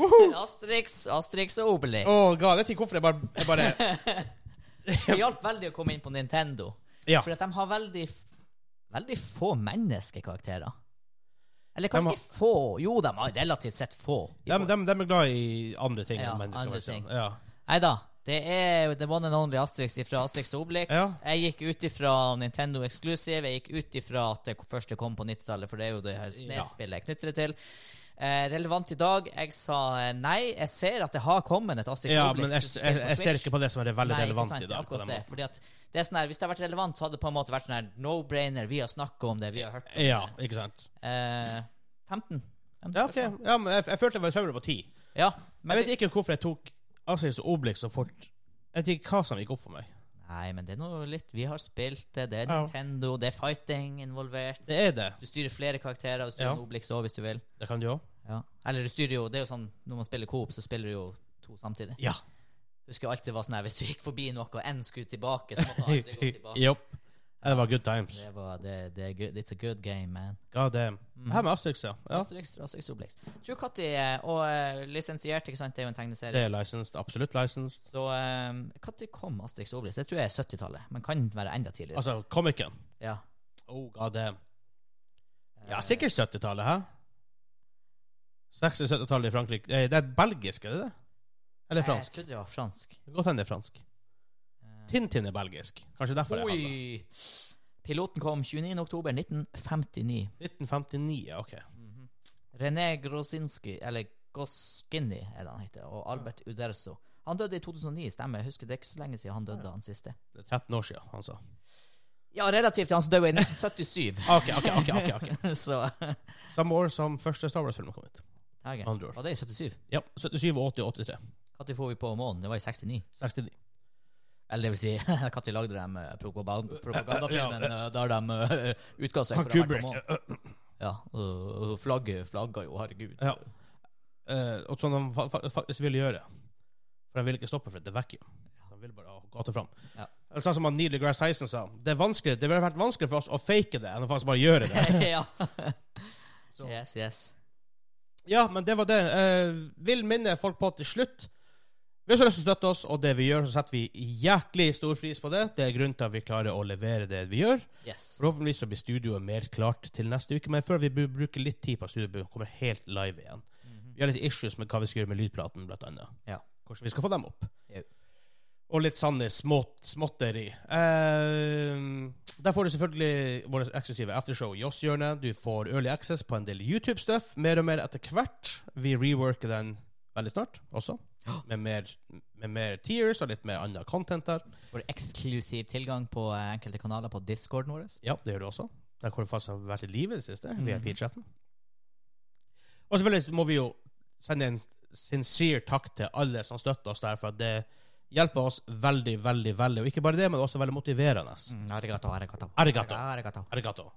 [SPEAKER 1] Woohoo!
[SPEAKER 3] Asterix, Asterix og Obelix.
[SPEAKER 1] Åh, god, jeg vet ikke hvorfor jeg bare, jeg bare
[SPEAKER 3] Det hjalp veldig å komme inn på Nintendo.
[SPEAKER 1] Ja.
[SPEAKER 3] For at de har veldig Veldig få menneskekarakterer. Eller
[SPEAKER 1] De
[SPEAKER 3] kanskje
[SPEAKER 1] har-
[SPEAKER 3] ikke få. Jo, de har relativt sett få.
[SPEAKER 1] De, de, de er glad i andre ting.
[SPEAKER 3] Ja,
[SPEAKER 1] enn mennesker,
[SPEAKER 3] andre
[SPEAKER 1] vet du.
[SPEAKER 3] ting.
[SPEAKER 1] Ja.
[SPEAKER 3] Nei da. Det er jo the one and only Asterix fra Asterix og Obelix.
[SPEAKER 1] Ja.
[SPEAKER 3] Jeg gikk ut ifra Nintendo Exclusive. Jeg gikk ut ifra at det først kom på 90-tallet, for det er jo det her Snes-spillet jeg knytter det til. Eh, relevant i dag. Jeg sa eh, nei. Jeg ser at det har kommet et Asterix
[SPEAKER 1] ja,
[SPEAKER 3] og
[SPEAKER 1] men jeg,
[SPEAKER 3] Obelix.
[SPEAKER 1] jeg, jeg ser ikke på det som er veldig
[SPEAKER 3] Nei, ikke
[SPEAKER 1] relevant
[SPEAKER 3] sant,
[SPEAKER 1] i dag. på
[SPEAKER 3] akkurat
[SPEAKER 1] den
[SPEAKER 3] det.
[SPEAKER 1] måten.
[SPEAKER 3] Fordi at det er sånn her, hvis det hadde vært relevant, så hadde det på en måte vært sånn her no-brainer. Vi har snakka om det, vi har hørt om
[SPEAKER 1] Ja,
[SPEAKER 3] det.
[SPEAKER 1] ikke sant?
[SPEAKER 3] Eh, 15. 15
[SPEAKER 1] Ja, ok.
[SPEAKER 3] spørsmål.
[SPEAKER 1] Ja, men jeg, jeg følte jeg var i søvne på ti.
[SPEAKER 3] Ja,
[SPEAKER 1] Jeg
[SPEAKER 3] men
[SPEAKER 1] vet
[SPEAKER 3] det,
[SPEAKER 1] ikke hvorfor jeg tok Asterix og Obelix så fort. Jeg vet ikke hva som gikk opp for meg.
[SPEAKER 3] nei, men det er noe litt Vi har spilt det, det er
[SPEAKER 1] Ja.
[SPEAKER 3] Nintendo, det er fighting involvert.
[SPEAKER 1] Det er det.
[SPEAKER 3] Du styrer flere karakterer, du styrer
[SPEAKER 1] Ja.
[SPEAKER 3] ja. Obelix òg, hvis du vil.
[SPEAKER 1] Det kan du òg.
[SPEAKER 3] Ja. Eller du styrer jo Det er jo sånn når man spiller Coop, så spiller du jo to samtidig.
[SPEAKER 1] Ja.
[SPEAKER 3] Husker alltid var sånn her, hvis du gikk forbi noe, og én skulle tilbake, så måtte man aldri gå tilbake.
[SPEAKER 1] Jopp. Ja, det var good times.
[SPEAKER 3] Det var, det, det er good, it's a good game, man.
[SPEAKER 1] God damn.
[SPEAKER 3] Mm.
[SPEAKER 1] Det Her med Asterix, ja. ja.
[SPEAKER 3] Asterix, Asterix Obelix. True Cutty eh, og eh, lisensiert, ikke sant? Det er jo en
[SPEAKER 1] Det
[SPEAKER 3] tegneserie.
[SPEAKER 1] er licensed. Absolutt licensed.
[SPEAKER 3] Så når kom Asterix Obelix? Det tror jeg er 70-tallet, men kan være enda tidligere.
[SPEAKER 1] Altså, komikeren.
[SPEAKER 3] Ja.
[SPEAKER 1] Oh, god damn. Ja,
[SPEAKER 3] Eh,
[SPEAKER 1] sikkert 70-tallet, hæ? 60-70-tallet i Frankrike. Eh, Det er belgisk, er det det? Eller
[SPEAKER 3] Eh, Jeg
[SPEAKER 1] fransk?
[SPEAKER 3] trodde det var fransk. Eh,
[SPEAKER 1] Det kan Godt hende det er fransk. Tintin er belgisk. Kanskje derfor jeg hadde det.
[SPEAKER 3] Oi! Piloten kom 29. oktober 1959.
[SPEAKER 1] 1959, ja, ok.
[SPEAKER 3] René Grosinski, eller Goskini er det han heter, og Albert Uderzo. Han døde i 2009, stemmer. Jeg husker det er ikke så lenge siden han døde, han siste.
[SPEAKER 1] Det er 13 år siden, altså. han sa.
[SPEAKER 3] Ja, relativt til han som døde i 1977.
[SPEAKER 1] Ah, Ok, ok, ok. ok, ok.
[SPEAKER 3] så
[SPEAKER 1] Samme år som første Star Wars-film kom ut.
[SPEAKER 3] Tage,
[SPEAKER 1] Andre år.
[SPEAKER 3] Var det i 77?
[SPEAKER 1] Ja, 77, 80 og 83.
[SPEAKER 3] Når får vi på månen? Det var i 69.
[SPEAKER 1] 69.
[SPEAKER 3] Eller det vil si, når lagde de eh, propaganda- propagandafilmen eh, der de eh, utga seg for å være på månen?
[SPEAKER 1] Kubrick.
[SPEAKER 3] Ja, og og flagget flagga jo, herregud.
[SPEAKER 1] Ja. Eh, og sånn de fa fa faktisk ville gjøre. For de ville ikke stoppe for et vacuum. De ville bare ha gata fram.
[SPEAKER 3] Ja.
[SPEAKER 1] Eller Sånn som han Neil deGrasse Tyson sa, det, er vanskelig- det ville vært vanskeligere for oss å fake det enn å faktisk bare gjøre det.
[SPEAKER 3] ja.
[SPEAKER 1] Så.
[SPEAKER 3] Yes, yes.
[SPEAKER 1] Ja, men det var det. Eh, vil minne folk på til slutt. Hvis du har lyst til å støtte oss og det vi gjør, så setter vi jæklig stor pris på det. Det er grunnen til at vi klarer å levere det vi gjør.
[SPEAKER 3] yes.
[SPEAKER 1] Forhåpentligvis så blir studioet mer klart til neste uke, men før vi bu- bruker litt tid på studioet, vi kommer helt live igjen. Vi har litt issues med hva vi skal gjøre med lydplaten, blant annet.
[SPEAKER 3] Mhm. Ja.
[SPEAKER 1] Hvordan vi skal få dem opp.
[SPEAKER 3] Jau.
[SPEAKER 1] og litt sanne smått, småtteri. Eh, der får du selvfølgelig vårt eksklusive aftershow i Joss-hjørnet. Du får early access på en del YouTube-stuff mer og mer etter hvert. Vi reworker den veldig snart også, med mer, med mer tears og litt mer annet content der.
[SPEAKER 3] Får eksklusiv tilgang på eh, enkelte kanaler på discorden vår.
[SPEAKER 1] Ja, det gjør du også. Der hvor du faktisk har vært i live i det siste, VIP-chatten. Og selvfølgelig så må vi jo sende en sincere takk til alle som støtter oss der, for at det hjelper oss veldig, veldig, veldig. Og ikke bare det, men også veldig motiverende.
[SPEAKER 3] Mm, arigato, arigato.
[SPEAKER 1] Arigato.
[SPEAKER 3] arigato.
[SPEAKER 1] Arigato.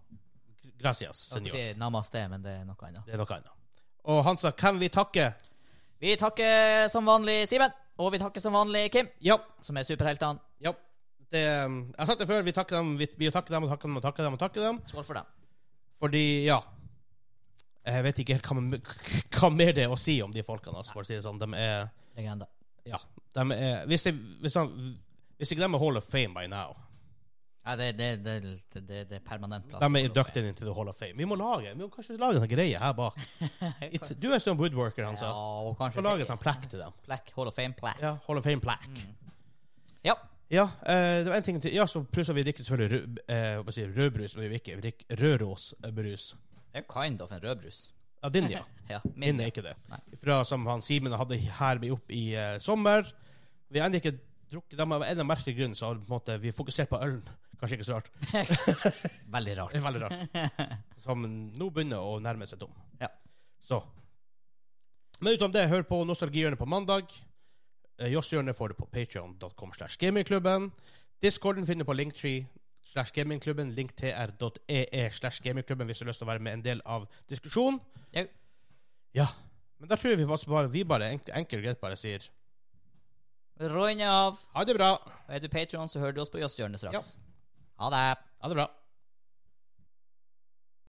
[SPEAKER 1] Gracias,
[SPEAKER 3] Jeg holdt på å
[SPEAKER 1] senor.
[SPEAKER 3] si namaste, men det er noe annet.
[SPEAKER 1] Det er noe annet. Og Hansa, hvem vi takker?
[SPEAKER 3] Vi takker som vanlig Simen, og vi takker som vanlig Kim,
[SPEAKER 1] Ja.
[SPEAKER 3] som er superheltene.
[SPEAKER 1] ja. Det, um, jeg har sagt det før, vi takker dem, vi, vi takker dem og takker dem og takker dem. og takker dem.
[SPEAKER 3] Skål for dem.
[SPEAKER 1] Fordi, ja Jeg vet ikke helt hva, man- hva mer det er å si om de folkene. Altså, for å si det sånn. De er
[SPEAKER 3] Legende.
[SPEAKER 1] Ja. De er, hvis, de, hvis, de, hvis ikke de er Hall of Fame by now
[SPEAKER 3] Ja, det, det, det, det, det, det er permanent plass.
[SPEAKER 1] De er inducted into the Hall of Fame. Vi må lage vi må kanskje lage en sånn greie her bak. It, du er sånn woodworker, han sa.
[SPEAKER 3] Ja, og
[SPEAKER 1] Vi
[SPEAKER 3] kanskje
[SPEAKER 1] må lage en sånn plekk til dem.
[SPEAKER 3] Plekk, Hall of Fame-plekk.
[SPEAKER 1] Ja, Mm. Hall of Fame-plekk.
[SPEAKER 3] Ja.
[SPEAKER 1] Ja, eh, det var en ting til. Ja, så plutselig vi drikker selvfølgelig rød, eh, hva sier jeg, rødbrus, men vi drikker vi drikker rørosbrus.
[SPEAKER 3] Det er kind of en rødbrus.
[SPEAKER 1] Ja, din, ja.
[SPEAKER 3] Ja,
[SPEAKER 1] Min
[SPEAKER 3] ja.
[SPEAKER 1] er ikke det.
[SPEAKER 3] Nei.
[SPEAKER 1] Fra som han Simen hadde her med opp i eh, sommer. Vi har ennå ikke drukket dem av en eller annen merkelig grunn, så har vi på en måte, vi fokusert på ølen. Kanskje ikke så rart.
[SPEAKER 3] Veldig rart.
[SPEAKER 1] Det er veldig rart. Som nå begynner å nærme seg tom.
[SPEAKER 3] Ja.
[SPEAKER 1] Så. Men utenom det, hør på Nostalgihjørnet på mandag. Eh, Josshjørnet får du på patreon.com slash gamingklubben. Discorden finner du på linktree slash gamingklubben, linktr.ee e slash gamingklubben hvis du har lyst til å være med en del av diskusjonen.
[SPEAKER 3] Jau.
[SPEAKER 1] Ja. Men der tror jeg vi faktisk bare, vi bare enk- enkelt og greit bare sier
[SPEAKER 3] Runde av.
[SPEAKER 1] ha det bra.
[SPEAKER 3] Og er du Patreon, så hører du oss på Joss Hjørne
[SPEAKER 1] Ja.
[SPEAKER 3] straks. Ha det.
[SPEAKER 1] Ha det bra.